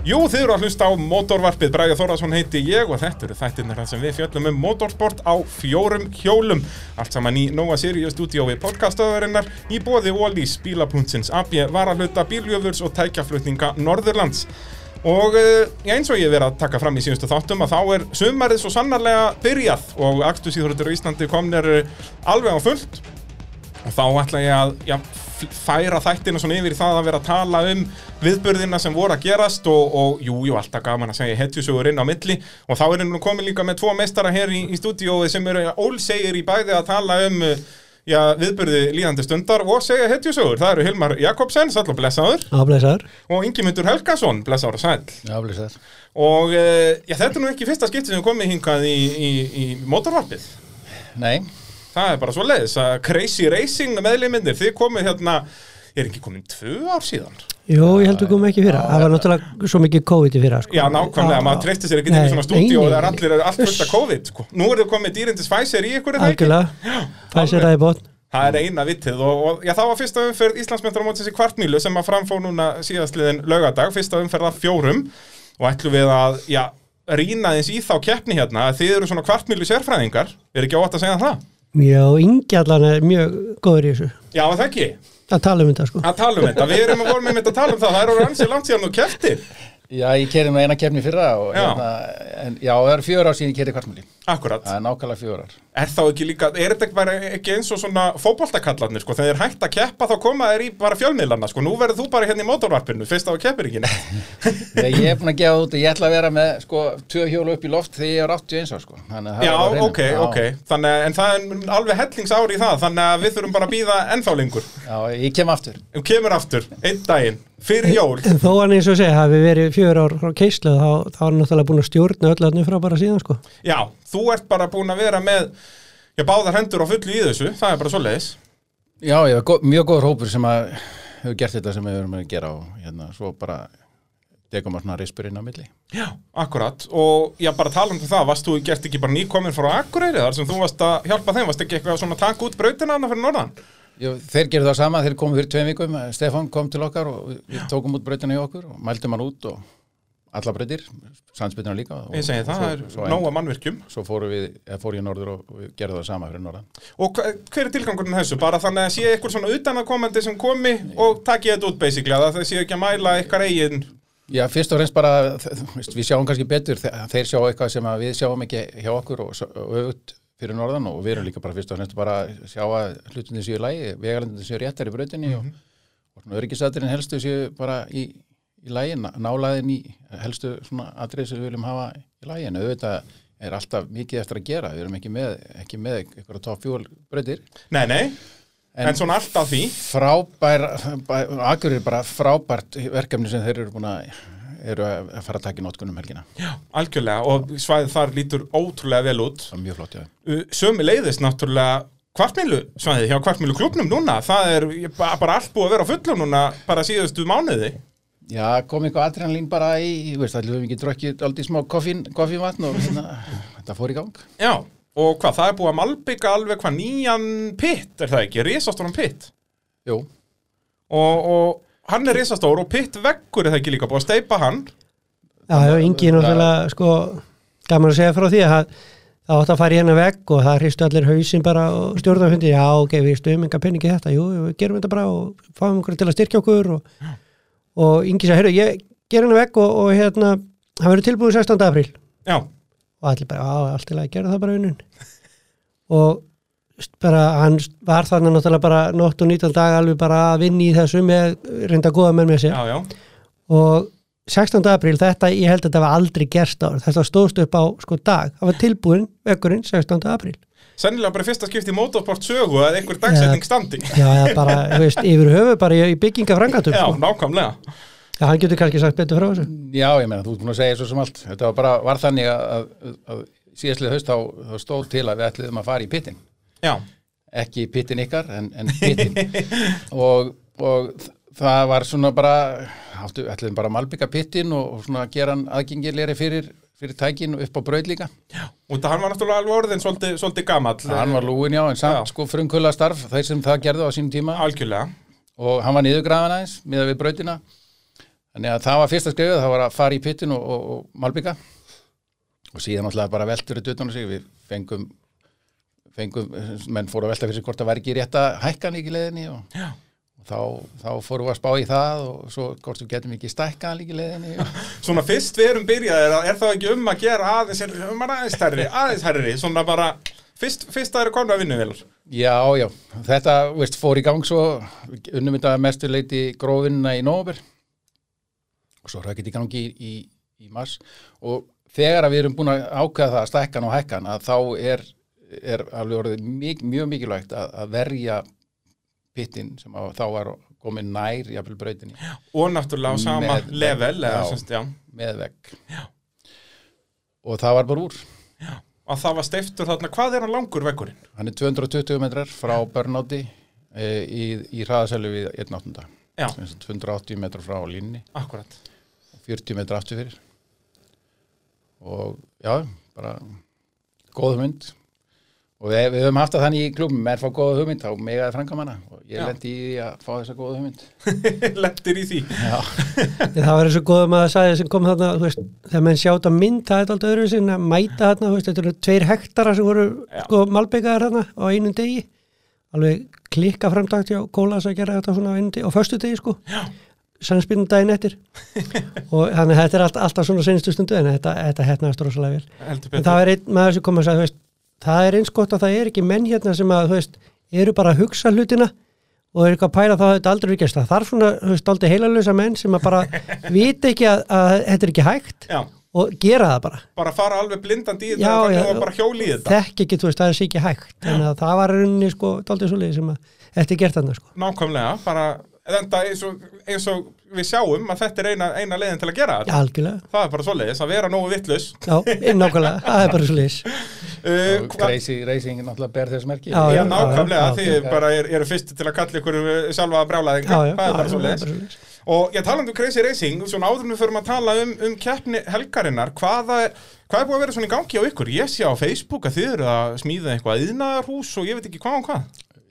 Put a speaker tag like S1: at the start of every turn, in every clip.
S1: Jú, þið eru að hlusta á motorvarpið, Bræði Þóraðsson heiti ég og þetta eru þættirnir þar sem við fjöllum um motorsport á fjórum hjólum. Allt saman í Nova Sirius stúdíói podcastöðurinnar í bóði Ólís, Bílapuntsins, AB, Varahluta, Bíljöfurs og tækjaflutninga Norðurlands. Og eh, já, eins og ég hef verið að taka fram í síðustu þáttum að þá er sumarið svo sannarlega byrjað og aktusíðhörður í Íslandi komnir eh, alveg á fullt og þá ætla ég að já, f- færa þættina svona yfir í það að vera að tala um viðburðina sem voru að gerast og, og jú, jú, alltaf gaman að segja hetjusögur inn á milli og þá er nú komin líka með tvo meistara hér í, í stúdíói sem eru ólsegir í bæði að tala um uh, já, viðburði líðandi stundar og segja hetjusögur, það eru Hilmar Jakobsen, sæll og blessaður
S2: Afleysar
S1: og Ingimundur Helgason, blessaður og sæll
S3: Já, blessaður.
S1: og uh, já, þetta er nú ekki fyrsta skipti sem við komið hingað í, í, í motorvarpið
S3: Nei,
S1: Það er bara svo leiðis að Crazy Racing meðleimindir, þið komið hérna, er ekki komin tvö ár síðan?
S2: Jú, ég held við komum ekki fyrra Það var náttúrulega svo mikið COVID í fyrra sko.
S1: Já, nákvæmlega, maður treysti sér ekki inn í
S2: Nei,
S1: svona stúdíu
S2: nei,
S1: og það er
S2: nei.
S1: allir allt fullt af COVID, sko. Nú er þið komið dýrindis Pfizer í ykkur, er það ekki?
S2: Algjörlega, fæsir það í botn
S1: Það er eina vitið og, og já, það var fyrsta umferð Íslandsmyndaramótsins í kvartmýlu sem að framfóð núna síðastliðin lögadag, fyrsta umferð af fjórum og ætlum við að, já, rýna eins í þá keppni hérna að þið eru svona kvartmýlu sérfræðingar, er ekki óvægt að segja það?
S2: Já, Ingi allan er mjög góður í þessu
S1: Já, er það ekki,
S2: að tala um þetta sko
S1: að tala um þetta, við erum að vorum með að tala um það, það eru ansið langt síðan þú keftir.
S3: já, ég kerði með eina kefni fyrra og
S1: Já.
S3: hérna, en, já, það er fjör ár síðan ég kerði kvartmúli.
S1: Akkurat,
S3: Það er nákvæmlega fjör ár.
S1: er þá ekki líka, er þetta ekki, bara ekki eins og svona fótboltakallarnir sko, þegar þeir hægt að keppa þá koma þeir í bara fjölmiðlarna sko, nú verður þú bara hérna í mótorvarpinu, fyrst á að keppir ekki neitt.
S3: Þegar ég er búin að gefa út að ég ætla að vera með, sko, tvö hjólu upp í loft þegar ég er 81 ár, sko. Þannig að það
S1: Já,
S3: er á hreinu.
S1: ok, ok, þannig að, en það er alveg hellings ári í það, þannig að við þurfum bara að býða ennþá lengur,
S3: Já, ég kem aftur.
S1: um kemur aftur, einn daginn, fyrir jól,
S2: En þó hann eins og segja, hafi verið fjör ár frá keislu þá, þá er hann náttúrulega búin að stjórna öll öllum frá bara síðan sko
S1: já, þú ert bara búin að vera með, já, báðar hendur á fullu í þessu, það er bara svoleiðis.
S3: Já, ég er gó- mjög góður hópur sem að hefur gert þetta sem við erum að gera og hérna, svo bara degum að svona rispurinn á milli.
S1: Já, akkurat, og já, bara talandi um það, varst þú gert ekki bara nýkomin frá Akureyri þar sem þú varst að hjálpa þeim, varst ekki eitthvað svona að taka út brautina hana fyrir norðan?
S3: Jú, þeir gerðu það sama, þeir komu fyrir tveim vikum, Stefán kom til okkar og við- við tókum út breytina í okkur og mældum hann út og alla breytir, sandsbyttina líka. Og,
S1: Ég segi
S3: og
S1: það,
S3: svo,
S1: það
S3: svo,
S1: er
S3: en,
S1: nóga mannvirkjum.
S3: svo fóru við, eða fóru ég norður og við gerðu það sama fyrir norðan.
S1: Og hva- hver er tilgangurinn þessu? Bara þannig að sé eitthvað svona utanakomandi sem komi og taki þetta út basically, að það sé ekki að mæla ykkar eigin.
S3: Já, fyrst og fremst bara, þ- veist, við sjáum kannski betur, þe- þeir sjá eitthvað sem að við sjáum ekki hjá okkur og, s- og öfut fyrir norðan og við erum líka bara fyrst og fremst bara að sjá að hlutinni séu í lægi, vegalendinni séu réttar í breytinni og, og svona öryggisatriðin helstu séu bara í, í lægi, nálaðin í helstu svona atrið sem við viljum hafa í lægi en auðvitað er alltaf mikið eftir að gera, við erum ekki með, ekki með eitthvað top fjól breytir.
S1: Nei, nei, en,
S3: En-
S1: svona allt af því.
S3: frábær, akkur er bara frábært verkefni sem þeir eru búin að eru að fara að taka í notkunum helgina
S1: Já, algjörlega, og svæðið þar lítur ótrúlega vel út.
S3: það er mjög flott, já
S1: Sömi leiðist náttúrulega kvartmilu svæðið hjá kvartmilu klubnum núna. Það er ég- ba- bara allt búið að vera á fullu núna bara síðustu mánuði.
S3: já, kom eitthvað adrenalín bara í ég veist, allir höfum ekki drukkið aldrei smá koffín, koffínvatn og hérna, þetta fór í gang
S1: Já, og hvað, það er búið að malbygga alveg hvað nýjan pitt, er það ekki? Risastóran pitt.
S3: jú,
S1: og, og hann er risastór og pitt veggur er það ekki líka búið að steipa hann
S2: Já, já, Ingi er náttúrulega sko gaman að segja frá því að það- það átt að fara í hennar vegg og það hristu allir hausinn bara og stjórna hundi, já, ok, við stuðum enga peningi í þetta, jú, jú, við gerum þetta bara og fáum okkur til að styrkja okkur og, og Ingi sagði, heyrðu, ég ger hennar vegg og, og hérna, hann verður tilbúið 16. apríl
S1: já,
S2: og allir bara, á, allt til að gera það bara unnun og st- bara, hann var þarna náttúrulega bara nótt og 19 dag alveg bara að vinna í þessu með reynda góða menn með sér
S1: já, já,
S2: og 16. apríl, þetta, ég held að þetta var aldrei gerst ára, þetta stóðst upp á sko dag, það var tilbúin vekkurinn 16. apríl.
S1: sennilega bara í fyrsta skipti í motorport sögu að einhver dagsetning standi
S2: Já, eða bara, þú veist, yfir höfu bara í, í byggingafrangatum,
S1: já,
S2: sko.
S1: nákvæmlega
S2: Já, hann getur kannski sagt betur frá þessu.
S3: já, ég meina, þú ert búin að segja svo sem allt þetta var bara, var þannig að, að, að síðastlið haust þá, þá stóð til að við ætliðum að fara í pittin
S1: já,
S3: ekki pittin ykkar, en, en pittin og, og þ- það var svona bara áttu, ætliðum bara að malbygga pittin og, og svona gera hann aðgengilegri fyrir, fyrir tækin upp á braut líka
S1: og það hann var náttúrulega alveg orðin svolítið, svolítið gamall
S3: hann var lúin já, en samt
S1: Já.
S3: sko frumkvöla starf þeir sem það gerðu á sínum tíma
S1: algjörlega
S3: og hann var niðurgrafan aðeins miðað við brautina Þannig að það var fyrsta skrifið, það var að fara í pittin og, og, og malbygga og síðan alltaf bara veltur þetta utan á sig, við fengum, fengum, menn fóru að velta fyrir sig hvort það væri ekki rétt að hækkan í leðinni og,
S1: Já.
S3: og þá, þá fóru að spá í það og svo hvort við getum ekki stækkan í leðinni og
S1: Svona fyrst við erum byrjaðir, er það ekki um að gera aðeins, er um að aðeins herri, aðeins herri, svona bara, fyrst, fyrst það eru komin að vinna vel.
S3: Já, já, þetta veist, fór í gang svo unnum þetta að mestu leiti grófinna í nóver og svo rækit í gangi í, í, í mars og þegar að við erum búin að ákveða það að stækkan og hækkan að þá er, er alveg orðið mik, mjög mikilvægt að, að verja pittin sem að, þá var komin nær jafnvel brautinni
S1: Og náttúrulega á sama
S3: Með-
S1: level, eða
S3: já.
S1: semst, já.
S3: með vekk já. og það var bara úr
S1: Og það var steiftur þarna, hvað er hann langur vekkurinn?
S3: hann er 220 metrar frá Börnáti e, í, í hraðasælu við 1.8.
S1: Já,
S3: Sem sagt 280 metrar frá línni
S1: akkurat.
S3: og 40 metrar aftur fyrir og já, bara góð hugmynd og við, við höfum haft það þannig í klubum menn fá góða hugmynd, þá megaði frangamanna og
S1: Já.
S3: ég lendi í því að fá þessa góða hugmynd
S1: Lettir í því.
S3: já,
S2: Ég, það var eins og góðum að það sagði sem kom þarna þú veist, þegar menn sjátt að mynda þetta alltaf öðru sinna mæta þarna, þú veist, þetta eru tveir hektara sem voru
S1: Já.
S2: sko, malbyggaðar þarna á einum degi alveg klikka framtakt hjá Kólas að gera þetta svona á einum degi, á föstu degi sko sannspýrnum daginn eftir og þannig að þetta er allt, alltaf svona senstu stundu en þetta, þetta hefnaðast rosalega vel
S1: Heldur
S2: en
S1: betur.
S2: það er einn maður sem kom að sagði þú veist, það er eins gott að það er ekki menn hérna sem að þú veist, eru bara að hugsa hlutina og eru eitthvað að pæla þá hefur þetta aldrei vikist það þarf svona, þú veist, aldrei heilalösa menn sem að bara vita ekki að, að þetta er ekki hægt
S1: Já,
S2: og gera það bara
S1: bara fara alveg blindandi í þetta
S2: Já,
S1: og þannig
S2: já.
S1: að það bara hjóli í þetta.
S2: þekk ekki, þú veist, það er sér ekki hægt þannig að það var í rauninni, sko, aldrei svo sem að þetta er gert þannig, sko
S1: Nákvæmlega, bara, þetta eins og, eins og við sjáum að þetta er eina, eina leiðin til að gera þetta.
S2: Já, algjörlega,
S1: Það er bara svoleiðis að vera nógu vittlaus.
S2: já, nákvæmlega það er bara svo
S1: Uh,
S3: og
S1: hva-
S3: crazy racing náttúrulega ber þess merki
S2: Já,
S1: Já,
S2: já,
S1: nákvæmlega,
S2: já,
S1: þið
S3: já.
S1: bara er, eru fyrst til að kalla ykkur uh, sjálfa að brjála þig,
S2: já, já,
S1: það er bara
S2: já,
S1: svo
S2: það er bara svoleiðis.
S1: Og ég talandi um Crazy Racing, svona áður en við förum að tala um, um keppni helgarinnar, hvaða, hvað er búið að vera svona í gangi á ykkur? Ég sé á Facebook að þið eru að smíða eitthvað yðnaðarhús og ég veit ekki hvað og hvað.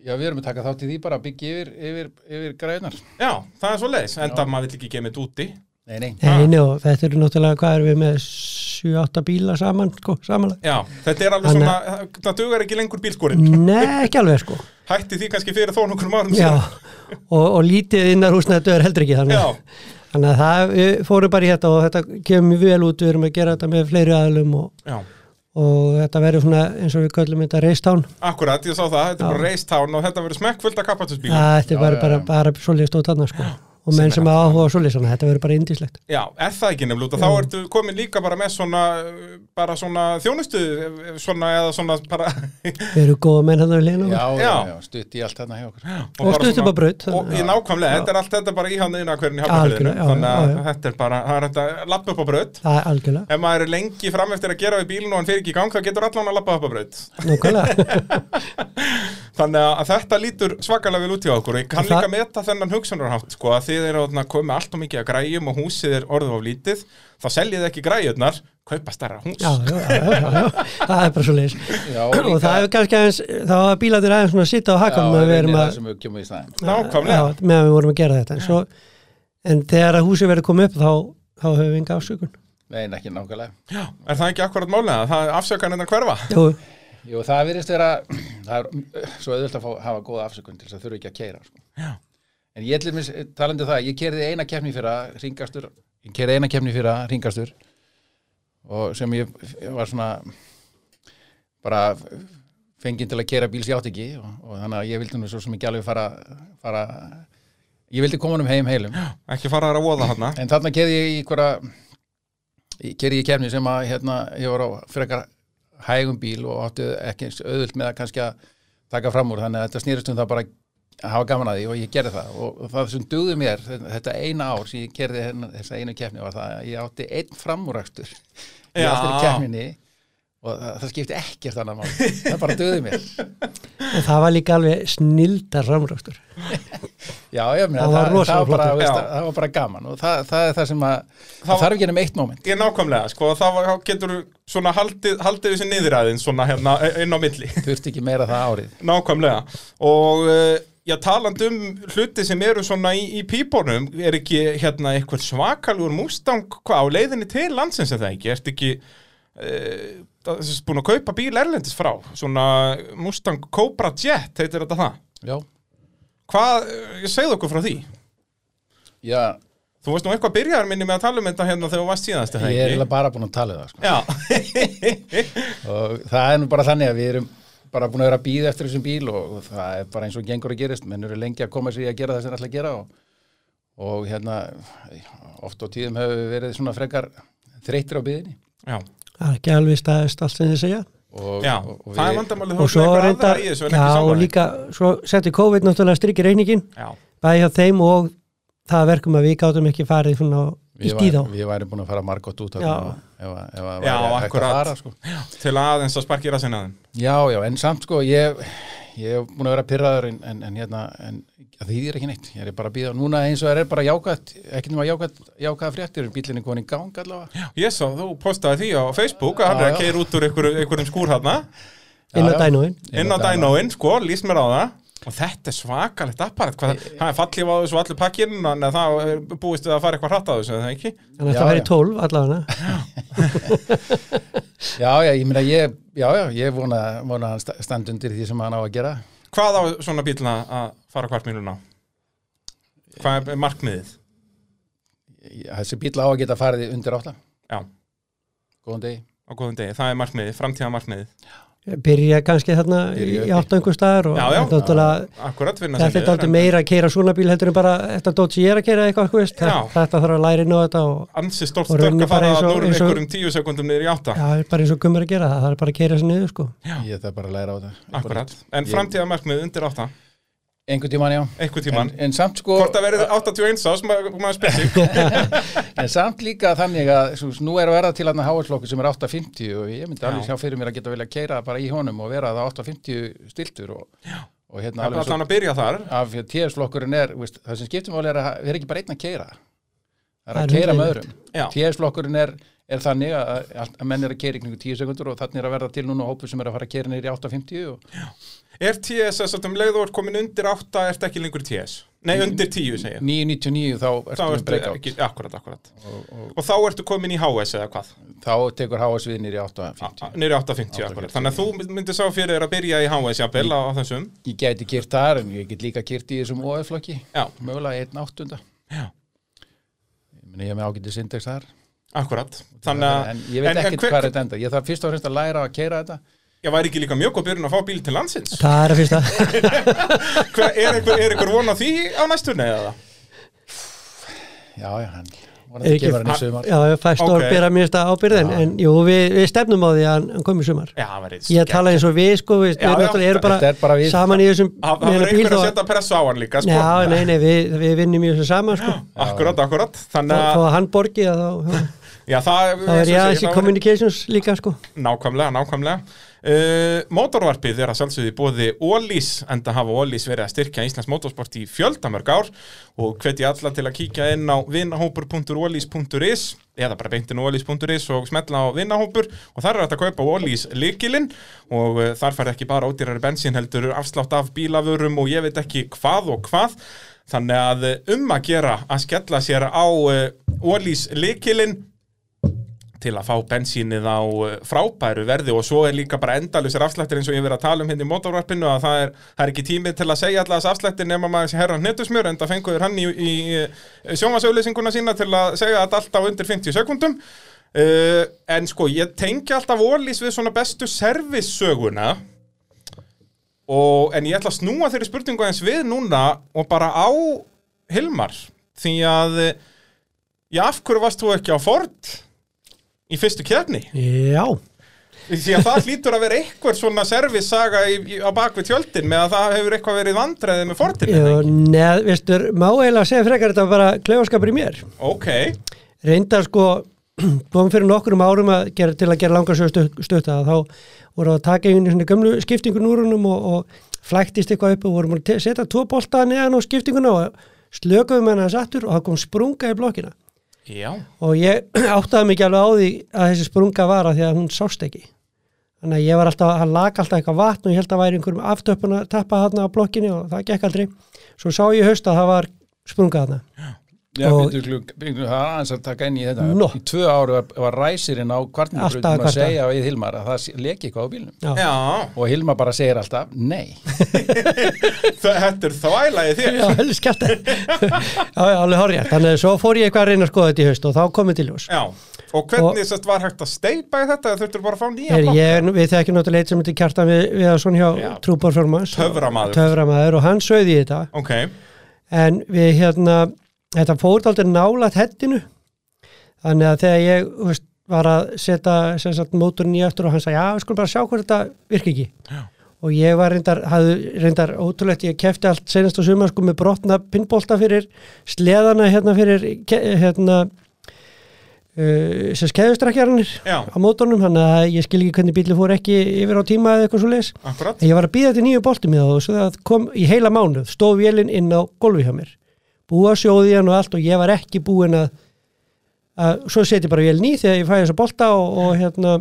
S3: já, við erum að taka þátt í því bara að byggja yfir, yfir, yfir grænar
S1: Já, það er svo leiðis, enda maður vill ekki gefa mitt úti.
S3: nei, nei,
S1: Ha.
S2: Nei, nei, og þetta eru náttúrulega, hvað erum við með 7-8 bíla saman, sko, samanlega?
S1: Já, þetta er alveg
S2: Þannig-
S1: svona, það- það dugar ekki lengur bílskorinn.
S2: Nei, ekki alveg, sko.
S1: Hætti því kannski fyrir þó nokkrum árum
S2: Já,
S1: síðan.
S2: og, og lítið innar húsnættu er heldur ekki þannig.
S1: Já.
S2: Þannig að það við fórum bara í þetta og þetta kemur mjög vel út, við erum að gera þetta með fleiri aðlum og,
S1: Já,
S2: og þetta verður svona eins og við köllum þetta reistán.
S1: akkurat, ég sá það, þetta er bara race town og þetta verður smekkfullt af kappatusbíl.
S2: Þetta er
S3: Já,
S2: bara,
S3: já,
S2: bara,
S3: já.
S2: bara svolítið stóð þarna, sko. Og menn sem áhuga svolítið svona, þetta verður bara indislegt.
S1: Já, er það ekki nefnilega, út af þá ertu komin líka bara með svona, uh, bara svona þjónustu, eh, svona eða svona bara
S2: Við erum góða menn hann að við lena
S3: já,
S2: okkur.
S3: já,
S1: Já.
S3: já, stutt í allt þarna hjá okkur
S1: Og, bara
S2: stuttum
S1: svona-
S2: á braut,
S1: Og
S2: þannig-
S1: í nákvæmlega, þetta er allt þetta er bara í hann einu að hverjum í hafnafjörðinu
S2: Algjörlega, já,
S1: Þannig
S2: já,
S1: að
S2: já.
S1: þetta er bara, það er þetta lappa upp á braut
S2: Það er algjörlega,
S1: Ef maður er lengi fram eftir að gera við bílinu og hann fyrir ekki í gang, þá getur allan að lappa upp á braut
S2: nákvæmlega.
S1: Þannig að þetta lítur svakalega vel út í okkur og ég kann
S2: Það-
S1: líka meta þennan hugsunarhátt sko að þið eru að koma með allt og mikið að græjum og húsið er orðið of lítið þá seljið ekki græjurnar, kaupa starra hús
S2: já, já, já, já, já, já, það er bara svo
S3: Já,
S2: og
S3: líka-
S2: það hefur kannski aðeins þá að bílarnir aðeins svona að sita á hakanum að við erum
S3: reynir það
S2: að,
S3: sem við kemum í staðinn
S1: Nákvæmlega,
S2: já, meðan við vorum að gera þetta en, svo, en þegar að húsið verður komið upp þá, þá höfum við enga afsökun
S3: nei, ekki nákvæmlega
S1: Já, er það ekki akkurat málið að það afsökan hennar hverfa?
S2: Jú,
S3: Jú, það virðist vera, það er uh, svo auðvitað að fá, hafa góða afsökun til þess að þurfa ekki að keira. Sko.
S1: Já.
S3: En ég ætlum mér talandi um það, ég kerði eina keppni fyrir að ringastur, ég kerði eina keppni fyrir að ringastur og sem ég ég var svona bara fenginn til að keira bíls ég átt ekki og, og þannig að ég vildi nú svo sem ekki alveg fara, fara ég vildi koma um heim heilum.
S1: Ekki fara þær að voða hana
S3: En þarna kerði ég í hverja, kerði ég kefni sem að hérna, ég var á frekar hægum bíl og átti ekki eins auðvöld með að kannski að taka fram úr þannig að þetta snýrist um það bara að hafa gaman að því og ég gerði það og það sem dugði mér þetta eina ár sem ég gerði hérna, þessa einu kefni var það að ég átti einn framúrækstur í
S1: Já.
S3: alltaf kefninni og það, það skipti ekkert annað mál það bara dugði mér
S2: en það var líka alveg snildar ramröftur
S3: já, ég, meina,
S2: Það var
S3: það,
S2: rosalega
S3: það, var bara,
S2: flottur.
S3: veist,
S1: Já.
S3: það, það var bara gaman og það, það er það sem að það þarf ekki nefnum eitt moment
S1: Ég nákvæmlega, sko, þá þá getur svona haldið, haldið þessi niðræðin svona hérna inn á milli
S3: þurfti ekki meira það árið
S1: Nákvæmlega Og uh, Já, taland um hluti sem eru svona í, í pípunum, er ekki hérna eitthvað svakalugur Mustang hvað, á leiðinni til landsins eða ekki? Ertu ekki eh, það er búin að kaupa bíl erlendis frá? Svona Mustang Cobra Jet, heitir þetta það?
S3: Já,
S1: Hvað, eh, segðu okkur frá því?
S3: já
S1: Þú veist nú eitthvað byrjar minni með að tala um þetta hérna þegar þú varst síðast eða
S3: ég er
S1: ekki?
S3: eiginlega bara búin að tala um það sko.
S1: Já,
S3: og það er nú bara þannig að við erum bara búin að vera að býða eftir þessum bíl og og það er bara eins og gengur að gerist menn eru lengi að koma sér í að gera það sem þeir ætla að gera og, og hérna oft á tíðum hefur við verið svona frekar þreyttir á byðinni
S1: já,
S2: það er ekki alveg staðist allt sem þið segja
S3: og,
S1: já,
S3: og, og
S1: það er
S3: við,
S1: vandamálið þú
S2: og
S1: ert
S2: svo
S1: með eitthvað
S2: reynda,
S1: aðra í þessu en
S2: já
S1: ekki
S2: og
S1: sjálfan þig.
S2: líka svo setti COVID náttúrulega strikki reyningin
S1: Já,
S2: bæði hjá þeim og það verkum að við gátum ekki farið svona í
S3: við,
S2: stíð á
S3: væri, við væri búin að fara margótt út
S2: Já.
S3: þarna ef, að- ef að
S1: Já,
S3: væri hægt
S1: akkurat.
S3: að fara sko.
S1: til aðeins að sparki rassin aðeins.
S3: já, já, en samt sko ég, ég hef búin að vera pyrraður en, en, en hérna, en það þýðir ekki neitt ég er bara að býða, núna eins og það er bara jákvætt ekki nema jákvætt, jákvæða fréttir bílinni komin í gang allavega
S1: Ég sá, þú postaði því á Facebook að hann er
S3: Já,
S1: að
S3: já.
S1: keira út úr einhverjum, einhverjum skúr hana
S2: inn á
S3: Já, já.
S2: dænóin
S1: inn á dænóinn, sko, líst mér á það og þetta er svakalegt apparat hvað, það er fallið á þessu og allir pakkin en það er búist við að fara eitthvað hratt á þessu eða ekki?
S2: þannig að
S3: Já,
S2: það
S3: já.
S2: verið 12 allavega
S3: Já, já, ég meina, ég, já, já, ég vona, vona að hann sta- standi undir því sem hann á að gera.
S1: Hvað á svona bílna að fara hvart mínuna? Hvað er markmiðið?
S3: Ég- Þessi bíl á að geta farið undir átta.
S1: Já,
S3: Góðan degi.
S1: á góðum degi, það er markmiðið, framtíða markmiðið
S2: byrja kannski þarna
S3: Byrja
S2: í
S3: uppi.
S2: áttangu staðar og
S1: Já, já.
S2: þetta er náttúrulega
S1: Akkurat, vinna
S2: þetta er
S1: niður,
S2: dálítið
S1: en
S2: meira að keira svona bíl heldur en bara þetta dót sem ég er að keira eitthvað þú veist.
S1: Já.
S2: þetta þetta þarf að læra inn á þetta og
S1: Ansi stórt
S2: Og
S1: stökk
S2: runni
S1: að
S2: bara
S1: fara
S2: eins og-
S1: úr
S2: eins og-
S1: einhverjum tíu sekundum niður í átta
S2: já, það er bara eins og gummur að gera það það er bara að keira sér niður sko
S3: Ég þarf bara að læra á það.
S1: Akkurat, en
S3: Ég-
S1: framtíða markmiðið undir átta
S3: Einhvern tíman, já.
S1: Einhver
S3: En,
S1: tíman,
S3: en samt sko,
S1: hvort að verið 81 ás, ma- maður spyrir sig.
S3: en samt líka þannig að svo, nú er að verða til hann að háalflokku sem er 8.50 og ég myndi alveg
S1: Já.
S3: sjá fyrir mér að geta vilja keira bara í honum og vera það 8.50 stiltur og, og hérna
S1: Það er
S3: alveg
S1: alltaf
S3: svo
S1: hann að byrja þar
S3: af TS-flokkurinn er, veist, það sem skiptum álega er að við erum ekki bara einn að keira. Það er
S2: Það
S3: að
S2: er
S3: keira með
S2: hundleiðinlegt.
S3: öðrum.
S1: Já,
S3: TS-flokkurinn er, er þannig að, að að menn er að keira ykkur 10 sekundur og þannig er að verða til núna hópu sem er að fara að keira neyri í 8.50 og
S1: er TS þess að um leið og er komin undir 8 ert ekki lengur TS? Nei, undir 10 segja
S3: 9.99 þá
S1: Þá
S3: ertu með
S1: ertu
S3: breakout
S1: ekki, akkurat, akkurat Og þá ertu komin í HS eða hvað?
S3: þá tekur HS við neyri í 8.50
S1: Nýri 8.50 akkurat Þannig að þú myndir sá fyrir þér að byrja í HS jafnvel á, á þessum
S3: Ég gæti kýrt þar en ég get líka kýrt í þessum OF-flokki
S1: Já,
S3: mögulega 1.8
S1: Já.
S3: Ég meina, ég er með ágætið syndex þar
S1: akkurat Þannig að
S3: en ég veit
S1: en- en
S3: ekkert
S1: hver-
S3: hvað þetta enda ég þarf fyrst og fremst að læra að keira þetta
S1: ég væri ekki líka mjög góð byrjun að fá bíl til landsins
S2: það er að fyrsta
S1: Hver, er, einhver, er einhver von á því á næstunni eða?
S3: já, já, hann
S2: Er
S3: vonandi
S2: ekki-
S3: kemur hann í sumar
S2: já, fæst
S1: Ok.
S2: okay. orð byrja mjög stað ábyrðin en jú, við, við stefnum á því að hann- hann komi í sumar
S1: Já, það væri
S2: ég tala eins og við sko við,
S1: Já,
S2: við
S1: já.
S2: náttúrulega erum bara,
S3: Þetta er bara við.
S2: saman í þessum
S1: Það
S2: með
S1: verður
S2: þennan bíl
S1: einhver að
S2: þó-
S1: setja pressu á hann líka sko.
S2: já, nei, nei, við, við vinnum í þessu saman sko
S1: Akkurat, akkurat
S2: þó
S1: Þannig
S2: þó
S1: að
S2: að hann borgi að þá,
S1: Já, það
S2: þá er
S1: eins og
S2: ég
S1: segir,
S2: aðeins
S1: það
S2: í
S1: væri-
S2: communications líka sko
S1: Nákvæmlega, nákvæmlega. Uh, mótorvarpið er að sjálfsögðu bóði Ólís, enda hafa Ólís verið að styrkja Íslands motorsport í fjöldamörg ár og hvetji alla til að kíkja inn á vinnahópur.ólís.is eða bara beintin ólís.is og smetla á vinnahópur og þar er þetta að kaupa Ólís lykilinn og uh, þar færði ekki bara ódýrari bensín heldur afslátt af bílavörum og ég veit ekki hvað og hvað þannig að uh, um að gera að skella sér á uh, Ólís lykilinn til að fá bensínið á eh, frábæru verði og svo er líka bara endalusir afslættir eins og ég hef verið að tala um hérna í motorvarpinu að það er, það er ekki tími til að segja allas afslættir nema maður sé herra hnetusmjör en það fenguður hann í, í sjómasauðlýsinguna sína til að segja þetta alltaf á undir 50 sekundum uh, en sko ég tengi alltaf ólís við svona bestu servissöguna og, en ég ætla að snúa þeirri spurningu eins við núna og bara á Hilmar því að eh, já af hverju varst þú ekki á Ford í fyrstu kjarni
S2: já,
S1: því að það hlýtur að vera eitthvað svona servissaga í, í, á bakvið tjöldin með að það hefur eitthvað verið vandræði með fortinu
S2: Jú, neð, veistur, má eiginlega segja frekar þetta var bara klefaskapur í mér
S1: ok,
S2: reyndar sko kom fyrir nokkrum árum að gera, til að gera langarsöðu stutta þá voru að taka einu svona gömlu skiptingun úr húnum og, og flæktist eitthvað upp og vorum að te- setja tvo bolta neðan á skiptinguna og slökuðum hennar sattur og það kom sprunga í blokkina
S1: já
S2: og ég áttaði mig ekki alveg á því að þessi sprunga var að því að hún sást ekki þannig að ég var alltaf, hann lak alltaf eitthvað vatn og ég held að væri einhverjum aftöpun að tappa þarna á blokkinni og það gekk aldrei svo sá ég í haust að það var sprunga þarna
S3: Já,
S2: Og-
S3: byrju, kluk, byrju, það er aðeins að taka inn í þetta
S2: Nó.
S3: Í tvö áru var, var ræsirinn á kvartinu
S2: Alltaf að
S3: að
S2: kvarta.
S3: segja við Hilmar að það sé- leki eitthvað á bílnum
S2: já,
S1: Já,
S3: og Hilmar bara segir alltaf, nei
S1: þa- þetta er þvælaði þér.
S2: já, heldur skjátt já, já, alveg horrið þannig að svo fór ég eitthvað að reyna að skoða þetta í haust og þá komið til ljós
S1: Já, og hvernig sest, var hægt að steipa í þetta? Þurftur bara að fá nýja
S2: Er,
S1: blokk?
S2: ég, við þekkjum náttúrulega eitt sem heitir kjartan við, við að svona hjá
S1: Já.
S2: trúborformans
S1: Töframaður.
S2: töframaður og hann sögði í þetta
S1: Ok,
S2: en við hérna þetta fór aldrei nálat hettinu þannig að þegar ég þú veist, var að setja sem sagt, móturinn í eftir og hann sagði já við skulum bara sjá hvort þetta virka ekki já. og ég var reyndar, hafði, reyndar ótrúlegt ég kefti allt senast á sumar sko með brotna pinnbólta fyrir sleðana hérna fyrir ke- hérna uh, sem skeiðustrakjarnir
S1: Já.
S2: á mótornum þannig að ég skil ekki hvernig bíli fór ekki yfir á tíma eða eitthvað svo leis
S1: akkurat.
S2: En ég var að býða til nýju boltum í það og svo það kom í heila mánuð, stóð vélinn inn á gólfi hjá mér. Búa sjóði hann og allt og ég var ekki búin að, að svo seti ég bara vélinn í þegar ég fæði þessa bolta og, og hérna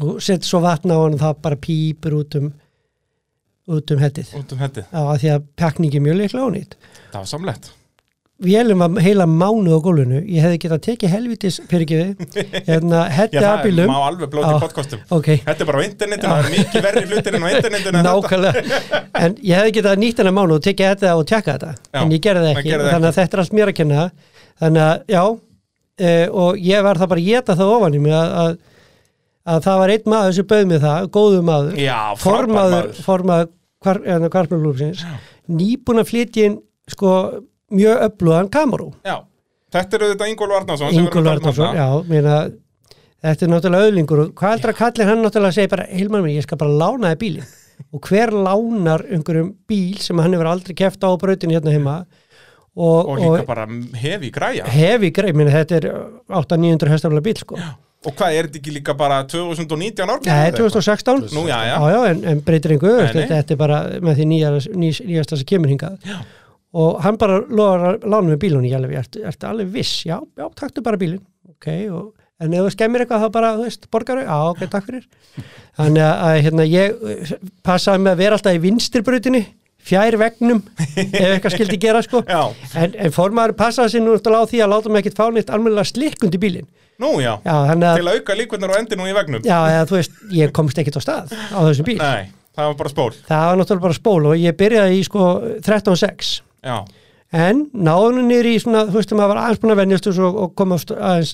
S2: og seti svo vatna á hann og það bara pípur út um út um hettið.
S1: Út um hettið.
S2: Já, af því að pakningi er mjög leikla ánýtt.
S1: Það var samlegt.
S2: Vélinn var heila mánuð á gólfinu, ég hefði getað tekið helvitis, fyrir hérna,
S1: Já,
S2: hetti af
S1: það er-
S2: bílum.
S1: má alveg blóta í
S2: Já.
S1: podcastum.
S2: Ok,
S1: Þetta er bara á internetinu, það er mikið verri hlutir en á internetinu. en þetta.
S2: Nákvæmlega, en ég hefði getað nýtt hennar mánu og tekið þetta og tjekka þetta
S1: Já,
S2: en ég gerði það
S1: það
S2: ekki,
S1: gerði það
S2: þannig að þetta er allt mér að kenna þannig að, já e, og ég var það bara að geta það ofan í mig að, að, að það var einn maður sem bauð mig það, góðu maður
S1: Já, frábær
S2: formaður,
S1: maður.
S2: formaður hvar, kvartmjölúfsins, nýbúin að flytja inn sko mjög öflugan kamerú,
S1: Já, þetta eru þetta Ingólf Arnarsson sem við erum
S2: Ingúl
S1: að tala um
S2: Arnarsson
S1: þarna.
S2: já, meina Þetta er náttúrulega öðlingur og hvað heldur að kallir hann náttúrulega að segja bara, Hilmar minn, ég skal bara lána þið bílinn og hver lánar einhverjum bíl sem hann hefur aldrei keft á brautin hérna heima og,
S1: Og líka bara hefi græja.
S2: hefi greið, minna þetta er 8-900 hestaflega bíl sko.
S1: Og hvað, er þetta ekki líka bara 2019 árið?
S2: Nei, 2016
S1: Nú, já, já.
S2: já, já, en, en breytir einhver
S1: Nei,
S2: veist,
S1: nei.
S2: þetta, þetta er bara með því nýjar, ný, nýjasta sem kemur hingað já. og hann bara lofar að lána með bílunni ég alveg, ertu, ertu alveg viss, já, já, taktu bara bílinn ok, og, en ef þú skemmir eitthvað þá bara, þú veist, borgaru, já, ok, takk fyrir þannig að, að hérna, ég uh, passaði með að vera alltaf í vinstirbrautinni fjær vegnum ef eitthvað skildi gera sko
S1: Já.
S2: en, en formaður passaði sér nú náttúrulega á því að láta mig ekkit fá nýtt almennilega slikkundi bílinn
S1: Nú, já.
S2: já, þannig að,
S1: Til að auka líkvöndar og endi nú í vegnum.
S2: já, eða, þú veist, ég komst ekkit á stað á þessum bíl
S1: Nei, það var bara spól.
S2: Það var náttúrulega bara spól og ég byrjaði í sko 13.6
S1: Já,
S2: en náðunni niður í svona, þú veist, maður var aðeins búin að venjast þessu og, og koma st- aðeins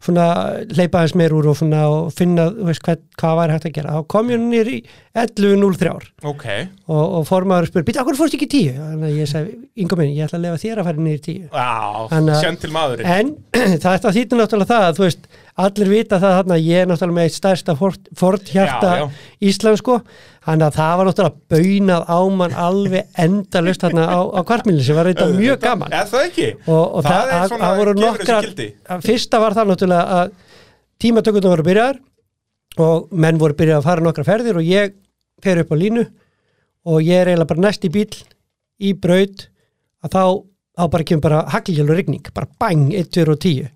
S2: svona, hleypa aðeins meir úr og svona og finna, þú veist, hvað, hvað var hægt að gera þá kom ég niður í 11.03 og,
S1: ok.
S2: og formaður spurði, býta, okkur fórst ekki í 10 þannig að ég sagði, yngur minn, ég ætla að lefa þér að fara niður í 10
S1: Já,
S2: Þannig að-
S1: kjenn til maðurinn.
S2: en þetta þýttu náttúrulega það að þú veist, allir vita það þarna að ég er náttúrulega með eitt stærsta forthjarta
S1: Já, já.
S2: íslensko þannig að það var náttúrulega baunað á mann alveg endalust þarna á, á kvartmýlinu sem var reynda mjög gaman
S1: Er það ekki?
S2: og, og það,
S1: er
S2: það,
S1: svona,
S2: það voru
S1: gefur þessu
S2: nokkrar
S1: gildi.
S2: að fyrsta var það náttúrulega að tímatökundum voru byrjaðar og menn voru byrjað að fara nokkra ferðir og ég fer upp á línu og ég er eiginlega bara næst í bíl í braut að þá, þá bara kemur bara hagljölu rigning, bara bang, 1, 2 og 10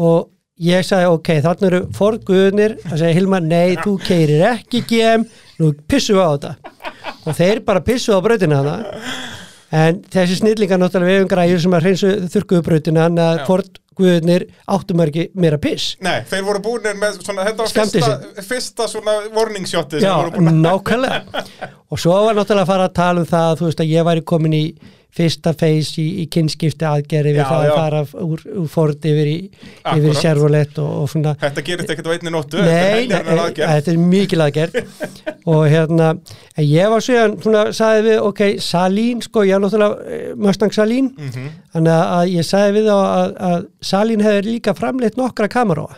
S2: og ég sagði ok, þannig eru forguðunir að segja Hilmar, nei, þú keirir ekki GM, nú pissum við á þetta og þeir bara pissuðu á brautina hana en þessi snillingar náttúrulega við um græður sem að hreinsu þurrkuðu brautina hann að
S1: Já.
S2: forguðunir áttum ekki meira piss
S1: Nei, þeir voru búinir með svona, þetta var
S2: Skemmti
S1: fyrsta, fyrsta svona warning shotið sem
S2: Já,
S1: voru búin að...
S2: nákvæmlega og svo var náttúrulega að fara að tala um það þú veist að ég væri komin í fyrsta feys í, í kynnskipti aðgerði við
S1: Já,
S2: það
S1: já.
S2: að fara f- úr, úr Ford yfir í, yfir í
S1: Akkúrat.
S2: Servolet og, og svona
S1: Þetta gerist ekkert á einni nóttu.
S2: Nei, nei, nei,
S1: nei.
S2: þetta er mikil aðgerð og hérna, en ég var síðan svona, sagði við, ok, Salín sko, ég er náttúrulega eh, Mustang Salín þannig að- að ég sagði við þá að, að Salín hefur líka framleitt nokkra kamaróa,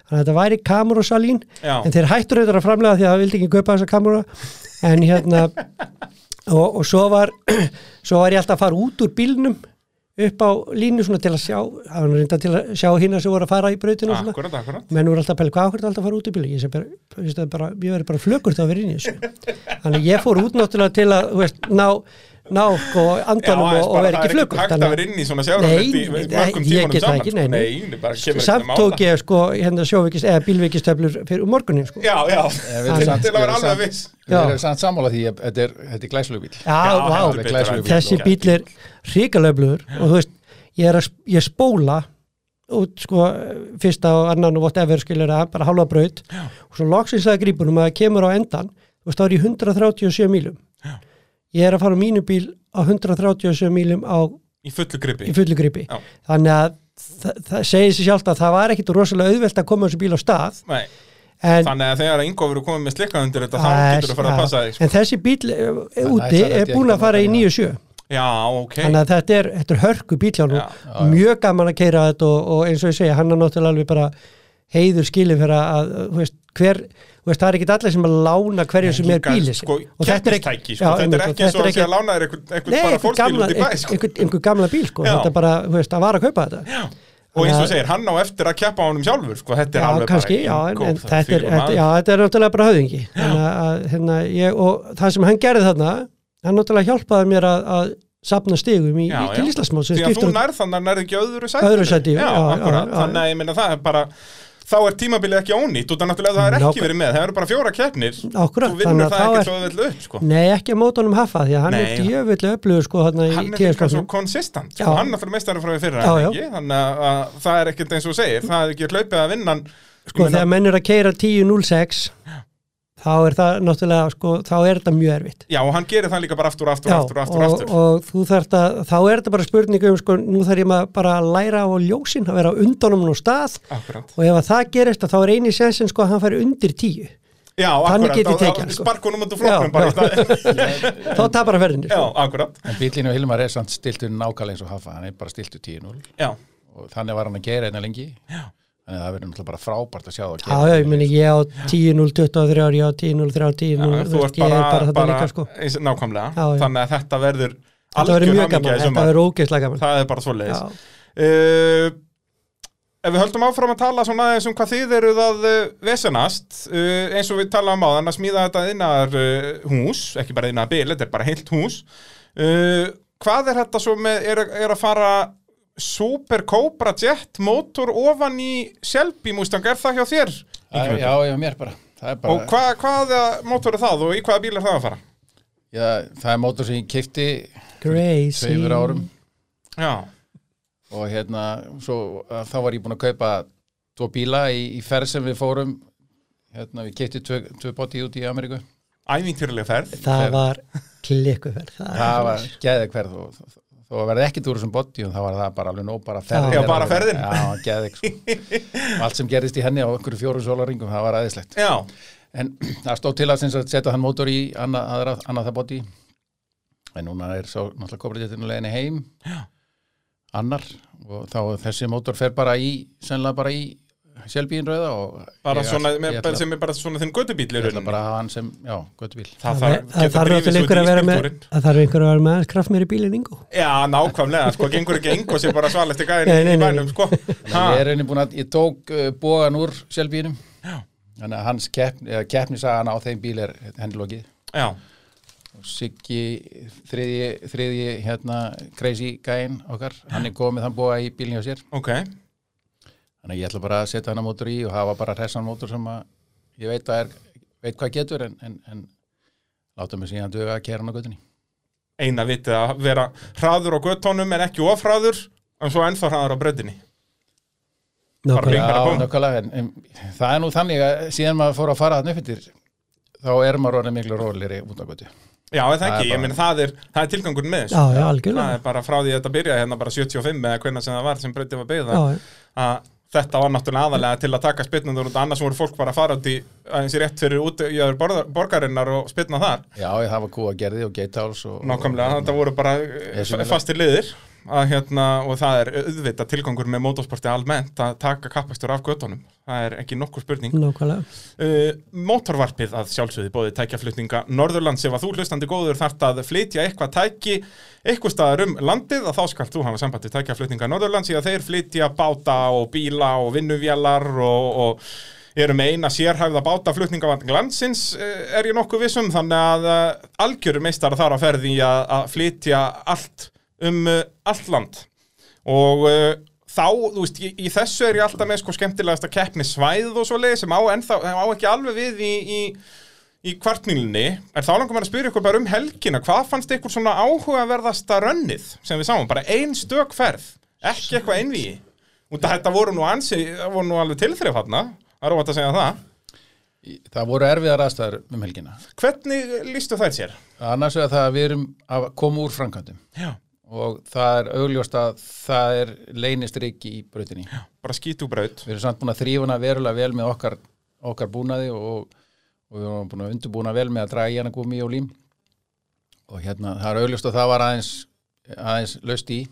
S2: þannig að þetta væri kamaró Salín,
S1: Já.
S2: en þeir hættur auðvitað að framlega því að það vildi ekki kaupa þessa kamaró en hérna og, og svo var svo var ég alltaf að fara út úr bílnum upp á línu svona til að sjá það var nú reyndar til að sjá hinn sem voru að fara í brautinu og svona
S1: Akkurat, akkurat.
S2: menn voru alltaf að pæla hvað okkur alltaf að fara út í bíl ég, sem bara, þú veist, það er bara, ég verið bara flökur þá að vera inn í þessu þannig að ég fór út náttúrulega til að þú veist, ná ná sko andanum og, og vera ekki flugur
S1: hægt að vera inn í svona sjálfröndi
S2: Nei,
S1: mörgum
S2: nei, ég
S1: tímanum
S2: get það
S1: saman
S2: ekki,
S1: sko.
S2: nei, nei.
S1: nei, bara kemur ekki
S2: samt tók ég sko hérna sjóvikist eða bílvikistöflur fyrir um morgunin sko já,
S1: já, já,
S3: við erum samt-
S1: til að
S3: við
S1: vera
S3: erum
S1: alveg
S3: samt-
S1: viss
S2: Já.
S3: Við erum samt sammála því að þetta er, þetta er glæslugbíl.
S2: vá,
S1: heldur betur,
S3: Glæsilegur
S1: heldur
S2: þessi
S1: betur.
S2: bíl er hrikalöflugur og þú veist, ég er að sp- ég spóla út sko fyrsta og annan og whatever skilur það, bara halva braut og svo loksins það grípunum að það kemur á endan þú veist, þá er ég 137 mílum
S1: Já.
S2: ég er að fara á mínu bíl á 137 mílum á,
S1: í fullu gripi
S2: í fullu gripi
S1: Já.
S2: þannig að það, það segir sér sjálft að það var ekkit rosalega auðvelt að koma þessu bíl á stað
S1: Nei,
S2: en
S1: þannig að þegar Ingo verður komið með slikka undir þetta þá
S2: Það er-
S1: getur þú farið að
S2: já.
S1: passa þig sko.
S2: En þessi bíl eh, úti
S3: ætlar
S2: er
S3: þetta
S2: búin
S3: ekki
S2: að fara
S3: að
S2: í
S3: nota
S2: 9.7
S1: já, ok
S2: Þannig að þetta er, þetta er hörku bíl hjá nú
S1: Já,
S2: Mjög gaman að keira þetta og, og eins og ég segja hann er náttúrulega alveg bara heiður skilið fyrir að, þú veist, hver þú veist, það er ekkit allir sem að lána hverju sem er
S1: Líka,
S2: bíli
S1: sko, keppnistæki, sko, þetta er ekki eins og að sé að lána þér einhvern- einhvern bara fólkbíl út í bæ sko.
S2: einhver, einhver gamla bíl sko,
S1: Já.
S2: þetta er bara, þú veist, að vara að kaupa þetta
S1: Já. og eins og
S2: Þannig að-
S1: segir, hann á eftir að keppa á honum sjálfur sko, þetta er
S2: já,
S1: alveg
S2: kannski, já,
S1: bara
S2: en,
S1: Ingo,
S2: en
S1: það
S2: þetta er,
S1: fyrir
S2: þetta,
S1: maður.
S2: já, þetta er náttúrulega bara höfðingi þannig að, hérna, ég, og það sem hann gerði þarna hann náttúrulega hjálpaði mér að, að safna stigum í,
S1: Já,
S2: í til
S1: já.
S2: Íslandsmót sem
S1: því að þú
S2: skiptur
S1: nærð þannig að nærð ekki öðru sæti
S2: Öðru sæti,
S1: já,
S2: já, já,
S1: akkurat,
S2: já, já.
S1: þannig að ég minna það er bara þá er tímabilið ekki ónýtt og það náttúrulega það er ekki
S2: Nákvæm-
S1: verið með, það eru bara fjóra keppnir
S2: Akkurat,
S1: þú vinnur
S2: þannig að
S1: það
S2: þá
S1: ekki
S2: er-
S1: svo öðvöld upp sko.
S2: nei, ekki að móta honum hafa því að hann
S1: Nei,
S2: er djöfullu öflugur sko hann í
S1: hann er líka svo
S2: tíðarskapnum
S1: konsistant
S2: Já.
S1: sko. hann er fyrir meistari frá því fyrra
S2: Já,
S1: er
S2: já.
S1: ekki? þannig að, að það er ekkert eins og þú segir það er ekki hlaupið að vinna
S2: sko þegar menn er að keira 10.06 þá er það náttúrulega sko, þá er þetta mjög erfitt
S1: já og hann gerir það líka bara aftur og aftur,
S2: Já,
S1: og aftur, og aftur, og
S2: og,
S1: aftur.
S2: og þú þarft að, þá er þetta bara spurningu um sko, nú þarf ég maður bara að læra á ljósin að vera á undanum og stað
S1: Akkurat.
S2: og ef að það gerist að þá er eini sensin sko að hann færi undir tíu
S1: Já, akkurat,
S2: Þannig get ég
S1: þá- þá-
S2: tekið hann, sko.
S1: sparkunum út úr
S2: Já,
S1: flokknum bara í stað
S2: þá tapar hann ferðinni
S1: Já,
S2: sko.
S1: akkurat
S3: En bílinn og Hilmar er samt stiltur nákvæmlega eins og hafa, hann er bara stiltur 10-0
S1: Já,
S3: og þannig var hann að gera einna lengi. Já. Þannig að það verður náttúrulega bara frábært að sjá það að
S2: Já,
S3: gera.
S2: já, ég meni ég á 10.023, ég á
S1: þú
S2: 10.030, 10.0, þú
S1: ert
S2: veist, ég
S1: bara,
S2: er bara þetta
S1: bara
S2: líka sko.
S1: eins, nákvæmlega,
S2: Já, já.
S1: þannig að þetta verður
S2: Þetta verður
S1: algjör
S2: mjög
S1: hamingja
S2: gaman,
S1: í
S2: þetta
S1: sumar.
S2: verður ógeðslega gaman.
S1: það er bara svo leiðis
S2: Já.
S1: Ef við höldum áfram að tala svona aðeins um hvað þið eruð að uh, vesenast uh, eins og við talaðum á þann að smíða þetta innar uh, hús, ekki bara innar bil, þetta er bara heilt hús uh, Hvað er þetta svo með, er, er að fara Super Cobra Jet mótor ofan í Shelby Mustang, er það hjá þér?
S3: Já,
S1: Ingimundur?
S3: já, já, mér bara. Það er bara,
S1: Og hva, hvaða mótor er það og í hvaða bíl er það að fara?
S3: já, það er mótor sem ég kifti
S2: Crazy.
S3: tveimur árum
S1: Já,
S3: og hérna, svo, að þá var ég búinn að kaupa tvo bíla í, í ferð sem við fórum, hérna, við kifti tvö, tvö bóti út í Ameríku.
S1: ævintýrlega ferð
S2: Það var klikkuferð.
S3: Það var geðið hverð og þó að verði ekkert úr þessum botti og þá var það bara alveg nóg bara ferðin.
S1: Já, bara ferðin.
S3: Já, geðið. Sko. Og Allt sem gerðist í henni á einhverju fjórum sólaringum, það var aðeinslegt.
S1: Já,
S3: En það stóð til að, sem sagt, setja hann mótor í annað, aðra, annað það botti. En núna er svo náttúrulega kopriðittinu leginni heim. Já. Annar. Og þá þessi mótor fer bara í, sennilega bara í sjálfbíin rauða og...
S1: bara
S3: ég-
S1: svona, með,
S3: ég ætla-
S1: bara, sem er bara svona þinn göttubíl í
S3: Ég ætla
S1: rauninni
S3: bara að hafa hann sem, já, göttubíl.
S1: það
S2: Það
S1: þarf
S2: það
S1: geta
S2: þarf
S1: drifið
S2: náttúrulega
S1: svo
S2: einhver að vera með,
S1: ísbíltúrinn.
S2: það þarf einhver að vera með aðeins kraft mér í bílinn yngu.
S1: já, nákvæmlega, sko, gengur ekki engu sem bara svalist í
S2: Nei,
S1: gæðin
S2: nei,
S1: í
S2: nei,
S1: bænum,
S2: nei.
S1: sko ha,
S3: Ég er einnig búin að, ég tók uh, bógan úr sjálfbínum. Þannig að hans keppni, eða keppnisagan á þeim bíl er henni lokið.
S1: já,
S3: Og Siggi, þriðji, þriðji, hérna, crazy gæin okkar, hann er komið þann bóga í bílinn hjá sér.
S1: ok
S3: Þannig að ég ætla bara að setja hann að mótur í og hafa bara hressan mótur sem að ég veit, að er, veit hvað getur en, en, en láta mig síðan duga að kera hann á göttunni.
S1: eina vitið að vera hraður á göttónum en ekki ofraður, en svo ennþá hraður á bröddinni
S2: Nákvæmlega.
S1: Já, búmm.
S3: nokkulega, en, en það er nú þannig að síðan maður fór að fara hann uppfittir þá er maður orðin miklu rólir út á göttu.
S1: já, er það
S3: Það er
S1: ekki,
S3: bara-
S1: ég meina það er það er tilgangur með
S2: Já,
S1: þessu
S2: já,
S1: það
S2: algjörlega.
S1: er bara frá því að þetta byrjaði hérna bara 75 eða hvernig sem það var sem bröddin var
S2: Já,
S1: byggða að þetta var náttúrulega aðalega til að taka spytnundur út annars voru fólk bara að fara út í aðeins í rétt fyrir út í öður borðar- borgarinnar og spytna þar
S3: Já, ég hafa kúa gerði og geitháls og...
S1: Nákvæmlega, þetta voru bara eh,
S3: Esjulega.
S1: fastir liðir að, hérna, og það er auðvitað tilgangur með motorsporti almennt að taka kappakstur af göttunum það er ekki nokkur spurning
S2: nákvæmlega.
S1: uh, Mótorvarpið að sjálfsögði bóði tækjaflutninga Norðurlands ef að þú hlustandi góður þart að flytja eitthvað tæki eitthvað staðar um landið að þá skalt þú hafa samband við tækjaflutninga Norðurlands í að þeir flytja báta og bíla og vinnuvélar og, og erum með eina sérhæfða bátaflutningavann glansins eh, er ég nokkuð vissum þannig að eh, algjörum meistar þar að ferði að, að flytja allt um eh, allt land og uh, þá, þú veist, í, í þessu er ég alltaf með sko skemmtilegasta keppni svæð og svo leið sem á, ennþá, á ekki alveg við í, í, í kvartmílunni en þá langar maður að spyrja ykkur bara um helgina hvað fannst ykkur svona áhugaverðasta rönnið sem við sáum, bara ein stök ferð ekki eitthvað einvíi út að þetta voru nú ansi, það voru nú alveg tilþrif hann, það er óvægt að segja það
S3: Það voru erfiðar aðstæður um helgina.
S1: hvernig lístu þær sér?
S3: Annars vegar það að við erum að koma úr framkvæmdum
S1: Já.
S3: og það er augljóst að það er leynist ríki í brautinni.
S1: bara skítubraut
S3: Við erum samt búin að þrýfuna verulega vel með okkar, okkar búnaði og, og við erum búin að undurbúna vel með að draga í hana gumi og lím og hérna það er augljóst að það var aðeins, aðeins löst í.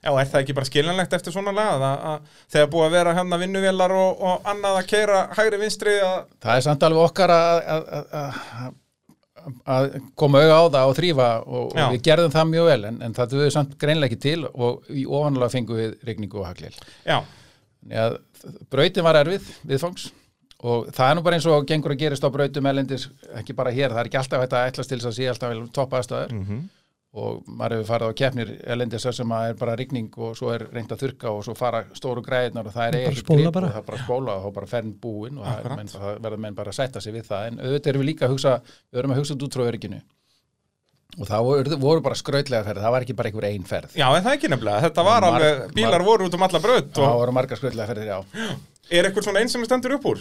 S1: Já, er það ekki bara skiljanlegt eftir svona lag að, að þegar búið að vera hann að vinnuvélar og, og annað að keira hægri vinstri að,
S3: Það er samt alveg okkar að- að að- að- að koma auga á það og þrýfa og,
S1: Já.
S3: og við gerðum það mjög vel en, en það duður samt greinlega ekki til og í ofanlega fengum við regningu og haglil.
S1: já,
S3: Þannig að brautin var erfið viðfangs og það er nú bara eins og gengur að gerist á brautum elendis, ekki bara hér, það er ekki alltaf hægt að ætlast til þess að sé alltaf vel toppaðastöður mm
S2: Mhm.
S3: -hmm. og maður hefur farið á keppnir elendis þar sem að er bara rigning og svo er reynd að þurka og svo fara stóru græðinar og það er
S2: Bara
S3: eiginlega
S2: spóla
S3: grip
S2: bara.
S3: og það er bara spóla og þá bara fern búin og það, er menn, það verður menn bara að sætta sig við það en auðvitað erum við líka að hugsa, við erum að hugsa út frá örginu og það voru, voru bara skrautlega ferð, það var ekki bara einhver ein ferð
S1: já, en það er ekki nefnilega, þetta var
S3: Marg-
S1: alveg, bílar voru út um alla braut
S3: það
S1: og
S3: voru margar skrautlega ferðir, já
S1: er eitthvað svona eins sem stendur upp úr?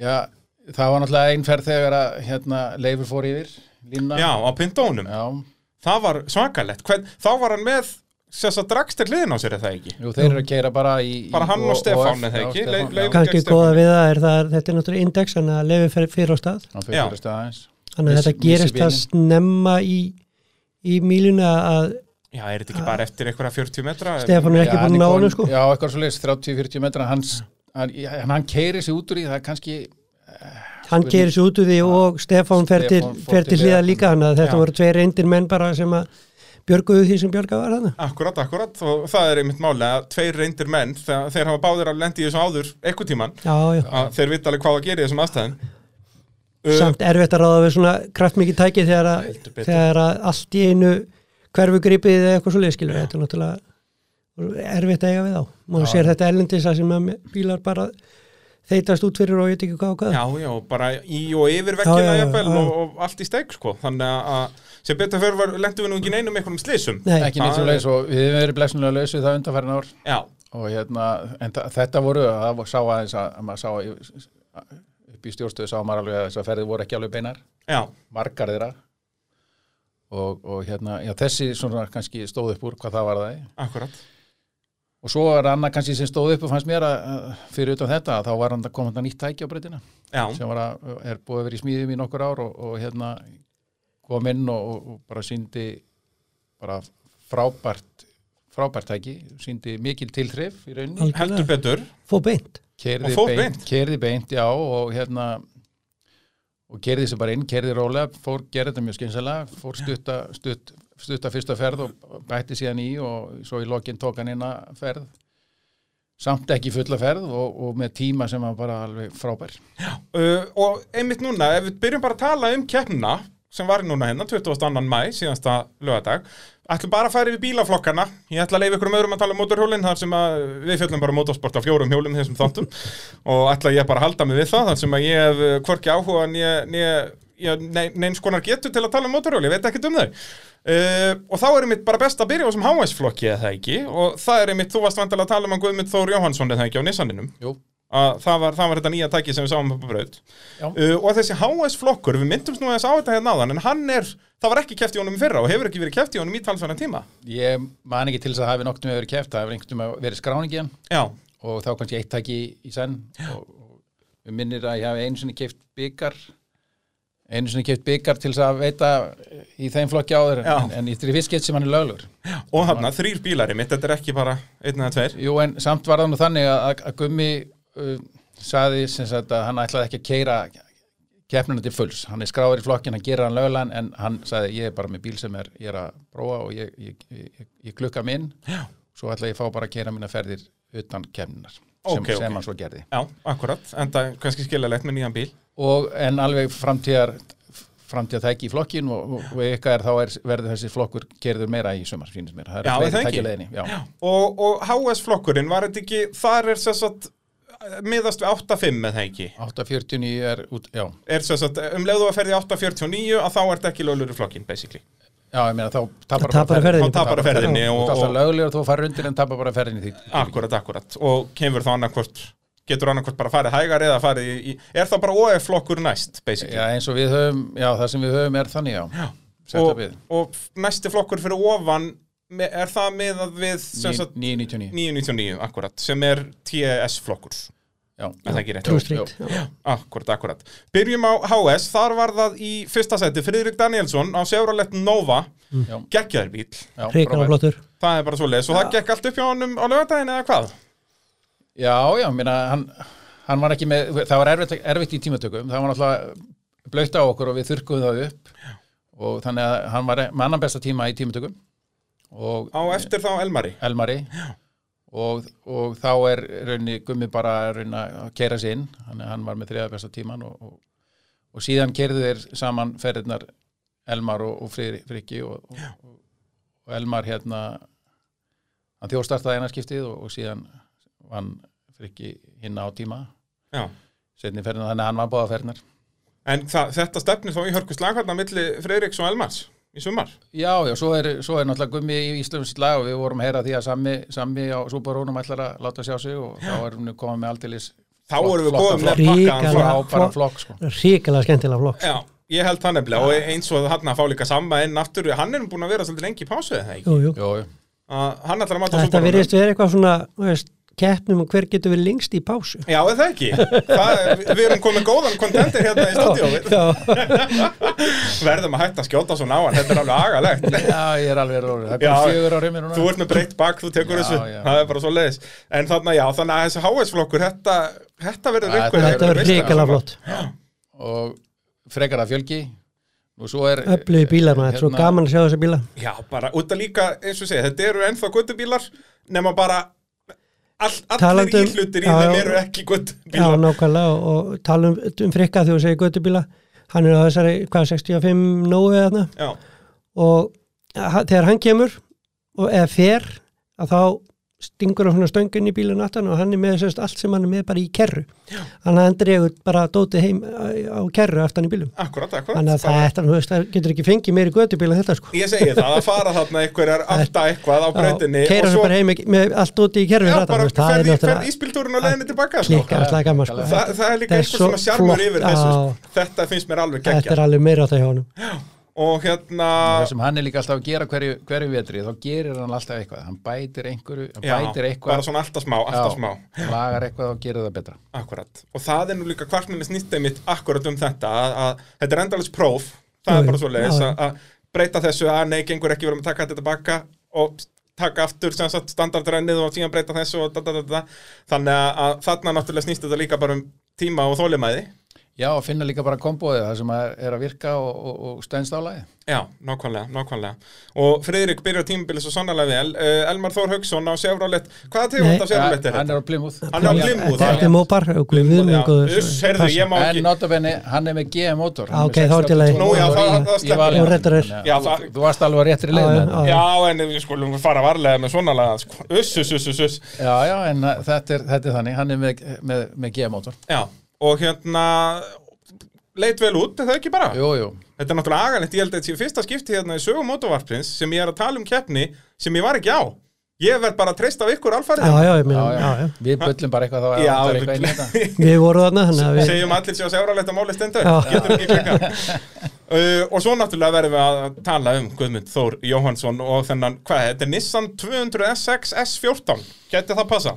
S3: Já, það var náttúrulega einn ferð þegar að hérna, Leifur fór yfir línuna.
S1: Já, á pindónum,
S3: Já,
S1: það var svakalegt, Hvern, þá var hann með þess að dragstir hliðin á sér er það ekki?
S3: Jú, þeir eru að keira bara í...
S1: Bara hann og Stefán, er það ekki?
S3: Leif,
S1: Leif-
S3: já,
S2: kannski
S1: gegn
S2: góða við það er það er, þetta er náttúrulega index þannig að lefi fyrir, fyrir á stað
S3: hann
S1: Já.
S3: fyrir fyrir staðins.
S2: þannig að
S3: Miss-
S2: þetta gerist
S3: missi
S2: það snemma í, í míluna að
S1: Já, er þetta ekki bara eftir einhverja 40 metra?
S2: Stefán er ekki
S3: Já,
S2: búin að
S3: hann
S2: ná
S3: er
S2: honum
S3: kominn-
S2: sko
S3: Já, eitthvað svo leiðis, 30-40 metra, hans, hann, hann, hann keiri sig út úr í, það er kannski...
S2: hann
S3: Spurning-
S2: gerir sér út úr því og Stefán fer til,
S3: Stefán fór
S2: fer til
S3: til
S2: hliða
S3: hliðar.
S2: líka þannig að þetta
S1: Já.
S2: voru tveir reyndir menn bara sem að björguðu því sem björga var hann
S1: Akkurat, akkurat, og það er einmitt máli að tveir reyndir menn, þegar þeir hafa báðir að lendi í þessu áður, ekkur tíman,
S2: já, já,
S1: að þeir vita alveg hvað að gera í þessum aðstæðum. Uh,
S2: samt erfitt að ráða við svona kraftmikið tæki þegar að,
S1: Heldur betur.
S2: þegar að allt í einu hverfugripið eða eitthvað svo leiðskilur þetta er náttúrulega erfitt að eiga við á maður sér þetta erlendis að sem að bílar bara þeitast út fyrir og ég veit ekki hvað og hvað
S1: Já, já, bara í og yfir vekkina
S2: Já, já, já,
S1: jafnvel
S2: já.
S1: og, og allt í steik, sko. Þannig að- að sem betur fyrir var, lendum við nú ekki neinum einhverjum slísum.
S2: Nei,
S3: Ekki neitt svo leiðis og við hefum verið blessunlega laus við það undanfærin ár.
S1: Já,
S3: Og hérna, en þa- þetta voru, það var- sá aðeins að, að maður sá í- upp í stjórnstöðu sá maður alveg að þessar ferðir voru ekki alveg beinar.
S1: já,
S3: margar þeirra og, og hérna, já, þessi svona kannski stóð upp úr hvað það var það
S1: akkurat.
S3: og svo er annað kannski sem stóð upp og fannst mér að, að fyrir utan þetta að þá var hann að koma hann nýtt tæki á breytina
S1: Já,
S3: sem var að, er búið að vera í smíðum í nokkur ár og, og hérna kom inn og, og- og bara síndi bara frábært frábært tæki, síndi mikil tilþrif í rauninni,
S2: Algjörlega.
S1: heldur betur.
S2: fó beint
S1: Og
S3: kerði
S1: fór
S3: beint,
S1: beint.
S3: kerði beint, já og hérna og kerði þessi bara inn, kerði rólega fór, gerði þetta mjög skynsalega, fór stutta, stutt, stutta fyrsta ferð og bætti síðan í og svo í lokinn tók hann inn að ferð samt ekki fulla ferð og, og með tíma sem var bara alveg frábær
S1: Uh, og einmitt núna, ef við byrjum bara að tala um keppna sem var núna hérna, 22. mæ, síðansta lögadag, ætlum bara að fara yfir bílaflokkana, ég ætla að leifa ykkur um öðrum að tala um mótorhjólinn þar sem að við fjöllum bara um motorsport á fjórum hjólum í þessum þáttum og ætla ég bara að halda mig við það þar sem að ég hef uh, hvorki áhuga en ég, ég neins konar getur til að tala um mótorhjóli, ég veit ekkert um þau. Uh, og þá er einmitt bara best að byrja á þessum HS-flokki eða það ekki og það er einmitt, þú varst vandilega að tala um hann Guðmund Þór Jóhansson eða það ekki á Nissaninum
S3: Jú,
S1: að það var, það var þetta nýja tæki sem við sáum upp á braut
S3: Já.
S1: uh, og þessi HS flokkur, við myndumst nú þess á þetta hérna áðan en hann er, það var ekki keft í honum í fyrra og hefur ekki verið keft í honum í talsverðan tíma
S3: ég man ekki til þess að hafi nokt með verið keft, það hefur einhvern veginn verið skráningin
S1: já,
S3: og þá kannski eitt tæki í, í senn og, og við minnir að ég hafi einu sinni keift byggar einu sinni keift byggar til þess að veita í þeim flokki áður
S1: Já.
S3: en, en í þrjum fiskett sem hann er löglur
S1: og hann, þrýr bílari mitt, þetta er ekki bara einn eða tveir
S3: Jú en samt var það nú þannig að, að- að Gummi uh, saði sem sagt að hann ætlaði ekki að keira keppnuna til fulls, hann er skráður í flokkin hann gerir hann löglan en hann saði ég er bara með bíl sem er, ég er að prófa og ég, ég, ég, ég klukka minn Já. svo ætla ég að fá bara að keira mína ferðir utan keppnunar sem,
S1: Ok, ok.
S3: sem hann svo gerði
S1: Já, akkurat, en það er kannski skiljalegt með nýjan bíl
S3: og en alveg framtíðar framtíðar þekki í flokkin og, og, og ykkar þá er, verður þessi flokkur gerður meira í sumar, sínist mér,
S1: Já, er
S3: það er
S1: það
S3: fleiri
S1: ekki?
S3: tækjuleginni já.
S1: Og, og HS-flokkurinn, var þetta ekki, þar er sem sagt, miðast við 8.5 eða ekki?
S3: 849 er út, já,
S1: Er sem sagt, um leiðu að ferði 8.49 að þá ert ekki löglur í flokkinn, basically.
S3: já, ég meina þá tapar
S2: Tapar
S3: bara
S2: ferðinni.
S1: Þá tapar að ferðinni
S3: Þú
S1: og,
S3: ert alltaf
S1: og
S3: lögulegur, þú farir undir en tapar bara ferðinni því
S1: akkurat, akkurat. Og kemur þá annarkvort, getur annarkvort bara farið hægar eða farið í, er það bara OF-flokkur næst, basically?
S3: Já, eins og við höfum, já, það sem við höfum er þannig, já,
S1: og,
S3: setupið
S1: og næsti flokkur fyrir ofan, me- er það miðað við, sem sagt,
S3: 999
S1: 9.99, akkurat, sem er TS-flokkur.
S3: Já,
S1: Er það ekki rétt?
S2: True
S3: Jú,
S2: Street já.
S1: Akkurat, akkurat. Byrjum á HS, þar var það í fyrsta seti Friðrik Danielsson á Seurolet Nova,
S3: Já.
S1: geggjaður bíl.
S3: já,
S2: Ríkan
S3: frábært.
S2: og flottur
S1: Það er bara svo leiðis og það gekk allt upp hjá honum á lögadaginn eða hvað?
S3: Já, já, minna, hann, hann var ekki með, það var erfitt, erfitt í tímatökum, það var náttúrulega blöytt á okkur og við þurrkuðum það upp og þannig að hann var með annan besta tíma í tímatökum og
S1: Á eftir þá Elmari.
S3: Elmari og, og þá er raunni gummi bara raunni að kera sig inn hann, hann var með þriða besta tíman og, og, og síðan kerðu þeir saman ferðirnar Elmar og, og Friðri- Frikki og, og, og Elmar hérna hann þjóðstartaði eina skiptið og, og síðan vann Frikki hinna á tíma
S1: Já.
S3: setni ferðina þannig að hann var báða ferðinar
S1: En það, þetta stefnir þá í hörku slagvarna milli Friðriks og Elmars í sumar.
S3: Já, já, svo er, svo er náttúrulega gummi í Íslands lag og við vorum að heyra því að sammi, sammi á Súbarónum ætlar að láta sjá sig og þá erum við komið með aldeilis
S1: Þá erum við
S3: Flott-
S1: góðum með
S3: flottan
S1: pakkaðan
S2: Ríkalega.
S1: flokk.
S3: frábæra
S2: flott-
S3: flokk sko.
S2: Ríkalega skemmtilega flokk
S1: Já, ég held það nefnilega og eins og hann að fá líka sama inn aftur, hann er búin að vera svolítið lengi í pásu eða ekki?
S2: jú, jú.
S3: Jó, jú.
S1: Að Hann ætlar að mata
S2: Þetta
S1: Subaru-num.
S2: virðist verið eitthvað svona þú veist, keppnum um hver getur við lengst í pásu
S1: Já, er það ekki. Það, við- við erum komið góðan kontentir hérna í stúdíói.
S2: Já,
S1: Verðum að hætta að skjóta svona á hann, þetta er alveg agalegt.
S3: Já, ég er alveg róður, það er
S1: Já.
S3: bara fjögur ári mér
S1: Þú
S3: núna
S1: ert með breytt bak, þú tekur
S3: Já,
S1: þessu,
S3: já.
S1: það er bara svo leiðis. En þannig að já, þannig að þessi HS-flokkur, þetta, þetta verður
S3: Já,
S1: einhver.
S2: þetta verður
S1: veisla.
S2: ríkalega flott
S3: og frekar að fjölgi og svo er
S2: Öflugi bílar maður, þetta er svo
S3: Hérna-
S2: gaman að sjá þessa bíla
S1: Já, bara, út að líka, eins og segja, þetta eru ennþá guttubílar, nema bara all, allir
S2: Talandi um-
S1: íhlutir í
S2: já,
S1: þeim
S2: já.
S1: eru ekki
S2: Já,
S1: guttubílar.
S2: nákvæmlega og, og tala um, um frikka þegar þú segir göttubíla Hann er á þessari, hvað, 65 nógu eða þarna
S1: Já,
S2: og eh, ha- þegar hann kemur og eða fer að þá stingur hann svona stöngin í bílun aftan og hann er með sérst, allt sem hann er með bara í kerru hann hann dregur bara dótið heim á á kerru aftan í bílum
S1: akkurat, akkurat.
S2: þannig að
S1: Bara-
S2: þetta, þú veist, það getur ekki fengið meiri gödubíla þetta sko
S1: Ég segi það, að fara þarna einhverjar alltaf eitthvað á breytinni
S2: keira svo bara heim ekki- með allt dótið í kerru
S1: Já,
S2: fyrir aftan,
S1: bara
S2: þú veist, það er
S1: ferð í- ferð
S2: náttúrulega
S1: íspildúrin og leiðinni tilbaka sko.
S2: klikkar alltaf gaman sko
S1: Þa, það er líka
S2: Það er
S1: eitthvað
S2: svo
S1: svona sjarmur
S2: flott,
S1: yfir þessu
S2: já.
S1: sko. Þetta finnst mér alveg
S2: þetta
S1: geggja
S2: er alveg meira á það hjá honum
S1: Og hérna
S3: það sem hann er líka alltaf að gera hverju, hverju vetri þá gerir hann alltaf eitthvað, hann bætir einhverju hann
S1: já,
S3: bætir
S1: Bara
S3: eitthvað
S1: svona alltaf smá, alltaf smá
S3: lagar eitthvað og gerir það betra
S1: Akkurat Og það er nú líka kvartminni snýttið mitt akkurat um þetta að, að Þetta er endalags próf Það
S2: Jú,
S1: er bara
S2: jú,
S1: svo leiðis
S2: já, já.
S1: að breyta þessu að nei, gengur ekki verðum að taka þetta tilbaka og taka aftur sem sagt standardrennið og síðan breyta þessu og da, da, da, da. þannig að- að þarna náttúrulega snýst þetta líka bara um tíma og þólimæði
S3: Já, og finna líka bara komboðið, það sem að er að virka og, og, og stendst álæði.
S1: Já, nákvæmlega, nákvæmlega Og Friðrik byrjar tímabilið svo sannlega vel uh, Elmar Þór Hauksson á Chevrolet Hvaða tegund
S2: Nei.
S1: af Chevrolet er um þetta?
S3: Hann er á Plymouth.
S1: Hann er á Plymouth,
S2: þetta
S1: já.
S2: er mópar,
S1: Já,
S2: guðmungur
S1: uss, heyrðu, ég má
S3: En
S1: ekki
S3: notabene, hann er með GM-mótor.
S2: Ah, ok, þá er til að-
S1: Nú, já, það- það sleppur.
S2: Þú reddar þér.
S1: Já, það-
S3: þú, þú varst alveg réttri leið með þetta.
S1: Já, en við skulum fara varlega með svona laga sko. Uss, uss, uss, uss, uss
S3: Já, já, en uh, þetta er, þetta er þannig, hann er með, með, með GM-mótor.
S1: Já, og hérna Leit vel út, er það ekki bara?
S3: Jú, jú,
S1: Þetta er náttúrulega agalegt, ég held að þetta sé fyrsta skipti hérna í sögum mótovarpins sem ég er að tala um keppni sem ég var ekki á Ég verð bara að treysta af ykkur alfarið
S2: já, já, ég
S3: já,
S2: meina,
S3: já,
S2: já, já
S3: við bullum bara eitthvað þá að það er eitthvað inn í þetta.
S2: Við vorum þarna, þannig að við
S1: segjum allir sér að segja að máli stendur
S2: Já.
S1: getur ekki klikkað uh, og svo náttúrulega verðum við að tala um Guðmund Þór Jóhansson og þennan hvað, þetta er Nissan 200 SX S14 geti það passa?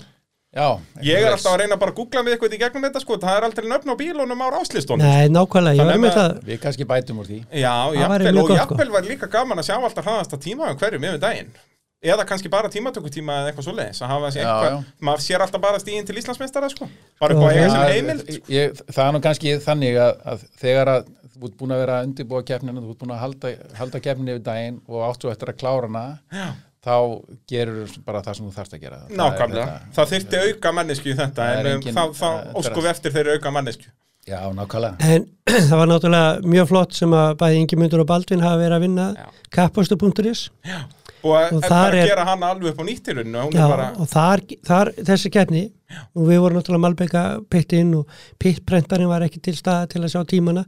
S3: Já,
S1: Ég er
S3: eitthvað
S1: alltaf að reyna bara að googla mig eitthvað í gegnum þetta sko, það er aldrei nöfn á bílunum á ráslistunum
S2: Nei, nákvæmlega, ég
S1: Þannig
S2: var með
S1: að-
S2: það
S3: leið. Við kannski bætum úr því.
S1: Já,
S2: væri
S1: jafnvel, og
S2: mjög gott, sko.
S1: jafnvel var líka gaman að sjá alltaf hraðasta tíma um hverjum yfir daginn eða kannski bara tímatökutíma eða eitthvað svoleiðis að hafa þessi
S3: Já,
S1: eitthvað,
S3: já.
S1: maður sér alltaf bara stíðin til Íslandsmeistara sko, bara
S2: Já,
S1: upp á að eiga
S2: já.
S1: sem heimild
S3: Ég, ég, það er nú kannski þannig að, að þegar að þú ert búin að vera að undirbúa keppninu, þú ert búin að halda, halda keppninu yfir daginn og átt svo eftir að klára hana, Já. þá gerur bara það sem þú þarft að gera Það er
S1: Nákvæmlega,
S3: þetta-
S1: það þyrfti auka mannesku í þetta
S3: Það er
S1: en um,
S3: engin-
S1: þá, þá
S3: það-
S1: óskum við eftir þeirri auka mannesku
S3: Já, nákvæmlega
S2: En það var náttúrulega mjög flott sem að bæði Ingimundur og Baldvin hafa verið að vinna
S1: Já.
S2: kappastu.is
S1: og, og
S2: þar
S1: bara
S2: er-
S1: gera hana alveg upp á nýttilunni hún
S2: Já,
S1: er bara,
S2: og þar, þar þessi keppni og við vorum náttúrulega Malbeka pittinn og pittprentarinn var ekki til staða til að sjá tímana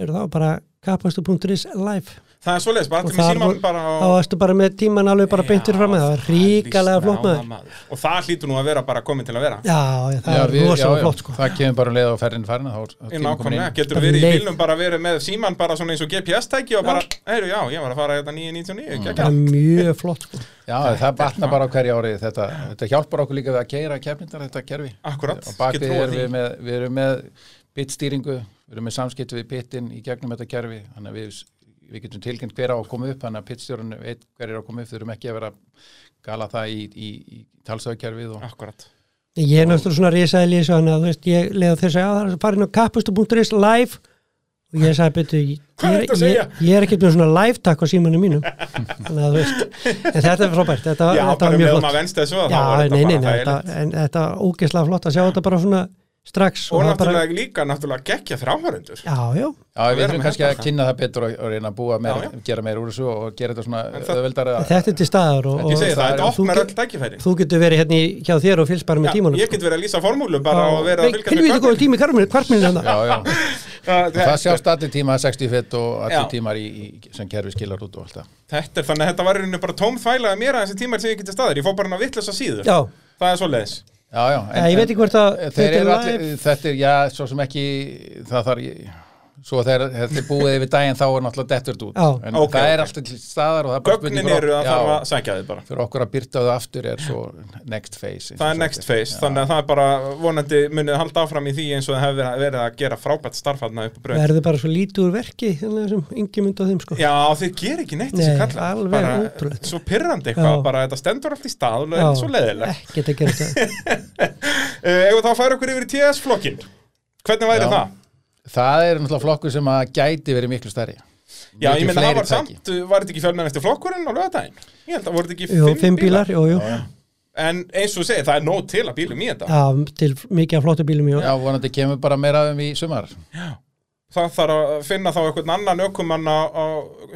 S2: eru þá bara kapastu.is live
S1: það er svoleiðis, bara
S2: og
S1: allir með
S2: þar
S1: síma
S2: voru-
S1: bara
S2: þá varstu bara með tíman alveg bara beintir fram með það var ríkalega flott maður
S1: maður og það hlýtur nú að vera bara komin til að vera
S2: já, já, það
S3: Já,
S2: var
S3: við- já, já,
S2: rosalega flott sko
S3: Það kemur bara um leið á ferðin farin þá er- þá
S1: Í
S3: kemur komin
S1: nákvæmlega,
S3: inn.
S1: getur
S2: Bara
S1: verið í
S2: leið.
S1: bílnum bara verið með síman bara svona eins og GPS-tæki og bara, heyru já, ég var að fara hérna þetta 999,
S2: bara
S1: gekkja
S2: mjög flott sko
S3: Já, það batna bara á hverju ári þetta, þetta hjálpar okkur líka við að keira kefnindar þetta kerfi
S1: Akkurat,
S3: og bak
S1: getur
S3: við
S1: trúað
S3: erum
S1: því.
S3: við með, við erum með bitstýringu, við erum með samskipt við bitin í gegnum þetta kerfi þannig að við, við getum tilkynnt hver á að koma upp þannig að bitstjórun veit hver er að koma upp þurfum ekki að vera að gala það í, í, í talsöðkerfið og
S1: Akkurat,
S2: ég er náttúrulega svona risaði lísu þannig að þú veist, ég leiði þess að það er að fara inn á kapastu.is live og ég sagði betur ég,
S1: Hvað er þetta að
S2: ég,
S1: segja?
S2: ég, ég er ekki með svona live takk á símanum mínum þannig að þú veist en þetta er frábært, þetta,
S1: já, bara
S2: þetta var
S1: með
S2: mjög
S1: um að
S2: flott
S1: venst þessu að
S2: já,
S1: þá var þetta
S2: nei, nei,
S1: bara
S2: nei, þetta,
S1: þægilegt.
S2: en þetta var ógeðslega flott að sjá þetta bara svona strax
S1: og
S2: sko, það bara,
S1: náttúrulega líka, náttúrulega gekkja þráhörundur
S2: já, já,
S3: Já, við
S1: vera
S3: erum
S1: með
S3: kannski að
S1: þetta.
S3: kynna það betur og, og reyna að búa meira,
S1: Já, já.
S3: gera meira úr þessu og gera þetta
S1: En
S3: svona
S1: það-
S3: öðveldara
S2: þetta er til staðar og,
S1: Ég
S2: og
S1: segi það, þetta
S2: þú
S1: opnar
S2: get-
S1: öll tækifæri
S2: þú getur verið hérna í- hjá þér og fylgst
S1: Já,
S2: bara með tímanum sko.
S1: Ég get verið að lýsa formúlu bara og vera að fylgja
S2: finnum við þetta góða tími, hvað er mér hérna?
S3: Já, já, það
S1: tíma
S3: sjást allir tíma 60 fett og allir
S1: Já.
S3: tímar í, í, sem kerfi skilar út og allt það
S1: Þetta er þannig að þetta var í rauninni bara tóm þvæla að mér að þessi tímar sem ég geti staðir Ég fór bara hann að vittlösa síðu
S2: Já,
S1: Það er svoleiðis
S3: Já, já,
S2: Já, ég veit ekki hvort að
S3: þeir
S2: þetta er
S3: eru
S2: live
S3: allir, þetta er, já, svo sem ekki það þarf ég svo þegar þetta er búið yfir daginn þá er náttúrulega dettur út,
S2: Já.
S3: en
S1: Ok,
S3: það er
S1: ok.
S3: alltaf til staðar og það er bara
S1: Gögnin
S3: spurning
S1: eru
S3: fyrir
S1: að
S3: ok-
S1: þarf
S3: já,
S1: að sækja þið bara
S3: fyrir okkur að byrta það aftur er svo next phase eins og
S1: Það er
S3: sagt
S1: next phase, þannig að það er bara vonandi munið halda áfram í því eins og það hefur verið- verið að gera frábært starfarna upp á bröð
S2: verður bara svo lítið úr verki hérna, þannig sem yngi mynd á þeim sko
S1: Já, þeir ger ekki neitt
S2: Nei,
S1: þessi kallar
S2: alveg
S1: bara,
S2: ótrúlegt.
S1: Svo pyrrandi eitthvað,
S2: Já.
S1: bara þetta stendur allt í stað og
S2: Já,
S1: er svo leiðilegt
S2: ekkert að gera þetta
S1: uh, Ef við þá færa okkur yfir í TS-flokkin Hvernig væri
S3: Já.
S1: það?
S3: það er náttúrulega flokkur sem að gæti verið miklu stærri
S1: Já, ég
S3: Miklu
S1: meina
S3: fleiri
S1: það var
S3: tæki.
S1: samt, uh, var þetta ekki fjölmennasti flokkurinn á lögadaginn? Ég held að voru þetta ekki
S2: Jú, fimm bílar, jú, jú
S1: En eins og þú segir, það er nóg til að bílum í þetta
S2: Já, til mikið af flottu bílum, jú
S3: já, vonandi kemur bara meira um í sumar
S1: Það þarf að finna þá einhvern annan ökumann á, á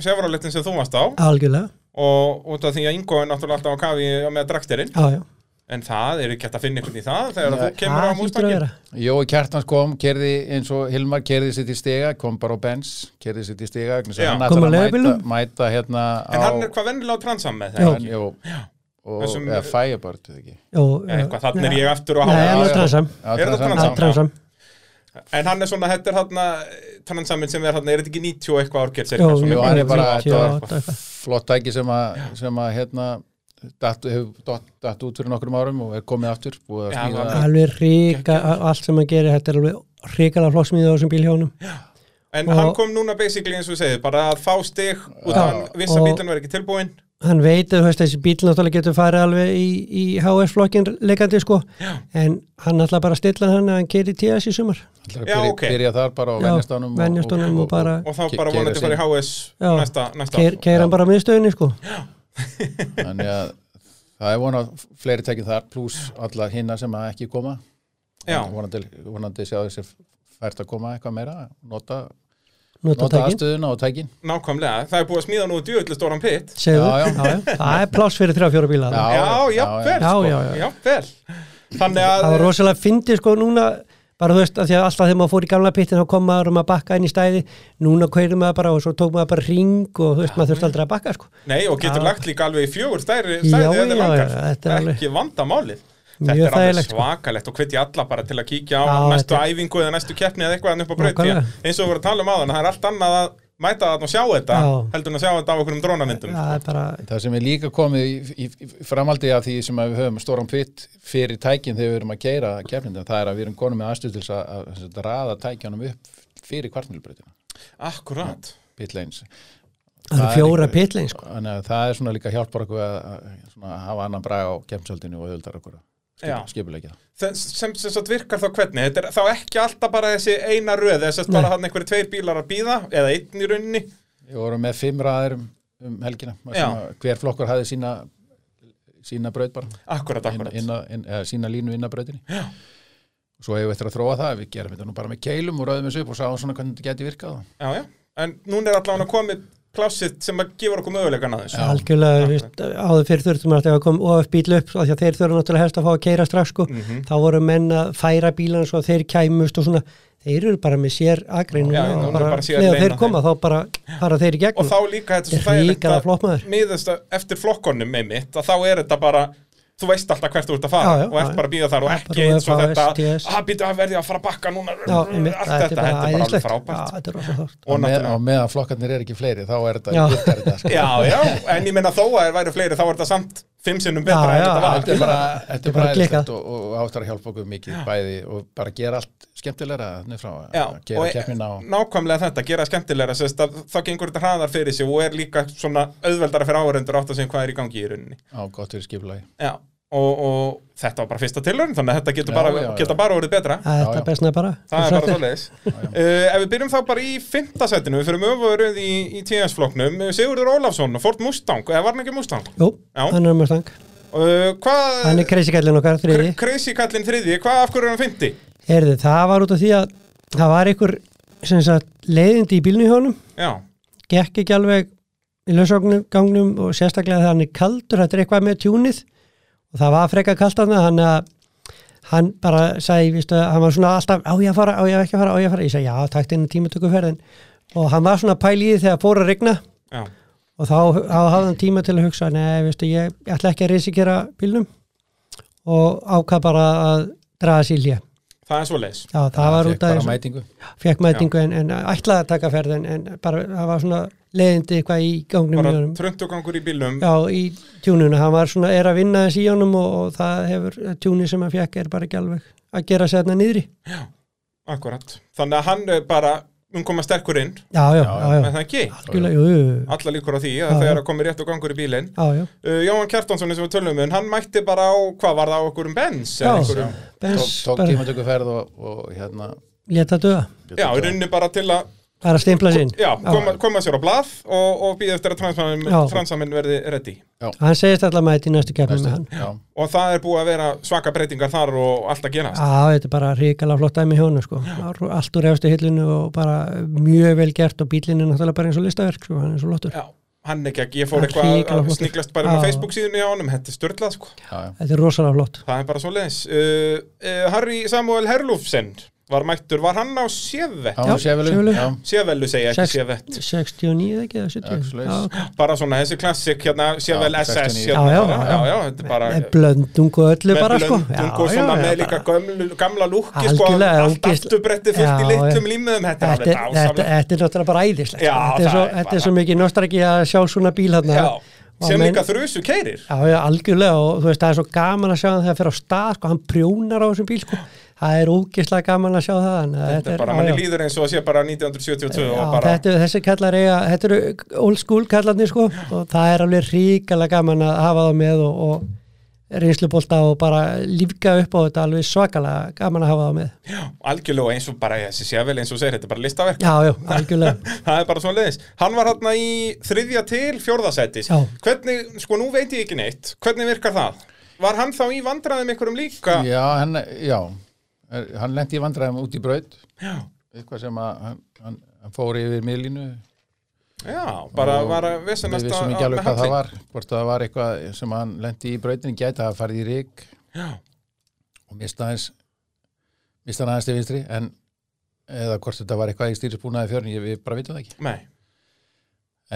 S1: Chevroletin sem þú varst á
S2: Algjörlega,
S1: og út af því að Ingo er náttúrulega alltaf á kafi með drakterinn
S2: já, já
S1: en það er ekki hægt að finna einhvern í það þegar
S3: Nei.
S1: þú kemur á
S2: Það hlýtur að
S1: músbakkin
S2: vera.
S3: Jói Kjartans kom, kerði eins og Hilmar kerði sér til stiga, kom bara á Benz kerði sér til stiga, vegna þess
S1: Já.
S3: að hann
S2: Kom á
S3: ætlar að mæta,
S2: leigubílnum?
S3: mæta hérna
S1: En
S3: á
S1: hann er hvað vennilega á transam með
S2: Já.
S1: það
S3: hann, jú, og
S1: Þessum-
S3: eða Firebird, eða ekki
S2: Jú,
S1: eitthvað, þannig er ég aftur og
S2: Nei,
S1: hann
S2: hann
S3: já.
S2: er transam
S3: Já,
S1: Er það
S3: transam-
S2: Hann er transam,
S1: en hann er svona, þetta er þarna transamin sem er þarna, er þetta ekki 90 og eitthvað árgerð
S2: Jú,
S1: cirka, svona
S3: Jú,
S1: eitthvað?
S3: hann er bara,
S2: 98
S3: þetta
S2: og
S3: var
S2: eitthvað.
S3: flott tæki sem að, sem að hérna, datt, hefur datt, datt út fyrir nokkrum árum og er komið aftur búið að
S1: Já,
S3: smíða
S1: það-
S3: það.
S2: alveg ríka allt sem hann gerir, þetta er alveg ríkala flottsmíð á þessum bílhjónum
S1: en
S2: Og-
S1: hann kom núna basically eins og segið bara að fá stig út af
S3: Já.
S1: hann viss að
S2: Og-
S1: bílinn var ekki tilbúin
S2: hann veit að þú veist, þessi bíl náttúrulega getur farið alveg í, í HS-flokkin leikandi sko,
S1: Já.
S2: en hann ætla bara að stilla hann að hann gerir TS í sumar
S3: Það er
S1: Já,
S3: að byrja,
S1: ok.
S3: byrja þar bara á
S2: Já,
S3: venjastanum
S2: venjastanum og bara-
S1: og þá
S3: Ke-
S1: bara
S3: keyra
S1: vonandi
S3: sig.
S1: fara í HS
S2: Já.
S1: næsta, næsta ár.
S2: keir hann bara á miðstöðinni sko
S3: Þannig að það er vonað fleiri tækið þar pluss alla hinna sem að ekki koma.
S1: Já.
S3: Vonandi, vonandi sjá þessi fært að koma eitthvað meira, nota,
S2: nota
S3: nota
S2: tækin,
S3: aðstöðuna og tækin.
S1: nákvæmlega, það er búið að smíða nú djöðlu stóran pitt
S2: segðu
S3: Já, já.
S2: já, já. það er pláss fyrir þrjá fjóra bíla
S3: Já,
S1: já,
S3: já,
S1: jafnvel
S2: já.
S1: sko,
S2: Já, já, já.
S1: jafnvel þannig
S2: það var
S1: að
S2: rosalega fyndið sko núna bara þú veist, af því að alltaf þegar maður fór í gamla pittin þá kom maður og maður bakka inn í stæði núna kveirði maður bara og svo tók maður bara ring og þú veist, maður þurfti aldrei að bakka sko
S1: nei, og getur
S2: Já.
S1: lagt líka alveg í fjögur stærri
S2: Já,
S1: stærri ef þið
S2: já,
S1: langar.
S2: já, þetta er alveg-
S1: ekki vandamálið þetta er
S2: Mjög
S1: alveg
S2: þægilegt, sko.
S1: svakalegt og hvetja alla bara til að kíkja á
S2: Já,
S1: næstu
S2: þetta
S1: æfingu eða næstu keppni eða eitthvað hann upp á braut því að
S2: Nákvæmlega.
S1: eins og við vorum að tala um aðan það er allt annað að mæta þarna og sjá þetta
S2: Já.
S1: heldur en að sjá þetta á einhverjum drónamyndum
S2: það er bara,
S3: Það sem er líka komið í, í, í framaldi af því sem að við höfum stóran pitt fyrir tækin þegar við erum að keira kefnindin, það er að við erum konum með aðstöð til þess að, að, sem sagt, raða tækjanum upp fyrir kvartmjölbreytina,
S1: akkurat
S3: pit lanes.
S2: það
S3: Það
S2: eru
S3: er
S2: fjóra
S3: einhver-
S2: pitlein sko
S3: Þannig að það er svona líka hjálpar okkur að, að svona, hafa annan brag á kemsöldinu og auðvildar okkur að
S1: Já.
S3: skip- skipuleggja það.
S1: Þe- sem, sem sagt virkar þá hvernig þetta er þá ekki alltaf bara þessi eina röð þess að bara
S2: Nei.
S1: hann einhverju tveir bílar að býða eða einn í rauninni
S3: Við vorum með fimm raðir um, um helgina,
S1: Já.
S3: sem að hver flokkur hafði sína sína braut bara
S1: Akkurat, akkurat.
S3: inn, inn, inn, eða, sína línu inn að brautinni
S1: Já.
S3: svo hefur við eftir að þróa það, við gerum þetta nú bara með keilum og rauðum þessu upp og sáum svona hvernig þetta geti virkað
S1: Já, já. En núna er allavega komið plássið sem að gefur okkur mögulegan að þessu.
S2: algjörlega, þú veist, áður fyrir þurftum við alltaf að koma of bíl upp, af því að þeir þurfum náttúrulega helst að fá að keira strax sko,
S1: Mhm.
S2: þá voru menn að færa bílan svo að þeir kæmust og svona, þeir eru bara með sér agreinu
S1: Já, núna
S2: og
S1: er
S2: bara,
S1: bara sér
S2: þegar
S1: leina
S2: þeir koma þá bara fara þeir í
S1: Og
S2: gegnum
S1: þá líka þetta er svo
S2: Þetta er
S1: þægilegt
S2: hrikalega flott maður.
S1: miðast að- eftir flokkonum með mitt að þá er þetta bara þú veist alltaf hvert þú ert að fara
S2: Já, já,
S1: og ert
S2: já.
S1: bara að býða þar og
S2: Já,
S1: ekki
S2: bara
S1: eins og
S2: UEFA,
S1: þetta
S2: STS.
S1: að býta að verði að fara að bakka núna
S2: Já, einmitt,
S1: allt þetta, þetta er bara alveg
S2: æðislegt.
S1: frábært
S2: Já, þetta er rosa þátt
S1: og
S3: og, með,
S1: náttúrulega
S3: og meðan flokkarnir er ekki fleiri þá er þetta,
S2: Já.
S3: virkar þetta sko.
S1: Já, já, en ég meina þó að það væri fleiri þá er þetta samt fimm sinnum
S2: Já,
S1: betra en
S2: já,
S1: þetta var
S3: þetta er bara, þetta er bara
S2: klikkað.
S3: eðlislegt og, og áttar að hjálpa okkur mikið bæði og bara gera allt skemmtilegra þannig frá að
S1: Já,
S3: að gera keppnina
S1: og
S3: og
S1: nákvæmlega þetta, gera skemmtilegra sérst, að, þá gengur þetta hraðar fyrir sig og er líka svona auðveldara fyrir áhörendur átt að segja hvað er í gangi í rauninni
S3: á gott fyrir skipulagi
S1: Já, og, og þetta var bara fyrsta tilraun þannig að þetta getur
S3: Já,
S1: bara,
S3: já, já.
S1: geta bara orðið betra
S2: Þetta
S3: já.
S2: er bestnaði bara
S1: Það er bara
S2: Sagt
S1: svoleiðis uh, Ef við byrjum þá bara í fintasættinu Við fyrir möguröð í, í TS-flokknum Eh, Sigurður Ólafsson og Ford Mustang Eða var hann ekki Mustang?
S2: Jú,
S1: Já.
S2: hann er Mustang
S1: Uh,
S2: Hann
S1: hvað,
S2: er kreisikallin okkar, þriði
S1: Crazy Kallinn þriði Hvað af hverju er hann finti?
S2: Herði, það var út af því að það var einhver sem sagt, leiðindi í bílnu hjónum
S1: Já,
S2: gekk ekki alveg í lausagnum og sérstaklega þegar hann er kaldur þetta er eitthvað með tjúnið og það var frekar kalt hann þannig að hann bara sagði, vístu, hann var svona alltaf á ég að fara, á ég ekki að fara, á ég að fara ég sagði, já, takt inn í tímatöku ferðin og hann var svona pæl í því þegar fór að regna
S1: já,
S2: og þá, þá hafði hann tíma til að hugsa nei, vístu, ég, ég ætla ekki að risikera bílnum og ákvað bara að draga sér hlja
S1: það er svoleiðis
S2: já, það var út
S3: Fékk
S2: af
S3: bara
S2: þessu
S3: mætingu
S2: fekk mætingu en, en ætlaði að taka ferðin en bara, það var svona leiðindi eitthvað í gangnum
S1: Bara
S2: í honum.
S1: tröndugangur í bílum
S2: Já, í tjúnuna, hann var svona, er að vinna þessi í honum og, og það hefur, tjúni sem hann fekk er bara ekki alveg að gera sig þarna niðri
S1: Akkurat Þannig að hann er bara um koma sterkur inn
S2: Já, já,
S3: Já,
S2: já,
S1: En
S2: já,
S1: það ekki
S2: algjörlega, jú, jú, jú.
S1: Alla líkur á því
S2: Já,
S1: að það
S2: já.
S1: er að koma rétt og gangur í bílinn
S2: já, já,
S1: uh, Jóhann Kjartansson eins og við tölum um Hann mætti bara á, hvað var það á okkur um Benz? eða
S2: Já.
S1: einhverjum-
S2: bens,
S3: tók, tók
S2: bara
S3: tímatöku ferð og, og hérna
S2: leta döða,
S1: Já, í rauninni bara til að
S2: bara stimpla sinn
S1: Já, koma, koma sér á blað og, og býða eftir að transamin,
S2: Já.
S1: transamin verði ready
S2: Hann segist alltaf mæti í næstu keppnum með hann
S3: næstu, já,
S1: og það er búið að vera svaka breytingar þar og allt að gerast
S2: Já, þetta er bara ríkala flott dæmi hjá hann sko. allt úr efstu hillinu og bara mjög vel gert og bílinn er náttúrulega bara eins og listaverk, sko, hann er svo lottur
S1: Já, hann ekki ekki, ég fór
S2: Það er
S1: eitthvað
S2: hrikalega
S1: að
S2: flottur.
S1: sniglast bara með
S2: Já.
S1: Facebook síðunni á honum, þetta er störtlað sko
S3: já, já.
S2: Þetta er rosalega flott
S1: það er bara svo leiðis uh, uh, Harry Samuel Herlufsen var mættur, var hann á Sjövett?
S3: hann var
S2: Sjöfulu.
S3: séfjölu já,
S1: Sjövellu segja ekki
S2: Sex-
S1: Sjövett
S2: 69 eða ekki, eða 70
S3: Axlaus.
S2: Já,
S1: bara svona þessi klassik hérna, Sjövel
S3: Já,
S1: SS
S3: 69.
S1: hérna,
S2: Já, já,
S1: já,
S2: já.
S1: já, þetta er bara
S2: með blöndung og öllu
S1: með
S2: bara sko
S1: blöndung og svona með líka gömlu, gamla lúki sko,
S2: Algjörlega,
S1: allt
S2: ógeðslega.
S1: afturbretti fullt í
S2: Já,
S1: litlum
S2: já.
S1: límiðum þetta er
S2: Þetta,
S1: alveg
S2: þetta, þetta,
S1: dásamlegt
S2: er náttúrulega bara æðislegt
S1: Já,
S2: þetta, er
S1: það
S2: svo,
S1: er
S2: þetta er
S1: bara-
S2: svo mikið nostalgi að sjá svona bíl hann
S1: Já,
S2: Og
S1: sem
S2: menn-
S1: líka þrusu keirir
S2: Já, já, algjörlega og þú veist, það er svo gaman að sjá hann þegar fyrir á stað, sko, hann prjónar á þessum bíl, sko, það er ógislega gaman að sjá það þannig að
S1: þetta er bara,
S2: já,
S1: manni
S2: já.
S1: líður eins og að sé bara 1972
S2: Já,
S1: og bara,
S2: þetta, er- þessi kallar eiga, þetta eru old school kallarnir sko og það er alveg ríkala gaman að hafa þá með og, og reynslubólta og bara lífga upp á þetta alveg svakala gaman að hafa þá með
S1: já, algjörlega eins og bara, þessi sé vel eins og segir, þetta er bara listaverk
S2: Já, já, algjörlega
S1: það er bara svona leiðis, hann var hérna í þriðja til fjórðasætis
S2: Já.
S1: hvernig, sko nú veit ég ekki neitt hvernig virkar það? Var hann þá í vandræðum einhverjum líka?
S3: já, hann, já. Er, hann lendi í vandræðum út í braut
S1: Já,
S3: eitthvað sem að hann, hann, hann fór yfir miðlínu
S1: já bara
S3: Og
S1: var að vesen
S3: við vissum ekki alveg hvað það var hvort það var eitthvað sem hann lendi í brautinu gæti að hafa farið í rík
S1: Já,
S3: og mista aðeins mista hann aðeins til vinstri en eða hvort þetta var eitthvað í stýrisbúnaði fjörn ég við bara vitum það ekki
S1: nei,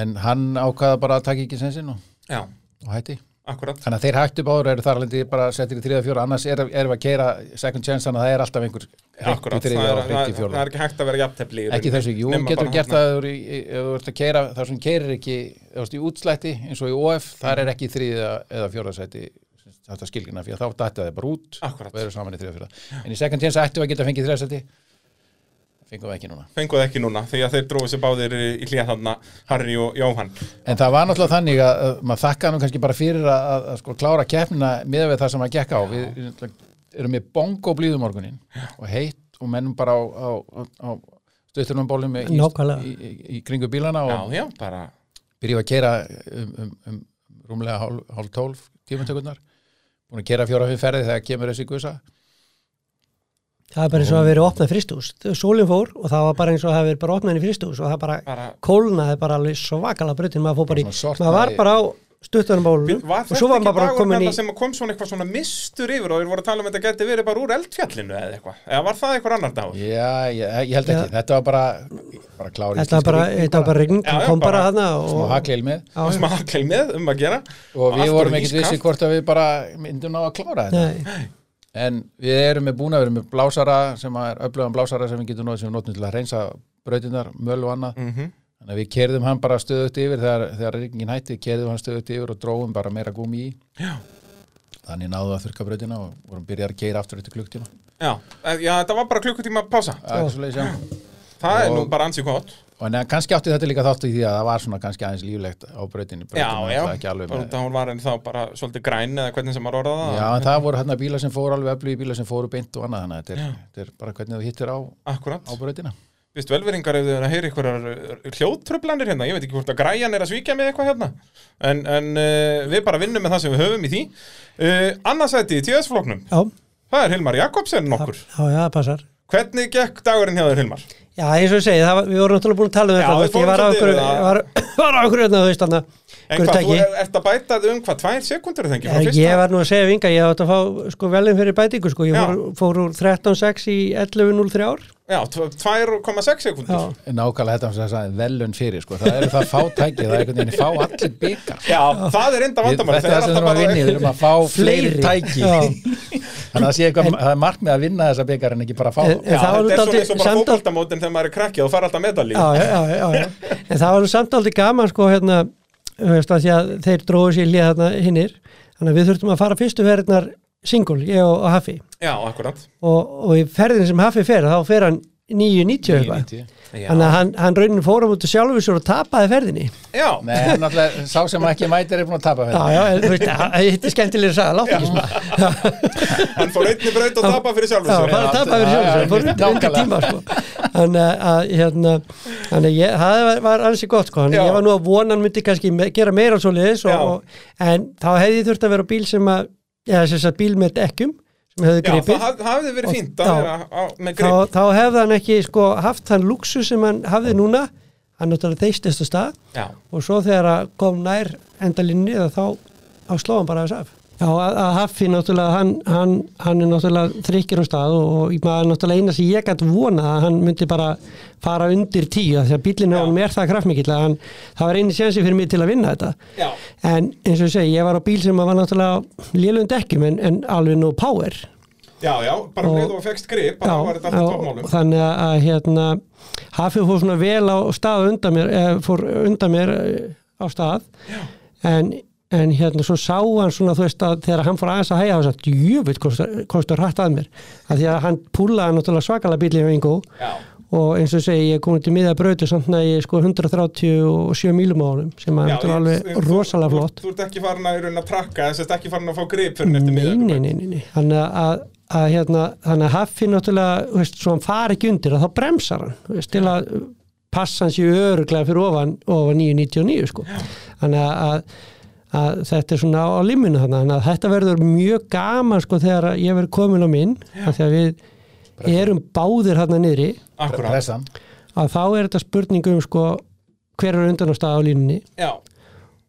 S3: en hann ákvaða bara að taka ekki sensin og,
S1: já,
S3: og hætti
S1: akkurat
S3: þannig að þeir hættu báður eru þar alveg bara settir í þriða fjóra annars er- erum við að keira second chance þannig að það er alltaf einhver hreint í
S1: Akkurat, það
S3: þriða
S1: er,
S3: og
S1: það,
S3: hreint í
S1: það
S3: fjóra
S1: er ekki hægt að vera jafntefli í
S3: ekki
S1: rauninni,
S3: þessu, jú,
S1: nema
S3: getur
S1: bara hérna.
S3: gert
S1: þarna.
S3: það ef þú eru í- ef þú ert að keira þar sem keirir ekki ef þú ert í útslætti eins og í OF þar er ekki þriða eða fjóra sæti þetta skilgina fyrir þá dætti það bara út
S1: Akkurat.
S3: og eru saman í þriða fjóra en í second chance ættum við að geta fengið þriða sæti fengum við ekki núna
S1: Fengu það ekki núna, því að þeir dróðu sér báðir í í hlýja þarna Harry og Jóhann
S3: En það var náttúrulega þannig að, að maður þakka nú kannski bara fyrir að, að, að sko klára keppnina miðað við það sem maður gekk á. Við við náttúrulega erum með bongo blíðum morgunin og heitt og mennum bara á, á, á, á stöttunum bólum í, í,
S2: Nákvæmlega.
S3: í, í kringu bílana og
S1: Já, já, bara
S3: byrjum að keira eh, um, um, um rúmlega hálf, hálf tólf tímantökurnar búin að gera fjóra-fimm ferði þegar kemur þessi gusa
S2: Það er bara eins og að vera opnað fristús. Sólinn fór og það var bara eins og að hafa verið bara opnað inn í fristús og það bara, bara
S1: Bara-
S2: kólnaði bara alveg svakalega brutin. Maður, fór bara í,
S3: Svona sortnaði-
S2: maður var bara á stuttunum bólunum
S1: Var
S2: og
S1: þetta
S2: svo var
S1: ekki
S2: maður bara
S1: dagur
S2: komin í...
S1: þetta sem kom svona eitthvað svona mistur yfir og þeir voru að tala um að þetta geti verið bara úr eldfjallinu eða eitthvað? Eða var það eitthvað annar dagur?
S3: Já, ég, ég held ekki, þetta var bara bara klári
S2: Þetta var bara, þetta var bara rigning,
S1: Já, já,
S2: kom bara
S1: bara-
S2: hana
S3: smá
S2: og...
S3: haglil með
S2: Já,
S1: Og
S2: já.
S1: smakleið með um að gera.
S3: og við
S1: allt
S3: vorum
S1: orðið
S3: ekkert
S1: ískalt.
S3: vissi hvort að við bara myndum ná að klára þetta
S2: Nei,
S3: en við erum með búin að vera með blásara sem að er öflugan blásara sem við getum nótt sem við notum til að reynsa brautinnar, möl og annað
S1: Mhm.
S3: þannig að við kerðum hann bara stöðugt yfir þegar, þegar rigningin hætti, kerðum hann stöðugt yfir og dróum bara meira gúmi í
S1: Já.
S3: þannig náðu að þurka brautina og vorum byrjað að keira aftur eftir klukktíma
S1: Já, eh, já, þetta var bara klukkutíma pása.
S3: Það er svoleiðis, já.
S1: Það er nú
S3: Og-
S1: bara ansið gott.
S3: og en kannski átti þetta líka þáttu í því að það var svona kannski aðeins líflegt á brautinni
S1: Já,
S3: Brautin var
S1: já,
S3: náttúrulega ekki
S1: bara
S3: alveg
S1: út
S3: með
S1: að hún var en þá bara svolítið græn eða hvernig sem maður orðaði
S3: Já,
S1: það.
S3: en það voru hérna bílar sem fóru alveg öflugir bílar sem fóru beint og annað þannig að þetta er, þetta er bara hvernig þú hittir á,
S1: Akkurat.
S3: á brautina
S1: Vist velveringar ef þið er að heyra einhverjar hljóðtröflanir hérna, ég veit ekki hvort að græjan er að svíkja með eitthvað hérna, en, en uh, við bara vinnum með það sem við höfum í því. Uh, Annarsæti í TS-floknum,
S2: já,
S1: það er Hilmar Jakobsen
S2: já,
S1: nokkur.
S2: já, það passar.
S1: Hvernig gekk dagurinn hjá þér Hilmar?
S2: Já, eins og ég segi, það, var- við vorum náttúrulega búin að tala um
S1: Já,
S2: þetta.
S1: við
S2: þú veist,
S1: fórum
S2: Ég var á
S1: svolítið
S2: okkur,
S1: yfir það.
S2: var, var á okkur hérna, þú veist, hana,
S1: En hvað, þú er, ert að bæta um hvað, tvær sekundur er það ekki frá
S2: Ég,
S1: fyrsta?
S2: Eh, ég var nú að segja vinga, ég átti að fá sko velum fyrir bætingu sko, ég
S1: Já.
S2: fór, fór úr 13.6 í 11.03 ár.
S1: Já, tv- 2,6 sekundur.
S2: Já,
S3: Nákvæmlega þetta sem það sagði velun fyrir sko. það eru það fátæki, það er einhvern veginn fá allir byggar
S1: Já, það er enda
S3: Þetta
S1: vandamáli.
S3: er það sem þurfum að vinna, í, við þurfum að fá fleiri tæki
S2: Já,
S3: Þannig að það sé eitthvað, það er markmið að vinna þessa byggar en ekki bara að fá
S2: En-
S3: þá.
S1: Já,
S2: það var
S1: þetta er
S2: dálítið-
S1: svona eins og bara
S2: samt dál-
S1: fókbaltamótin þegar maður er krakkið og fara alltaf medalí.
S2: já, já, já, já, já. En það var nú samt aldrei gaman sko hérna, þú veist að því að þeir dróðu sér hlið hérna hinnir, þannig að við þurftum að fara fyrstu ferðinar single, ég og, og Hafi.
S1: Já, akkurat.
S2: Og, og í ferðin sem Hafi fer, þá fer hann 9.90 eitthvað.
S3: 9.90.
S2: Þannig að hann, hann raunin fórum út og sjálfur sér og tapaði ferðinni.
S1: Já,
S3: Nei, hann náttúrulega, sá sem ekki mætir er búin að tapa
S2: Já,
S3: fyrir
S2: já, en þú veist, að- þetta er skemmtilega að sagða, látt ekki svona.
S1: hann fór einni braut og tapa fyrir sjálfur
S2: Já,
S1: sér.
S2: bara að tapa fyrir
S3: Já, já,
S2: sjálfsög, fór undir undir
S3: nákvæmlega.
S2: tíma sko. Þannig að- að hérna, þannig að ég- það var, var alls í gott sko, þannig að
S1: Já.
S2: ég var nú að vona hann myndi kannski me, gera meira svo liðis
S1: Já.
S2: og, og, en þá hefði ég þurft að vera á bíl sem að, eða sem sagt bíl með dekkjum sem
S1: Já, það
S2: hefði gripið,
S1: haf- það hafði verið
S2: Og-
S1: fínt að
S2: já.
S1: vera á, með
S2: þá,
S1: grip.
S2: þá hefði hann ekki sko haft þann luxu sem hann hafði núna, hann náttúrulega þeistist á stað
S1: Já,
S2: og svo þegar að kom nær endalinni þá, þá, þá sló hann bara þess af Já, að, að Haffi náttúrulega hann, hann, hann er náttúrulega þrykkir um stað og, og ég- maður náttúrulega eina sem ég gætt vona að hann myndi bara fara undir tíu af því að bílinn á
S1: Já.
S2: hann er það kraftmikill að hann, það var eini sénsi fyrir mig til að vinna þetta
S1: já,
S2: en eins og ég segi, ég var á bíl sem var náttúrulega lélugum dekkjum en, en alveg nú power
S1: já, já, bara um
S2: Og-
S1: leið og fegst grip,
S2: Já,
S1: þá var þetta alltaf
S2: og-
S1: tópmálum.
S2: þannig að, að hérna, Hafi fór svona vel á stað undan mér, eh, fór undan mér eh, á stað en, en hérna svo sá hann svona þú veist að þegar hann fór aðeins að hæja þess að djöfitt kostur hrætt að mér af því að hann púlaði náttúrulega svakalega bílið með engu
S1: Já,
S2: og eins og segi ég komið til miða brauti samt að ég sko 137 mílum á honum sem að
S1: já,
S2: er
S1: ég-
S2: alveg
S1: þú-
S2: rosalega
S1: þú-
S2: flott
S1: Þú ert ekki farin að í raun að trakka, þess að ekki farin að fá grip fyrir eftir
S2: Nei,
S1: miðjögum.
S2: nei, nei, nei, nei. Þannig að, að, að hérna, þannig að Haffi náttúrulega, þú veist, svo hann fari ekki undir að þá bremsar hann, þú veist, til að uh, passa hans í öruglega fyrir ofan ofan 999, sko. Þannig að, að, að þetta er svona á, á liminu þannig, þannig að þetta verður mjög gaman, sko, þegar að ég verður komin á minn, af því að við erum báðir hérna niðri,
S1: Akkurat,
S3: pressan
S2: að þá er þetta spurning um, sko, hver er undan á stað á línunni
S1: já,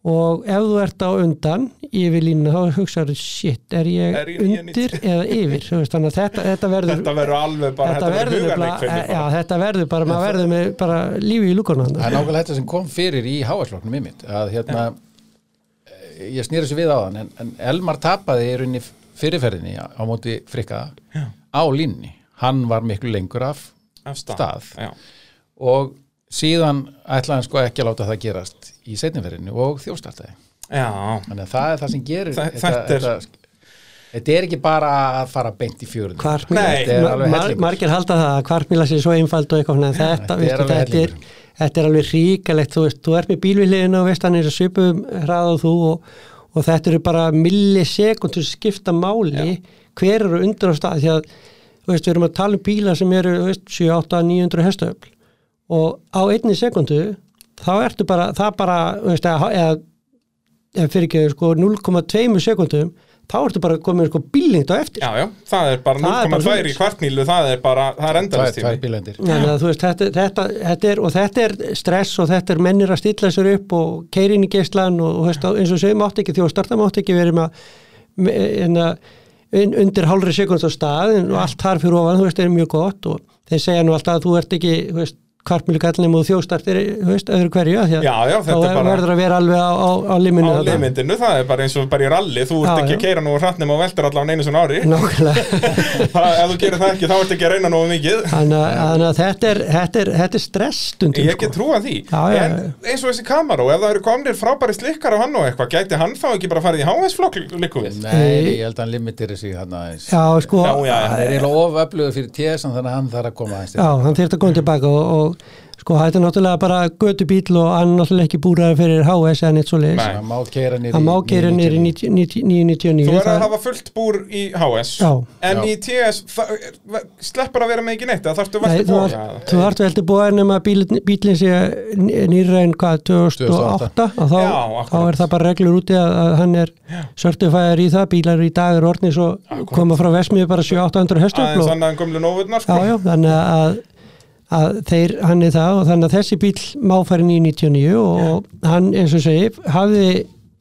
S2: og ef þú ert á undan yfir línuna þá hugsaður shit, er ég
S1: Er ég
S2: undir eða yfir Þú veist, þannig að þetta, þetta verður
S1: þetta verður alveg bara, þetta verður
S2: bara,
S1: hugarleik fyrir
S2: eh, já,
S1: bara.
S2: þetta verður bara, maður verður með bara lífi í lúkuna hann
S3: Það er nákvæmlega þetta sem kom fyrir í háarsloknum ymmit að hérna eh, ég snýri þessu við á þann en, en Elmar tapaði í rauninni fyrirferðinni á á móti frikka á línni hann var miklu lengur af
S1: Af
S3: stað.
S1: Já,
S3: og síðan ætlaði hann sko ekki að láta það gerast í setniferðinni og þjóstartaði
S1: já,
S3: þannig að það er það sem gerir
S1: Þa- þetta er-
S3: þetta, þetta, þetta er ekki bara að fara beint í fjörðin
S1: Nei,
S3: þetta er alveg
S2: Hvartmíla,
S3: hellingur.
S2: margir halda það að hvartmíla sé svo einfald og eitthvað svona, en þetta,
S3: þetta er
S2: veistu,
S3: alveg
S2: þetta,
S3: hellingur.
S2: er, þetta er alveg ríkalegt þú veist, þú ert með bílviliðinu og veist hann er að svipum hraða og þú og, og þetta eru bara millisekundur skipta máli, hver eru undir á stað, því að þú veist, við erum að tala um bíla sem eru þú veist, 7, 8, 900 hestöfl og á einni sekundu þá ertu bara, það bara þú veist, eða, eða eh, fyrir ekki sko 0,2 sekundum þá ertu bara komin sko bílingt á eftir
S1: Já, já, það er bara
S2: Það er
S1: 0,2
S2: bara
S1: í
S2: svoleiðis.
S1: kvartmílu, það er bara, það er
S3: tvær, tvær
S1: endanistími.
S3: bílendir
S2: Þannig að þú veist, þetta, þetta, þetta er, og þetta er stress og þetta er mennir að stilla sér upp og keirin í geislan og, og veist, eins og segjum átt ekki því að starta mátt ekki verið með með- en að un- undir hálfri sekund á stað en, og allt þar fyrir ofan, þú veist, er mjög gott og þeir segja nú alltaf að þú ert ekki þú veist, kvartmjölu kallnum og þjóstartir þú veist, öðru hverju, af því að
S1: Já, já,
S2: þá
S1: þetta er bara-
S2: verður að vera alveg á, á, á liminu
S1: Á
S2: þarna.
S1: limindinu, það er bara eins og bara í ralli, þú ert
S2: Já,
S1: ekki að
S2: já.
S1: keira nú hrattnum og veldur allan einu svona ári.
S2: Nákvæmlega
S1: Það- Ef þú gerir það ekki, þá ert ekki að reyna nógu mikið.
S2: Þannig að- þannig að þetta er, þetta er, þetta er stress stundum sko.
S1: Ég get trúað því,
S2: Já, já,
S1: en eins og þessi Camaro, ef það eru komnir frábæri slikkar á hann og eitthvað, gæti hann þá ekki bara farið í HS-flokk líkuvið?
S3: Nei, ég held að hann limitir þessi hann aðeins
S2: Já, sko,
S1: Já, já,
S3: Það er eiginlega oföflugur fyrir TSN þannig að hann þarf að koma aðeins til.
S2: Já, hann þyrfti að koma tilbaka og, og sko, þetta er náttúrulega bara götu bíl og hann er náttúrulega ekki búraður fyrir HS eða neitt svo leiðis.
S1: Nei.
S3: Hann má keira niður
S2: Hann má keira niður í 90 90 999.
S1: Þú verður
S2: það-
S1: að hafa fullt búr í HS,
S2: Já.
S1: en
S3: Já.
S1: í TS það er- sleppur að vera með ekki neitt, það þarftu
S2: Nei,
S1: veltu
S2: þú
S1: búr.
S2: þarf- þú þarf veldi búið nema um að bílinn bílin sé nýra en hvað 2008 og þá,
S1: Já,
S2: þá
S1: akkurat.
S2: er það bara reglur úti að, að hann er certifier í það, bílar í dag er orðni svo koma frá Vesmiðu bara 700-800 hestöfl
S1: Aðeins
S2: og
S1: annað en gömlu nóvurnar,
S2: já,
S1: sko.
S2: já, þannig að, að þeir, hann er það og þannig að þessi bíl má fara inn í 99 og hann, eins og ég segi, hafði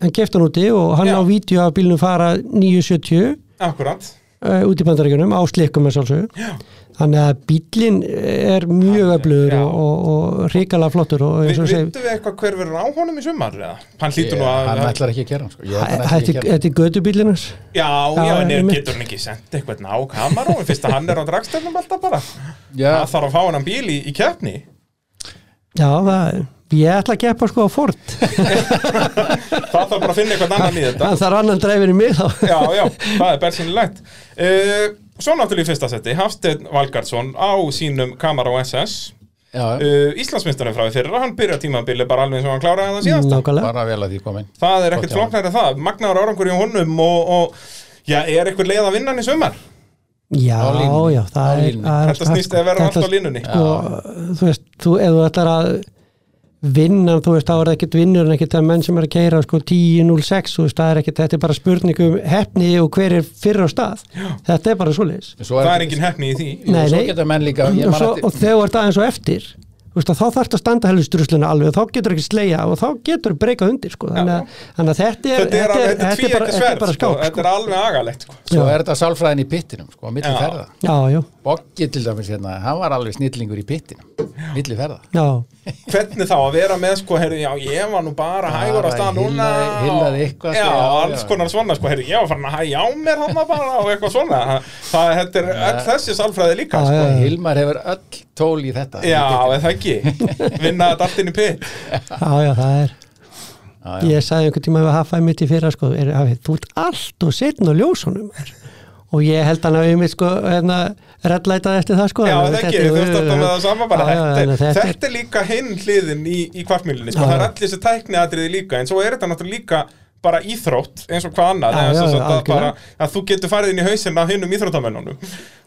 S2: hann keft hann úti og hann
S1: Já.
S2: á vídeo af bílnum fara 970
S1: Akkurat.
S2: uh, út í bandaríkjunum á slikkum að sjálfsögum þannig að bílinn er mjög
S1: Hann-
S2: öflugur
S1: já.
S2: og, og, og ríkala flottur og eins
S1: Vittu
S2: og ég segi,
S1: við eitthvað hver verður á honum í sumar? Eða? Hann hlýtur nú að...
S3: Hann ætlar ekki að kera hann sko. Ég held að hann ætlar
S2: þetta
S3: ekki að
S2: er-
S3: kera hann.
S2: þetta er gödubílinnars
S1: Já, já,
S2: Já,
S1: en er,
S2: einmitt.
S1: getur hann ekki sendt eitthvað ná kamaró fyrst að hann er á dragstefnum alltaf bara
S3: Já,
S1: Það þarf að fá hann bíl í, í keppni
S2: já, það, ég ætla að keppa sko á Ford
S1: Það þarf bara að finna eitthvað annan í þetta
S2: það þarf annan dræfin í mig þá
S1: Já, já, það er bersynilegt uh, Svo náttúrulega í fyrsta seti Hafsteinn Valgardsson á sínum kamaró SS
S3: já,
S1: uh, Íslandsmyndstunum frá því fyrra Hann byrja tímabili bara alveg eins og hann kláraði það síðast
S2: nákvæmlega,
S3: bara vel að því komin.
S1: Það er ekkert
S3: Gott hjá honum.
S1: flóknar en það Magnaður árangur í honum og, og Já, er eitthvað leið að vinna hann í sumar?
S2: já,
S3: Á línunni.
S2: já
S3: Á
S2: það er,
S3: línunni.
S2: það er
S1: Þetta snýst að vera allt á línunni
S2: sko, þú veist, þú, ef þú ætlar að vinna, þú veist, þá er það ekkert vinnur en ekkert að menn sem er að keira sko 10.06, þú veist, það er ekkert, þetta er bara spurning um hefni og hver er fyrir á stað þetta er bara svoleiðis
S3: En svo
S1: Það er engin hefni í því
S3: Jú,
S2: Nei,
S3: svo
S2: nei.
S3: geta menn líka, ég
S2: og,
S3: man
S2: svo,
S3: eftir-
S2: og þegar þú ert aðeins og eftir þú veist, að þá þarfst að standa helvistrusluna alveg og þá getur ekki slegja og þá getur breykað undir sko. þannig, að, þannig að þetta er,
S1: Þetta er, alveg, þetta er
S2: þetta er bara,
S1: tvíekja
S2: þetta er
S1: sverð,
S2: bara
S1: sko,
S2: skák
S1: þetta
S2: sko.
S1: er alveg agalegt, sko.
S3: Svo
S2: Já.
S3: er þetta sálfræðin í pittinum, sko, á milli
S1: Já.
S3: ferða.
S2: já, já,
S3: Boggi til dæmis hérna, hann var alveg snillingur í pittinum, milli ferða.
S2: já,
S1: Hvernig þá að vera með, sko, herri, já, ég var nú bara hægur á stað núna.
S3: hillaði- hillaði eitthvað,
S1: Já,
S3: sko, já,
S1: alls
S3: já.
S1: konar svona, sko, herri, ég var farin að hægja á mér þarna bara og eitthvað svona. Það, það þetta er öll þessi salfræði líka,
S2: Já,
S1: sko.
S2: já.
S3: Hilmar hefur öll tól í þetta.
S1: Já, eða það ekki. Vinna þetta allt inn í pitt.
S2: já, já, það er
S3: Já, já.
S2: ég sagði einhvern tíma að hafa mitt í fyrra sko, er, hafi, þú ert allt og setn og ljósunum er. og ég held hann að við mitt sko, hérna, reddlætað eftir það sko
S1: Já,
S2: þannig
S1: það
S2: að
S1: ekki, þú ert alltaf með það sama bara.
S2: Já, já,
S1: Þetta,
S2: þannig að
S1: er- þetta er líka hinn hliðin í, í kvartmýlinni, sko.
S2: Já,
S1: Það er
S2: já.
S1: allir þessi tækniatriði líka, en svo er þetta náttúrulega líka bara íþrótt eins og hvað annað
S2: Já,
S1: eða
S2: já,
S1: sem sagt
S2: já,
S1: að, bara,
S2: algjörlega.
S1: að þú getur farið inn í hausinn á hinnum íþróttamennunum og,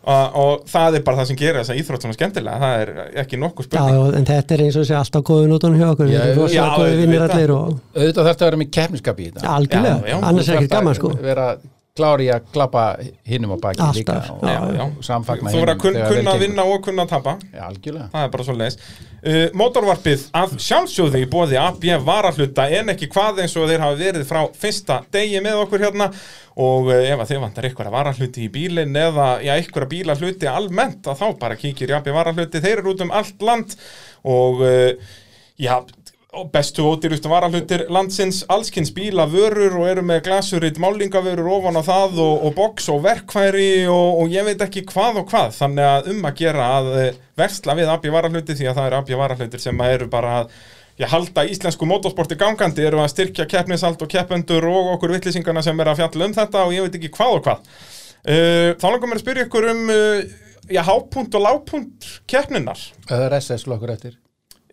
S1: og það er bara það sem gerir þessa íþrótt svona skemmtilega það er ekki nokkuð spurning
S2: Já, en þetta er eins og þessi alltaf góðu nótunum hjá okkur,
S3: Já,
S2: við
S1: já,
S2: erum rosalega góðu vinnir
S1: auðvitað.
S2: allir og
S3: Auðvitað þarf þetta að vera með keppniskap í þetta.
S2: algjörlega,
S1: Já, já.
S2: annars er
S3: Þú
S2: ekkert
S3: þarft
S2: gaman
S3: að
S2: sko
S3: vera klári að klappa hinnum á baki
S2: Alltaf,
S3: líka og,
S2: já,
S1: já.
S3: og samfagna
S1: þú verður að kun,
S3: þegar vel
S1: kunna að
S3: gengur.
S1: vinna og kunna að tapa
S3: Já, algjörlega
S1: það er bara svo leiðis uh, Mótorvarpið að sjálfsjóðu í bóði AB varahluta en ekki hvað eins og þeir hafa verið frá fyrsta degi með okkur hérna og uh, ef að þið vantar einhverja varahluti í bílinn eða já, einhverja bílahluti almennt að þá bara kíkir í AB varahluti þeir eru út um allt land og uh, já og bestu og ódýrustu varahlutir landsins allskins bíla vörur og eru með glasurit málingavörur ofan á það og, og box og verkfæri og, og ég veit ekki hvað og hvað þannig að um að gera að eh, versla við abja varahlutir því að það eru abja varahlutir sem að eru bara að Já, halda íslensku motorsporti gangandi eru að styrkja keppnisald og keppendur og okkur vittlýsingarna sem er að fjalla um þetta og ég veit ekki hvað og hvað. Uh, þá langar mér að spyrja ykkur um uh, já, hápunt og lápunt keppninar.
S3: Það er SS lokkur eftir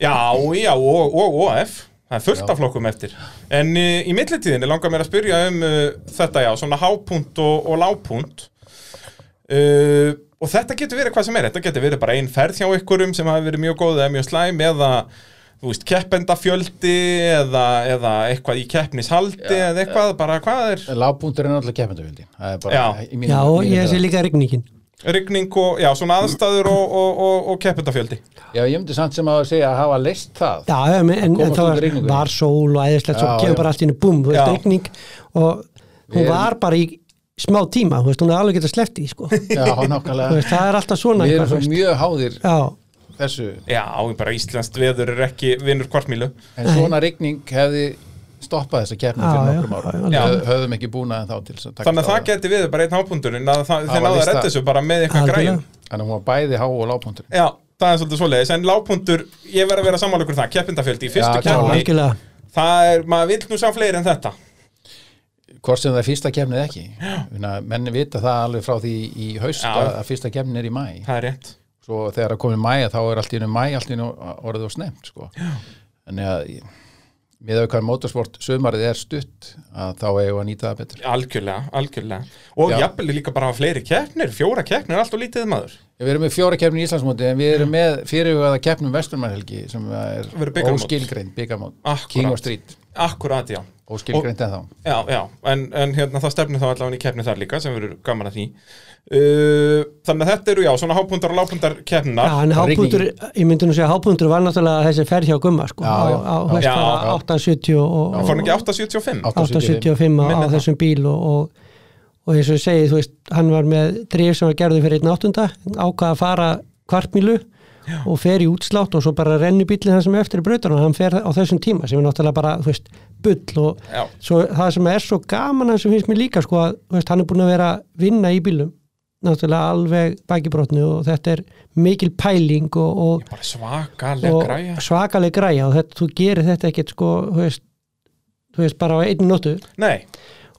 S1: Já, já, og, og OF Það er fullt af flokkum eftir En uh, í millitíðinni langar mér að spyrja um uh, þetta já, svona hápunkt og, og lápunkt uh, Og þetta getur verið hvað sem er Þetta getur verið bara ein ferð hjá ykkurum sem hafi verið mjög góð eða mjög slæm eða þú veist, keppendafjöldi eða, eða eitthvað í keppnishaldi eða eitthvað, bara hvað er
S3: Lágpuntur er náttúrulega keppendafjöldin. Það er bara
S1: Já.
S3: í mínu-
S2: Já,
S3: mínu
S2: ég
S3: huga.
S2: sé líka rigningin
S1: rigning og, já, svona aðstæður og, og, og, og keppendafjöldi
S3: Já, ég myndi samt sem að segja að hafa leist það.
S2: Já, en, en, en
S3: komast
S2: það
S3: út úr
S2: var,
S3: rigningunni.
S2: var sól og æðislegt svo
S3: Já, já.
S2: kemur bara allt í henni búm, þú veist,
S1: Já.
S2: rigning og hún var bara í smá tíma, þú veist, hún er alveg getað sleppt í, sko þú
S3: Já, nákvæmlega.
S2: veist, það er alltaf svona
S3: Við
S2: eitthvað,
S3: erum
S2: þú
S3: svo
S2: veist.
S3: mjög háðir
S2: Já,
S3: þessu.
S1: Já, bara íslenskt veður er ekki vinnur kvartmílu
S3: En svona rigning hefði stoppað þessa keppni
S2: Já,
S3: fyrir
S2: já,
S3: nokkrum
S2: já,
S3: árum.
S1: já.
S3: Við höfum ekki búnað en þá til þess að taka
S1: Þannig að
S3: á
S1: það geti við bara einn hábúndurinn að það, þeir
S3: var
S1: náðu að
S3: víst
S1: redda
S3: það.
S1: þessu bara með eitthvað
S2: Algjörlega.
S1: græjum
S3: Þannig að hún var bæði há og lágpuntur.
S1: Já, það er svolítið svoleiðis, en lágpuntur, ég verð að vera sammála ykkur um það, keppendafjöldi í fyrstu
S3: Já,
S2: já,
S3: klálega.
S1: keppni,
S2: algjörlega
S1: það er, maður vill nú sá fleiri en þetta.
S3: Hvort sem það er fyrsta kemnið ekki. Þannig að menn vita það alveg frá því í haust
S1: Já.
S3: að að fyrsta kemnið er í mæ.
S1: Það er rétt.
S3: Svo þegar það komið mæ þá er allt í einu mæ, allt í einu orðið og snemt. Sko. Þannig að með auðvitað motorsport sömarið er stutt að þá eigum við að nýta það betur.
S1: Algjörlega, algjörlega. Og
S3: Já.
S1: jafnvel líka bara hafa fleiri keppnir, fjóra keppnir, allt og lítið maður.
S3: Við erum með fjóra keppni í Íslandsmóti en við erum með fyrirhugaða keppnum Vesturmannhelgi sem er
S1: Verður bikarmót.
S3: óskilgreind byggamót,
S1: Akkúrat.
S3: King of Street
S1: Akkurat, já.
S3: óskilgreind en þá.
S1: Já, já, en, en hérna það stefnir þá allavega í keppni þar líka sem verður gaman að því. Uh, þannig að þetta eru, já, svona hápundar og lápundar
S2: Já,
S1: keppnar.
S2: en hápundur,
S3: rigningin.
S2: ég myndi nú segja hápundur var náttúrulega þessi ferð hjá Gumma, sko
S3: Já, já.
S2: á, á
S1: já.
S3: Já,
S2: hestara 870 og,
S1: Það
S2: og
S1: fór hann ekki 875?
S2: 875 á, á
S1: Minni það.
S2: þessum bíl og, og, og eins og ég segi, þú veist, hann var með drif sem var gerði fyrir einn áttunda ákvað að fara kvartmílu og fer í útslátt og svo bara renni bílinn það sem er eftir í brautar og hann fer á þessum tíma sem er náttúrulega bara, þú veist, bull og
S1: Já.
S2: svo, það sem er svo gaman að sem finnst mér líka, sko, að þú veist, hann er búin að vera að vinna í bílum náttúrulega alveg bækibrotnu og þetta er mikil pæling og, og
S1: Bara svakalega græja.
S2: og svakaleg græja og þetta, þú gerir þetta ekkert sko, þú veist, þú veist bara á einn nóttu
S1: Nei,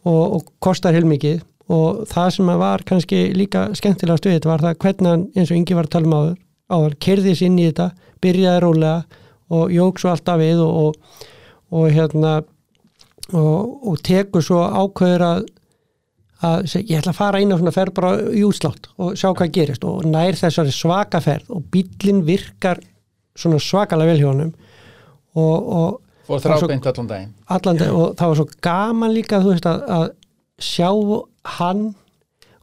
S2: og, og kostar heilmikið og það sem að var kannski líka skemmtilega stuðið var það hvernig hann eins og Ingi var að tala um áður áður, kerði sér inn í þetta, byrjaði rólega og jók svo alltaf við og, og, og hérna og, og tekur svo ákveður að að seg, ég ætla að fara inn á svona ferð bara í útslátt og sjá hvað gerist og nær þessari svaka ferð og bíllinn virkar svona svakalega vel hjá honum og, og
S3: Fór þrábeint allan daginn.
S2: allandi og það var svo gaman líka þú veist að, að sjá hann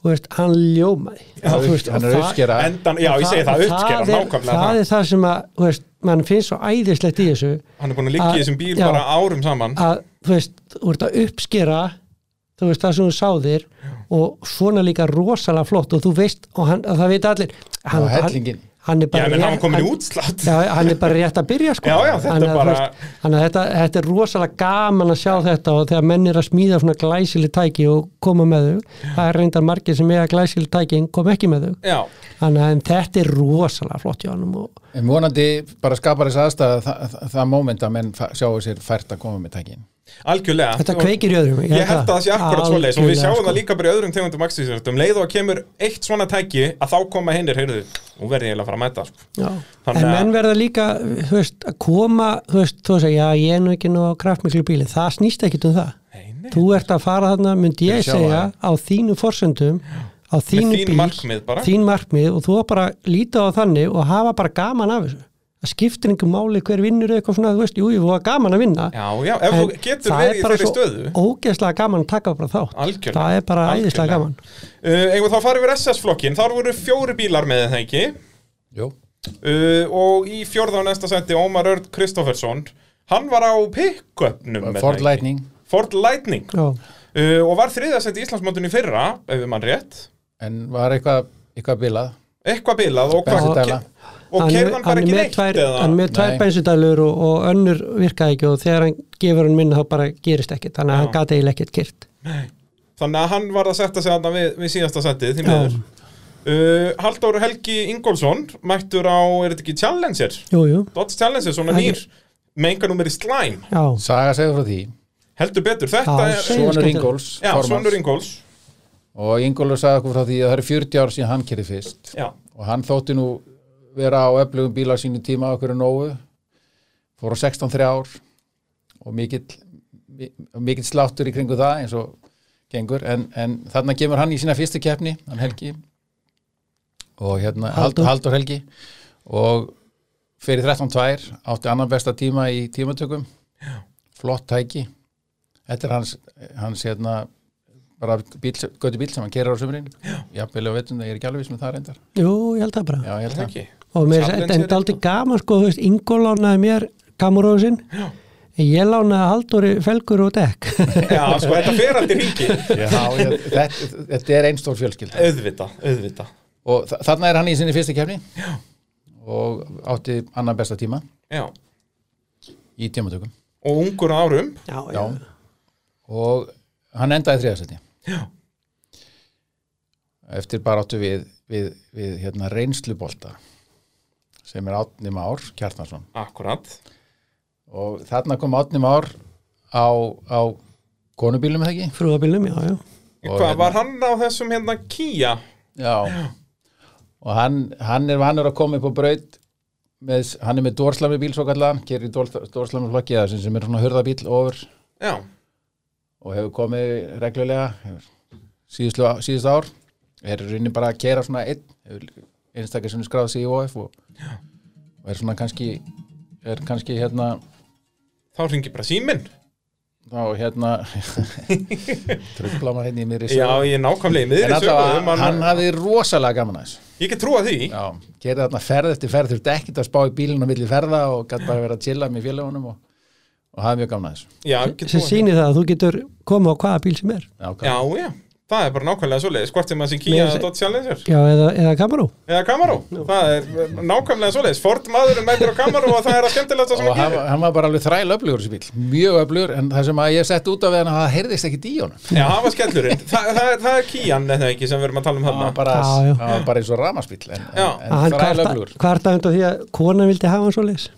S2: þú veist, hann ljómaði
S3: Já,
S2: Þú veist,
S3: hann
S2: og
S3: er
S2: það-
S3: uppskera
S1: endan, já, ég segi það, uppskera,
S2: það er-
S1: nákvæmlega
S2: það er það sem að, þú veist, mann finnst svo æðislegt í þessu
S1: hann er búin að liggja í
S2: Að-
S1: þessum bíl
S2: já.
S1: bara árum saman
S2: að, þú veist, þú ert að uppskera þú veist, það sem þú sáðir og svona líka rosalega flott og þú veist, og hann, að það veit allir hann,
S3: Já,
S2: hann,
S3: hellingin.
S2: hann er
S1: já,
S2: bara
S1: menn hann var komin í
S2: hann-
S1: útslátt
S2: Já, hann er bara rétt að byrja sko
S1: Já, já, þetta er
S2: Þannig að,
S1: bara-
S2: þú veist, Þannig að þetta, þetta er rosalega gaman að sjá þetta og þegar menn er að smíða svona glæsileg tæki og koma með þau það er reyndar margir sem eiga glæsileg tæki en kom ekki með þau
S1: já,
S2: Þannig að en þetta er rosalega flott hjá hann og
S3: En vonandi bara skapar þess aðstæða það, það, það moment að menn fa- sjáu sér fært að koma með tækin.
S1: algjörlega
S2: þetta
S1: Og-
S2: kveikir í öðrum
S1: ég held að það sé akkurat svoleiðis og við sjáum það
S2: sko.
S1: líka bara í öðrum tegundum aksisjörtum leið og að kemur eitt svona tæki að þá koma hinnir, heyrðu, nú verði ég eiginlega að fara að mæta sko.
S2: Já.
S1: Þannig
S2: En
S1: að-
S2: menn verða líka, þú veist, að koma þú veist, þú veist að já, ég er nú ekki nú á kraftmiklu bíli, það snýst ekkit um það
S1: Nei, nei.
S2: þú ert að fara þarna, myndi ég
S3: Fyrir sjálfa
S2: segja á þínu forsöndum á þínu
S1: þín
S2: bíl,
S1: markmið bara.
S2: þín markmið og þú að bara líta á þannig og hafa bara gaman af þessu það skiptir engum máli hver vinnur eða eitthvað svona, þú veist, jú, ég var gaman að vinna
S1: já, já, ef
S2: En
S1: þú getur
S2: það
S1: verið
S2: er
S1: í
S2: bara
S1: þeirri
S2: svo
S1: stöðu
S2: ógeðslega gaman að taka bara þátt
S1: Algjörlega.
S2: það er bara
S1: Algjörlega.
S2: æðislega gaman
S1: uh, eigum við þá að fara yfir SS-flokkin, þar voru fjóri bílar með það ekki
S3: Jú.
S1: uh, og í fjórða og næsta seti Ómar Örd Kristoffersson hann var á pick-upnum er það
S3: Ford
S1: ekki?
S3: Lightning
S1: Ford Lightning
S2: Já.
S1: uh, og var þriðasendi í Íslandsmótinu í fyrra ef við mann rétt,
S3: en var eitthvað, eitthvað bilað.
S1: eitthvað bilað og,
S3: Bensíndæla.
S1: og
S2: Hann er-
S1: keirðan
S2: hann
S1: bara
S2: er
S1: ekki
S2: með
S1: neitt
S2: tvær,
S1: eða?
S2: hann er með tvær
S3: Nei.
S2: bensindælur og, og önnur virkaði ekki og þegar hann gefur hann minna þá bara gerist ekkit þannig að hann gati eiginlega ekkit kyrt
S1: þannig að hann var að setja sig þarna við, við síðasta setið því miður uh, Halldóru Helgi Ingólfsson mættur á, er þetta ekki Challenger
S2: jú, jú,
S1: Dodge Challenger, svona
S2: Hann er-
S1: nýr með enganúmeri Slime,
S2: já,
S3: Saga segir frá því.
S1: heldur betur þetta
S2: Já,
S1: er,
S2: segir-
S3: Svonur
S2: skemmtilegt.
S3: Ingóls,
S1: já, Svonur Ingólfs
S3: og Ingólfur sagði okkur frá því að það eru 40 ár síðan hann kerði fyrst
S1: já,
S3: og hann þótti nú vera á öflugum bíla á sínu tíma okkur er nógu fór á 16-3 ár og mikill, mi- mikill sláttur í kringu það eins og gengur en, en þarna kemur hann í sína fyrstu keppni hann Helgi og hérna Haldur,
S2: Halldór.
S3: Haldur Helgi og, fyrir 13-2 átti annan besta tíma í tímatökum flott tæki þetta er hans, hans hérna, bara bíl, götu bíl sem hann kerir á sumrin jafnvel og veitum það, ég er ekki alveg viss með það reyndar
S2: Jú, ég held það bara
S3: já, ég held það
S1: ekki
S2: og mér er
S1: Chaplin
S2: þetta
S1: sér
S2: er aldrei gaman sko, þú veist, Ingo lánaði mér kamuróðsinn
S1: Já.
S2: en ég lánaði Halldóri felgur og dekk
S1: Já, sko, þetta fer aldrei ringi
S3: já, ég, þetta, þetta er einn stór fjölskylda
S1: Auðvita, auðvita
S3: og þa- þarna er hann í sinni fyrsta kefni og átti annan besta tíma
S1: Já,
S3: í tímatökum
S1: og ungur á árum
S2: já,
S3: já. og hann endaði þriðasetti
S1: Já.
S3: eftir bara áttu við, við, við hérna reynslubolta sem er Átni Már Kjartnarsson
S1: Akkurat
S3: og þarna kom Átni Már á, á konubílum eða ekki
S2: frúðabilnum, já, já
S3: Og
S1: Hvað
S3: hérna-
S1: var hann á þessum hérna Kia?
S3: Já. og hann, hann er vanur að koma upp á braut með, s- hann er með dórslami bíl svo kallan, gerir dórslami flokki eða sem, sem er svona hurðabíl ofur
S1: Já,
S3: og hefur komið reglulega hefur, síðustu, síðustu ár er í rauninni bara að kera svona einn hefur einstakir sem skráði sig í OF og, og er svona kannski er kannski hérna
S1: þá ringi bara síminn
S3: þá hérna trubla maður hérna í mér í
S1: Já, ég er nákvæmlega í
S3: en
S1: miðri sögu um
S3: allavega hann hafði rosalega gaman að þessu
S1: Ég get trúa því
S3: já, gerði þarna ferð eftir ferð þurfti ekkert að spá í bílinn á milli ferða og gætt bara verið að chilla með félagunum og, og hafði mjög gaman að þessu
S1: Já, ég get
S2: sem
S1: trúa því
S2: sýnir það að þú getur komið á hvaða bíl sem er
S3: já, gaman.
S1: Já, já, það er bara nákvæmlega svoleiðis Hvort sem að sé Kia
S2: Mér-
S1: eða Dodge Challenger
S2: já, eða, eða kamaró
S1: Eða Camaro, það er eh, nákvæmlega svoleiðis Ford maðurinn mætir á Camaro og það er að skemmtilegsta sem
S3: og
S1: að
S3: hann,
S1: gera
S3: var- hann var bara alveg þræl öflugur þessi bíl, mjög öflugur en það sem að ég sett út af hann það heyrðist ekki í honum
S1: Já, það var skellurinn Þa, það, er- það er Kian, eða ekki, sem við erum að tala um
S3: hann var
S1: hann
S3: bara,
S2: Já, já.
S3: hann var bara eins og ramarsbíl en, en,
S1: Já.
S3: en þræl öflugur
S2: hvarta undan því að konan vildi hafa hann svo leis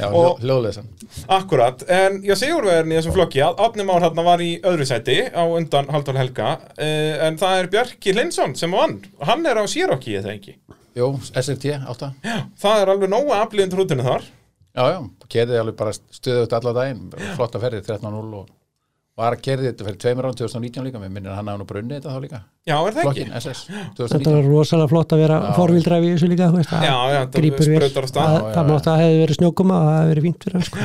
S3: já,
S1: Og-
S3: hljóðleysan
S1: Akkurat, en já, sigurverðin í þessum flokki að Átni Már hann var í öðru sæti á undan Halldór Helga eh, En það er Bjarki Linsson sem vann Hann er á Sérokki, eða ekki
S3: Jú, SRT, 8 já,
S1: Það er alveg nóga aflíðin trútinu þar
S3: já, kerði alveg bara stöðuð allan daginn, bara flotta ferði 13-0 og var kerði þetta fyrir tveimur án 2019 líka, mér minnir að hann hafði nú brunnið þetta þá líka,
S1: Já, er það ekki?
S3: flokkin SS
S2: þetta
S3: 2019,
S2: var rosalega flott að vera forvildræfi í þessu líka þú veist, það
S1: Já, já, þetta
S2: grípur vel.
S1: sprautar af stað.
S2: það,
S3: Já,
S2: það
S3: já,
S2: mátt að það hefði verið snjókuma og það hefði verið fínt fyrir hann sko.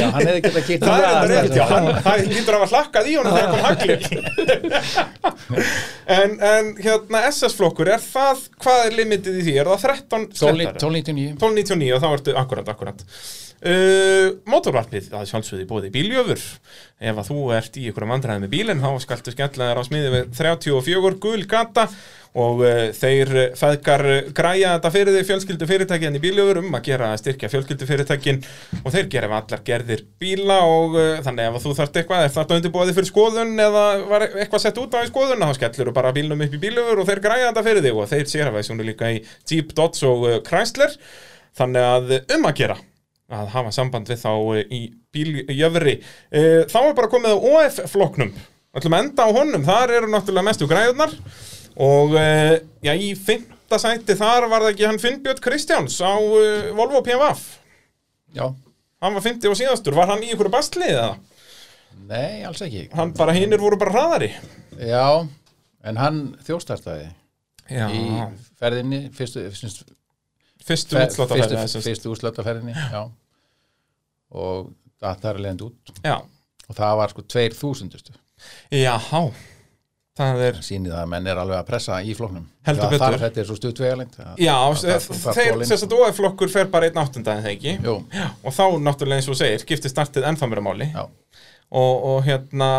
S3: já, hann hefði getað kýrt
S1: Það er þetta
S3: þetta
S1: reynd,
S3: aðstæður.
S1: já, hann, það lítur að hafa hlakkað í honum þegar kom haglir en, en hérna SS-flokkur, er það, hvað er limitið í því? Er það 13
S3: Tólni-
S1: skreddar?
S3: 1299
S1: 1299 og þá ertu akkurat, akkurat uh, Mótorvarpið, það er sjálfsögði bóði bíljöfur Ef að þú ert í ykkur vandræði með bílinn þá skaltu skella þér á smiði við 34 gul gata og uh, þeir eh, feðgar eh, græja þetta fyrir þig fjölskyldu fyrirtækin í bíljöfur um að gera að styrkja fjölskyldu fyrirtækin og þeir gera við allar gerðir bíla og uh, þannig ef að þú þarft eitthvað, ef þarft að undirbúaði fyrir skoðun eða var eitthvað sett út á í skoðun þá skellur þú bara bílnum upp í bíljöfur og þeir græja þetta fyrir þig og þeir sérfæðsjónu líka í Jeep, Dodge og uh, Chrysler Þannig að um að gera að hafa samband við þá eh, í bíljöfri. Eh, Þá er bara komið á OF-flokknum. Ætlum að enda á honum, þar eru náttúrulega mestu græðunar og eh, já, í fymta sæti þar var það ekki hann Finnbjörn Kristjáns á eh, Volvo PMF.
S3: já,
S1: Hann var 50 og síðastur, var hann í ykkur bastli eða?
S3: nei, alls ekki
S1: Hann bara, hinnir voru bara hraðari.
S3: já, en hann þjóstartaði
S1: Já,
S3: í ferðinni, fyrstu, fyrstu
S1: fyrstu
S3: Fe-
S1: útsláttaferðina
S3: fyrstu,
S1: þessum.
S3: fyrstu útsláttarferðinni já. og það þar er leiðandi út
S1: Já,
S3: og það var sko 2000
S1: já, það er
S3: sýnið að menn er alveg að pressa í flóknum
S1: Heldur
S3: það
S1: betur.
S3: þarf þetta er svo stutt vegalend
S1: Já,
S3: það- það-
S1: þeir,
S3: þolin.
S1: þess að OF-flokkur fer bara einn áttunda en það ekki.
S3: Jú,
S1: Já, og þá náttúrulega eins og þú segir, skiptir startið ennþá mér að máli
S3: já,
S1: og, og hérna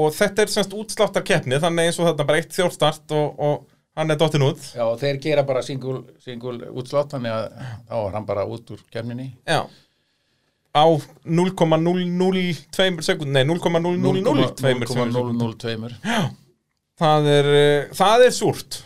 S1: og þetta er semst útsláttar keppni þannig eins og þarna bara eitt þjórstart og, og hann er dottinn út
S3: já, og þeir gera bara singul, singul útslátt þannig að þá er hann bara út úr kemninni
S1: Já á 0,002 sekund, nei 0,002 sekund
S3: 0,002
S1: það er, eh, það er súrt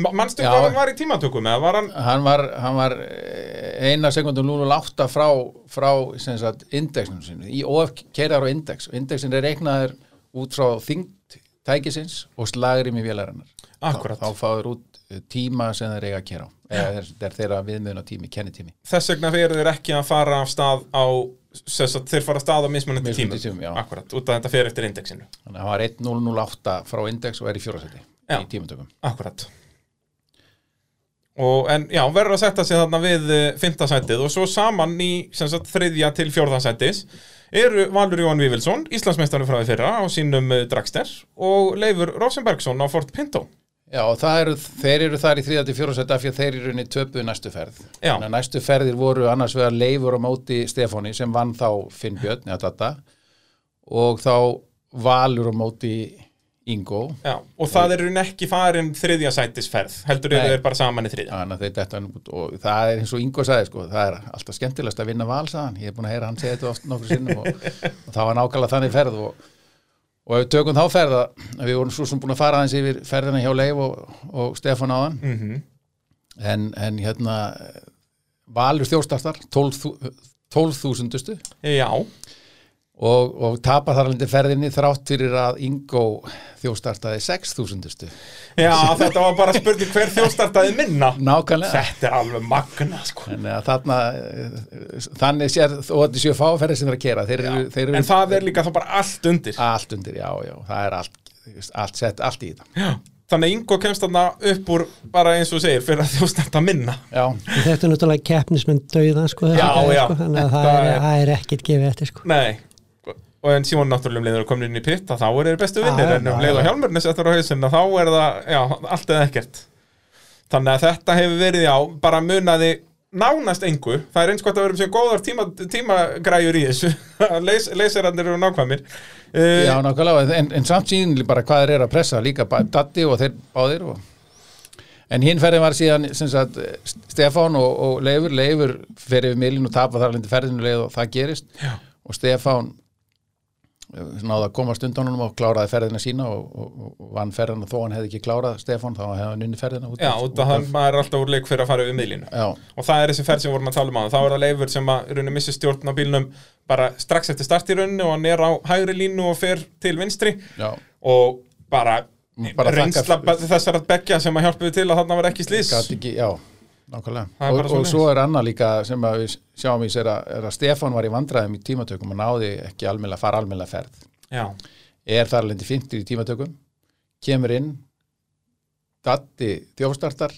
S1: Ma- Manstu
S3: Já.
S1: hvað hann var í tímatökum eða var hann
S3: hann var, hann var eh, eina sekundum lúnul átta frá, frá sem sagt, indexnum sinni í OF keirar á index og indexin er reiknaður út frá þingt tækisins og slagrim í vélarinnar
S1: akkurat,
S3: þá fáður út eh, tíma sem þeir eiga að kera á eða þeir, þeir þeirra viðmiðun á tími, kennitími
S1: þess vegna fyrir þeir ekki að fara af stað á, sem sagt, þeir fara af stað á mismunandi tímum,
S3: Mismunandi tímum, já.
S1: akkurat, út af þetta fyrir eftir indexinu
S3: þannig að hann var 1008 frá index og er í fjórasetti
S1: Já.
S3: í tímatökum
S1: Akkurat Og, en já, verður að setja sig þarna við eh, fimmta sætið og svo saman í sem sagt, þriðja til fjórða sætis eru Valur Jóhann Vívilsson, Íslandsmeistarinn frá því fyrra á sínum eh, Dragster og Leifur Rosenbergsson á Fort Pinto.
S3: Já, og það eru, þeir eru þar í þriða til fjóra sæti af því að þeir eru inn í töpuð næstu ferð.
S1: Já.
S3: Þannig að Næstu ferðir voru annars vegar leifur á móti Stefáni sem vann þá Finnbjörn, eða Data, og þá Valur á móti Ingo.
S1: Já, og það eru ekki farin þriðja sætisferð, heldur
S3: Nei.
S1: eru þeir bara saman í þriðja.
S3: Þannig að þeir detta hann út og það er eins og Ingo sagði, sko, það er alltaf skemmtilegast að vinna Val, sagðan. Ég er búin að heyra hann segja þetta oft nokkur sinnum og, og það var nákvæmlega þannig ferð og Og ef við tökum þá ferða, við vorum svo sem búin að fara aðeins yfir ferðina hjá Leif og, og Stefán áðan,
S1: Mm
S3: en, en hérna valur þjóstartar 12.000 dustu
S1: Já,
S3: og, og tapa þar alveg ferðinni þrátt fyrir að Ingo þjóstartaði 6.000 dustu
S1: já, þetta var bara spurning hver þjóstartaði minna.
S3: nákvæmlega
S1: Þetta er alveg magna, sko.
S3: Þannig að þarna, eh, þannig sér, og þetta séu fáferði sem er að gera, þeir eru, þeir eru
S1: En það er líka þá bara allt undir.
S3: allt undir, já, já, það er allt, allt sett, allt í þetta.
S1: Já. Þannig að Ingo kemst þarna upp úr bara eins og þú segir fyrir að þjóstarta minna.
S3: Já,
S2: En Þetta er náttúrulega keppnismenn dauða sko, þessi
S1: Já,
S2: gæði,
S1: já.
S2: sko, þannig að það
S1: Þetta
S2: er,
S1: er-
S2: það er ekkert gefið eftir sko.
S1: Nei og en Simon náttúrulega um leiður að komin inn í pitta þá eru þeir bestu vinnir
S2: Já,
S1: en um
S2: já,
S1: leið og
S2: já.
S1: hjálmurnis eftir á hausinn að þá er það, já, allt eða ekkert þannig að þetta hefur verið, já, bara munaði nánast engu, það er eins gott að vera um sem góðar tíma, tímagræjur í þessu Leys, leysirandir eru nákvæmir
S3: já,
S1: uh,
S3: nákvæmlega, en, en samt síðan bara hvað þeir eru að pressa, líka ba- Datti og þeir báðir og En hinn ferðin var síðan, sem sagt, Stefán og, og Leifur, Leifur fer yfir milin og tapa þar alveg ferðinu leið og það gerist
S1: Já.
S3: og Stefán eh, náði að koma stundanum og kláraði ferðina sína og, og, og vann ferðina þó hann hefði ekki klárað Stefán, þá hefði hann unni ferðina út
S1: já,
S3: af-
S1: út af það maður er alltaf úr leik fyrir að fara yfir miðlínu
S3: Já,
S1: og það er þessi ferð sem við vorum að tala um að þá er það leifur sem að í rauninni missi stjórn á bílnum bara strax eftir start í rauninni og hann er á hægri línu og fer til vinstri
S3: já
S1: og bara,
S3: Mm, Bara
S1: reynsla
S3: þakka-
S1: þessar að begja sem að hjálpa við til að þarna var ekki slís
S3: Gat ekki, já, nákvæmlega
S1: Það er bara
S3: og, og
S1: svoleiðis.
S3: svo er annað líka sem að við sjáum í sér að, er að Stefán var í vandræðum í tímatökum og náði ekki almennilega fara almennilega ferð
S1: já,
S3: er þar alveg 50 í tímatökum kemur inn Datti þjófstartar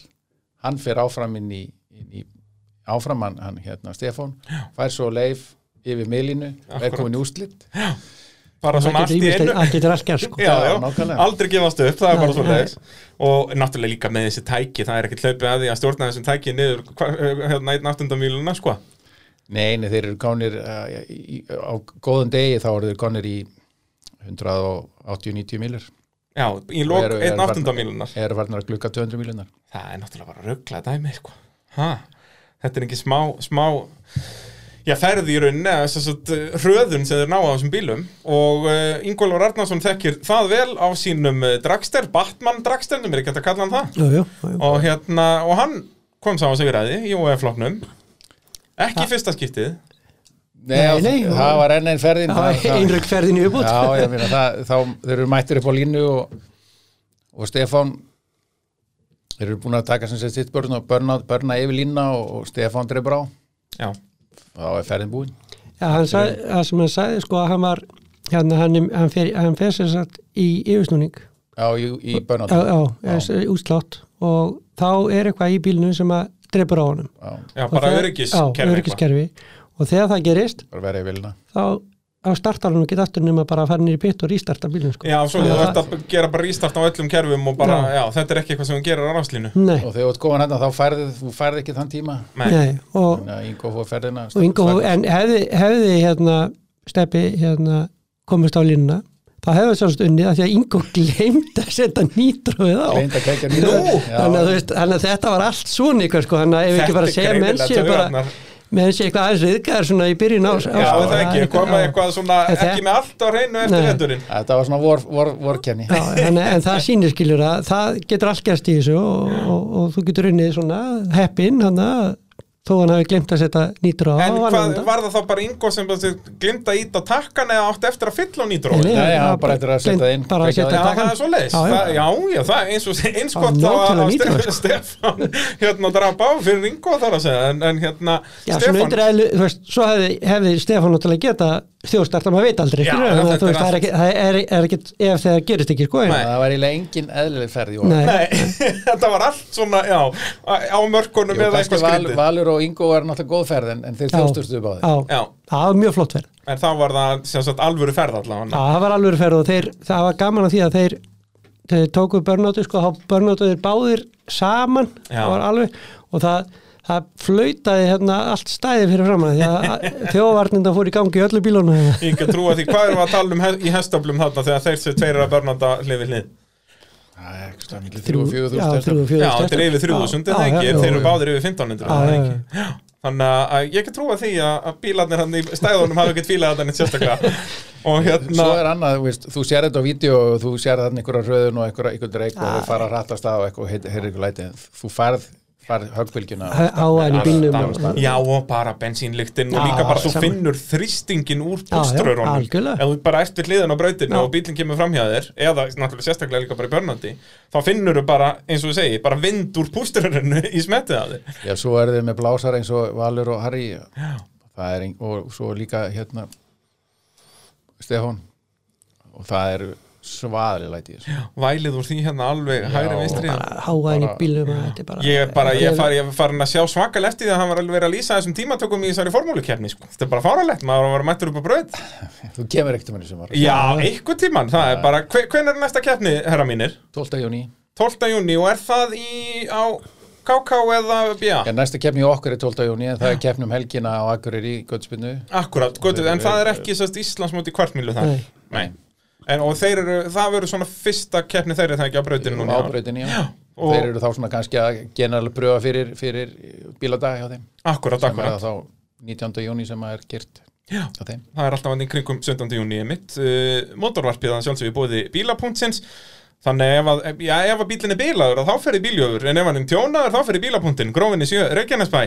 S3: hann fer áfram inn í, inn í áfram hann, hann hérna Stefán fær svo leif yfir meilinu
S1: Akkurat.
S3: er komin í úslit
S1: bara
S2: Það
S1: svona allt
S2: getur
S1: í
S2: ýmislegt-
S1: einu
S2: allt getur allt gerð sko.
S1: já, já,
S3: nákvæmlega.
S1: aldrei gefast upp, það er
S2: Nei,
S1: bara svona
S2: nei.
S1: leis og náttúrulega líka með þessi tæki það er ekkert hlaupið að því að stjórna þessum tæki niður hva- hérna einn aftundamíluna sko
S3: Nei, nei, þeir eru komnir uh, í, á góðan degi þá eru þeir komnir í 180-90 milur
S1: já, í lok
S3: Eru- hérna eru
S1: einn
S3: bara-
S1: aftundamílunar
S3: eru varnar að glukka 200 milunar
S1: það er náttúrulega bara ruggla dæmi sko. ha, þetta er ekki smá, smá já, ferði í rauninni eða þess að hröðun sem þeir ná á þessum bílum og uh, Ingólfur Arnarsson þekkir það vel á sínum uh, dragster, Batman dragsternum er ekki hægt að kalla hann það
S2: Jú, jú, jú.
S1: og hérna, og hann kom sá að sigraði í OF-flokknum ekki í fyrsta skiptið
S3: Nei,
S2: Nei, nei,
S3: það
S2: og-
S3: var enn einn ferðin það- það-
S2: Einröggferðin í uppbútt
S3: Já, ég meina það, þá þeir eru mættir upp á línu og, og Stefán þeir eru búin að taka sem sett sitt börn og börna, börna yfir línuna og, og Stefán dreifur á
S1: já,
S3: þá er ferðin búin
S2: Já, hann sagði, það sem hann sagði sko að hann var hérna, hann, hann, fer, hann fer sér satt í yfirsnúning
S3: Já, í, í börna
S2: já, já, já. útslátt og þá er eitthvað í bílnum sem að drefur á honum
S3: Já,
S1: já
S2: Og
S1: bara
S2: þegar- Já,
S1: öryggiskerfi
S2: öryggiskerfi og þegar það gerist
S3: bara verið yfir línuna
S2: þá, þá startar hann ekki aftur nema bara að fara nýri pitt og rístarta bílnum sko.
S1: já, svo þú
S2: Já,
S1: ert að gera bara restart á öllum kerfum og bara, já, þetta er ekki eitthvað sem hún gerir á ráslínu
S2: Nei,
S3: og þegar þú ert komin hérna þá færði þú færði ekki þann tíma
S1: nei,
S2: nei, og,
S3: þannig að Ingo fór ferðina
S2: og Ingo, en hefði, hefði hérna, steppi hérna, komist á línuna þá hefði sjálfst unnið að því að Ingo gleymd að setja nýtróið á
S3: Reynd að kækja
S2: Nú,
S3: nýra
S2: þannig að, þú veist, þannig að þetta var allt svona eitthvað sko, þannig að ef ekki bara að segja menn sé bara, menn sé eitthvað aðeins viðgæðar svona í byrjun ás
S1: Já, er það ekki, koma eitthvað svona
S2: Þetta-
S1: ekki með allt á hreinu eftir
S2: Nei.
S1: vetturinn
S3: Þetta var svona vor, vor, vorkenni
S2: Já, en, en það sýnir skilur að það getur allt gerst í þessu og, og, og þú getur unnið svona heppin hann að þó hann hafi glemt að setja nýtur á
S1: En
S2: og
S1: hvað,
S2: annað undan.
S1: var það þá bara Ingo sem glimta ít á takkan eða átti eftir að fylla á nýtróð?
S2: Nei,
S1: Já,
S2: nei,
S3: Nei,
S2: hann
S3: já, bara eftir að setja það inn,
S2: bara að
S3: kveikja
S2: setja
S3: á
S2: í
S3: því.
S1: það
S2: takkann.
S1: er svo leiðis
S2: Já, já.
S1: Já, já, það er eins og, eins
S2: Já,
S1: gott þá að
S2: nákvæmlega
S1: að
S2: nýtur,
S1: Stef-
S2: sko.
S1: Stefán hérna drapa á fyrir Ingo þar að segja en, en hérna,
S2: Já, svona
S1: Stefán
S2: undir eðlu, þú veist, svo hefði, hefði Stefán náttúrulega geta þjóðstart að maður veit aldrei
S1: Já,
S2: skilur,
S1: þetta
S2: þannig að þú
S1: er
S2: veist, það
S1: allt-
S2: er ekki, það er, er ekki ef það gerist ekki sko en-
S1: Nei.
S3: það var eiginlega engin eðlileg ferð í
S2: Nei.
S3: orð
S1: Nei, þetta var allt svona, já, á mörkunum
S3: Jú,
S1: eða
S3: kannski
S1: eitthvað
S3: val,
S1: skrítið.
S3: Valur og Ingo var náttúrulega góð ferð en, en
S2: Já.
S3: þeir þjóstustu báði
S2: Já.
S1: Já.
S2: það var mjög flott ferð
S1: En það var það, sem sagt, alvöru ferð allavega.
S2: Já, það var alveg ferð og þeir, það var gaman að því að þeir, þeir tóku börnáttu sko, þá börnáttu þeir báðir saman
S1: Já.
S2: það var alveg, og það, það flautaði hérna allt stæði fyrir framan því að þjóðvarninda fór í gangi í öllu bílunum
S1: Ég ekki að trúa því, hvað erum við að tala um he í hestablum þarna þegar þeir sem tveir eru að börnanda hlifi hlið?
S3: Það er eitthvað miklu þrjú og fjögur
S2: já, þrjú
S3: þúsund
S2: og fjögur
S1: Já, þetta er yfir 3000, er það ekki, þeir eru báðir yfir 1500, er það
S2: Já, já,
S1: ekki. Já, Þannig að- að ég ekki trúa því að að bílarnir hann í stæðunum hafa ekkert fílað þetta neitt sérstaklega. Og
S3: Svo
S1: hérna,
S3: er annað, þú veist, þú sér þetta á vídeo og þú sér þarna einhverja röðun og einhverja einhver dreik og þú fara að rattast að og eitthvað og heyrir ykkur læti en þú farð, farð höggbylgjuna
S2: á henni bílnum
S3: Alls staðar.
S1: já og bara bensínlyktin og
S2: Já,
S1: líka bara þú
S2: saman.
S1: finnur þrýstingin úr
S2: Já, já,
S1: búströrunum
S2: algjörlega.
S1: ef þú bara ert við hliðin á brautinu
S2: Já.
S1: og bílinn kemur fram hjá þér eða náttúrulega sérstaklega líka bara í börnandi þá finnur þú bara, eins og þú segir, bara vind úr búströrunu í smettið að þér
S3: Já, svo eru þeir með blásar eins og Valur og Harry Það er ein, og svo líka hérna Stefán og það eru svaðri læti í þessu.
S1: Vælið úr því hérna alveg hægri vinstri hérna.
S2: á henni bílnum þetta er bara
S1: Ég er bara, ég er far, ég er farin að sjá svakal eftir því að hann var alveg verið að lýsa þessum tímatökum í þessari formúlukefni sko. Þetta er bara fáralegt, maður var að vera mættur upp á braut
S3: Þú kemur ekkert um henni sem var
S1: Já, einhver tíman, það er bara hve- Hvenær er næsta keppni, herra mínir?
S3: 12. júni
S1: 12. júni og er það í á KK eða BA?
S3: En næsta keppni í okkur er 12. júni en það er keppnum helgina á Akureyri í Götspinnu
S1: Akkurat, götu, en það er ekki sérst Íslands móti kvartmílu þar
S2: Nei.
S1: Nei. En, og þeir eru, það verður svona fyrsta keppni þeirra það ekki á brautinu
S3: Um
S1: núna í ár.
S3: ábreytin í hann
S1: og-
S3: Þeir eru þá svona kannski að generala pröfa fyrir, fyrir bíladag hjá þeim
S1: Akkurat,
S3: sem er
S1: akkurat
S3: það þá 19. júni sem að er gert
S1: Já.
S3: hjá þeim
S1: Það er alltaf hann í kringum 17. júni mitt uh, Motorvarpið hann sjálfsög í bóði bílapúntsins Þannig ef að, já, ef að bílinn er bílaður þá fer í bíljöfur, en ef hann er tjónaður þá fer í bílapúntin, grófinni sjö, Reykjanesbæ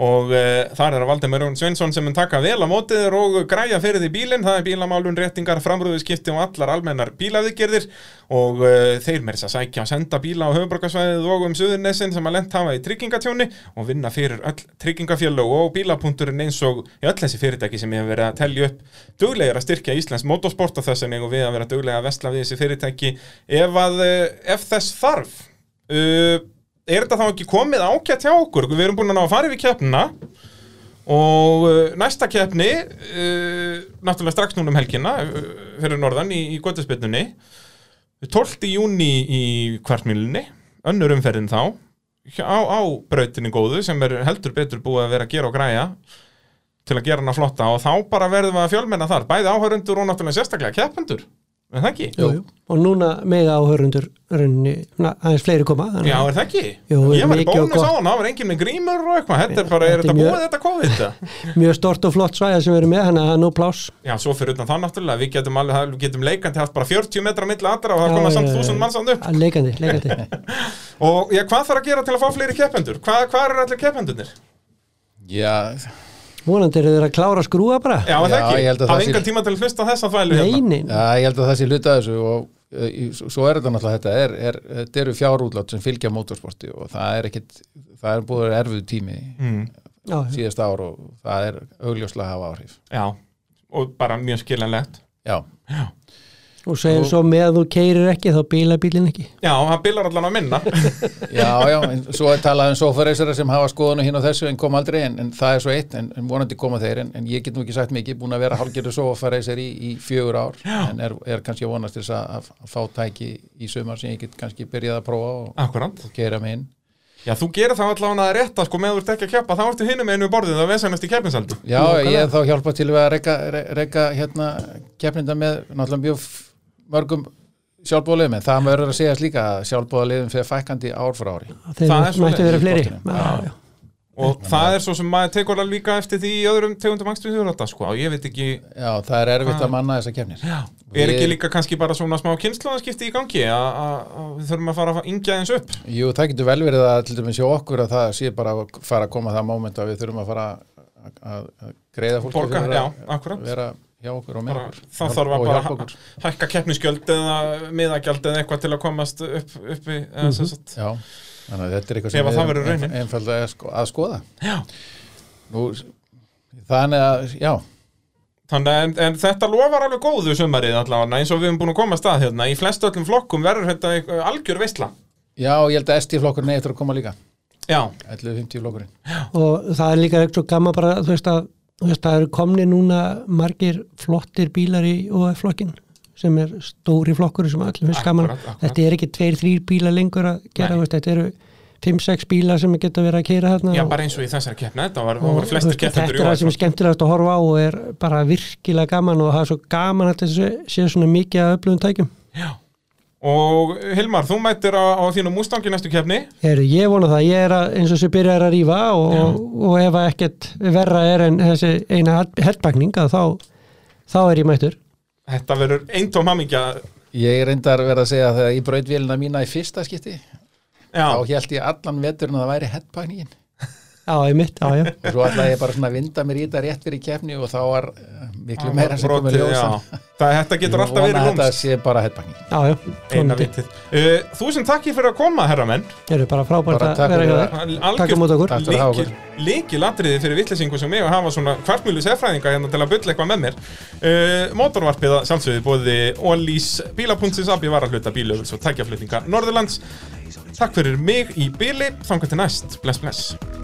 S1: og uh, þar er að Valdemar Jón Sveinsson sem mun taka vel á mótið þér og græja fyrir því bílinn, það er bílamálun, réttingar framrúðuskipti og allar almennar bílaðgerðir og uh, þeir meris að sækja og senda bíla á höfuborgarsvæðið og um suðurnesin sem að lent hafa í tryggingatjóni og vinna fyrir öll tryggingafjölög og bílapunkturinn eins og í öll þessi fyrirtæki sem ég hef verið að telja upp duglegir að styrkja Íslands motorsport og þess en eigum við að vera duglega að vesla við þessi fyrirtæki ef, að, eh, ef þess þarf uh, er þetta þá ekki komið ágætt hjá okkur við erum búin að ná að fara yfir keppnina og uh, næsta keppni uh, náttúrulega strax núna um helgina uh, fyrir norðan í, í Götusbytnunni 12. júni í kvartmílunni önnur umferðin þá hjá- á, á brautinni góðu sem er heldur betur búið að vera að gera og græja til að gera hana flotta og þá bara verðum við að fjölmenna þar bæði áhörundur og náttúrulega sérstaklega keppendur er það ekki?
S2: jú, jú. og núna mega áhörundur rauninni, na, aðeins fleiri koma þannig
S1: Já,
S2: að-
S1: er það ekki?
S2: Jú,
S1: ég var í
S2: mikið og
S1: bónus
S2: gott.
S1: á hann, það var enginn með grímur og eitthvað, þetta er bara, er
S2: Þetta er
S1: þetta
S2: mjög-
S1: búið þetta COVID? eða?
S2: mjög stort og flott svæða sem við erum með þannig að það er nú pláss
S1: Já, svo fyrir utan það náttúrulega, við getum, alveg, það- við getum leikandi haft bara 40 metra milli aðra og það
S2: Já,
S1: koma samt
S2: já, já.
S1: 1000 manns samt upp.
S2: Að leikandi, leikandi
S1: Og já, hvað þarf að gera til að fá fleiri keppendur? Hvað, hvað eru allir keppendurnir?
S3: Já,
S2: vonandi eru þeir að klára að skrúa bara
S1: Já, er það
S3: Já,
S1: ekki?
S3: ég held að
S1: Það
S3: það
S1: er
S3: sé-
S1: engan tíma til að hlusta á þessa þvælu hérna.
S2: neinin,
S3: já, ég held að það sé hluta þessu og uh, í- s- svo er þetta náttúrulega þetta er, er, þetta eru fjárútlát sem fylgja mótorsporti og það er ekkit, það er búið að vera erfið tími
S1: Mm.
S2: já, já.
S3: síðasta ár og það er augljóslega að hafa áhrif
S1: Já, og bara mjög skiljanlegt.
S3: Já,
S2: og segir svo með að þú keirir ekki þá bíla bílinn ekki
S1: Já, hann bilar allan að minna.
S3: já, já, en svo er talað um sofareysara sem hafa skoðun og hinn og þessu en kom aldrei en, en það er svo eitt en, en vonandi koma þeir en, en ég get nú ekki sagt mikið búin að vera hálfgerðu sofareysari í, í fjögur ár en er, er kannski að vonast til þess að, að fá tæki í sumar sem ég get kannski byrjað að prófa og,
S1: Akkurant.
S3: og gera mig inn
S1: Já, þú gerir það allan að rétta, sko, með þú ert ekki að keppa, þá ertu hinum einu við borðið að vesenast í keppinsaldi.
S3: Já, ég hef þá hjálpað til við að reyka, reyka hérna keppninda með náttúrulega mjög f- mörgum sjálfbóðaliðum en það verður að segja líka að sjálfbóðaliðum fyrir fækandi ár frá ári
S2: þeir
S1: Það er svo
S2: mættu
S1: leið
S2: vera
S3: í
S2: fleiri
S3: kortinu.
S2: Já, já.
S1: og það er svo sem maður tekur alveg líka eftir því í öðrum tegundum angstvíðurata sko, og ég veit ekki
S3: Já, það er erfitt að manna þessar keppnir
S1: er ekki
S3: Við-
S1: líka kannski bara svona smá kynnslóðanskipti í gangi að að- að við þurfum að fara að yngja eins upp
S3: Jú, það getur vel verið að til dæmis hjá okkur að það sé bara að fara að koma það moment að við þurfum að fara að, að, að greiða fólki
S1: Borga,
S3: fyrir að
S1: já, akkurat.
S3: vera hjá okkur og með
S1: bara,
S3: okkur
S1: þá þarf að
S3: og
S1: bara
S3: hjálpa
S1: hæ-
S3: okkur
S1: hækka keppnisgjöld eða miðagjald eða eitthvað til að komast upp, upp í, eða,
S2: Mhm.
S1: mm -hmm.
S3: Já, þannig að þetta er eitthvað
S1: Ef
S3: sem
S1: að það verður
S3: erum
S1: raunin.
S3: einfaldlega að sko- að skoða
S1: Já.
S3: Nú, þannig að, já
S1: Þannig að en, en þetta lofar alveg góðu sumarið allavega eins og við erum búin að koma að stað hérna. Í flest öllum flokkum verður þetta einhver- algjör veistla.
S3: Já, ég held að ST-flokkurinn eigi eftir að koma líka
S1: Já,
S3: 11-50 flokkurinn
S2: og það er líka svo gaman bara þú veist að þú veist, það eru komni núna margir flottir bílar í OF-flokkin sem er stóri flokkur sem allir finnst gaman
S1: Akkurat, akkurat.
S2: þetta er ekki tveir, þrýr bílar lengur að gera
S1: Nei.
S2: þú veist, þetta eru 5-6 bílar sem geta verið að keira þarna
S1: já,
S2: og-
S1: bara eins og í þessari keppna, þetta var,
S2: og
S1: voru
S2: þú
S1: flestir
S2: veist,
S1: keppnendur
S2: þetta er það sem er skemmtilegast að horfa á og er bara virkilega gaman og það er svo gaman að þessu sé svona mikið að öflugum tækjum
S1: Já. Og Hilmar, þú mættir á, á þínu Mustang í næstu keppni.
S2: Heru, ég vona það, ég er að, eins og þessu byrjar að rífa og, og, ef að ekkert verra er en þessi eina hertbækning að þá, þá er ég mættur
S1: Þetta verður eintóm hamingja.
S3: Ég reyndar verið að segja að þegar ég braut vélina mína í fyrsta skipti
S1: Já,
S3: þá held ég allan veturinn að það væri headpagningin
S2: Já, ég mitt, já, já
S3: og svo ætlaði ég bara svona að vinda mér í þetta rétt fyrir kefni og þá var eh, miklu meira sem komið
S1: brotið,
S3: ljós
S1: já.
S3: en-
S1: Það, þetta getur
S3: Ég
S1: alltaf
S3: vona
S1: verið
S3: að Þetta
S1: húmst.
S3: sé bara headbanging.
S2: Já, já,
S1: Eina
S2: komandi
S1: vitið. Uh, þú sem takkir fyrir að koma, herra menn.
S2: Eru bara frábært
S3: Bara
S2: að
S3: takk
S2: vera hjá
S3: fyrir
S2: þér Takk á móti okkur.
S3: Takk fyrir að hafa okkur.
S1: Líkilatriði fyrir vittlesingu sem ég að hafa svona kvartmjölu sefræðinga hérna til að bylla eitthvað með mér uh, Mótorvarpið að sjálfsögðu bóði Ólís bílapunktins abbi var að hluta bílöfus og tækjaflutninga Norðurlands Takk fyrir mig í bíli, þangar til næst, bless bless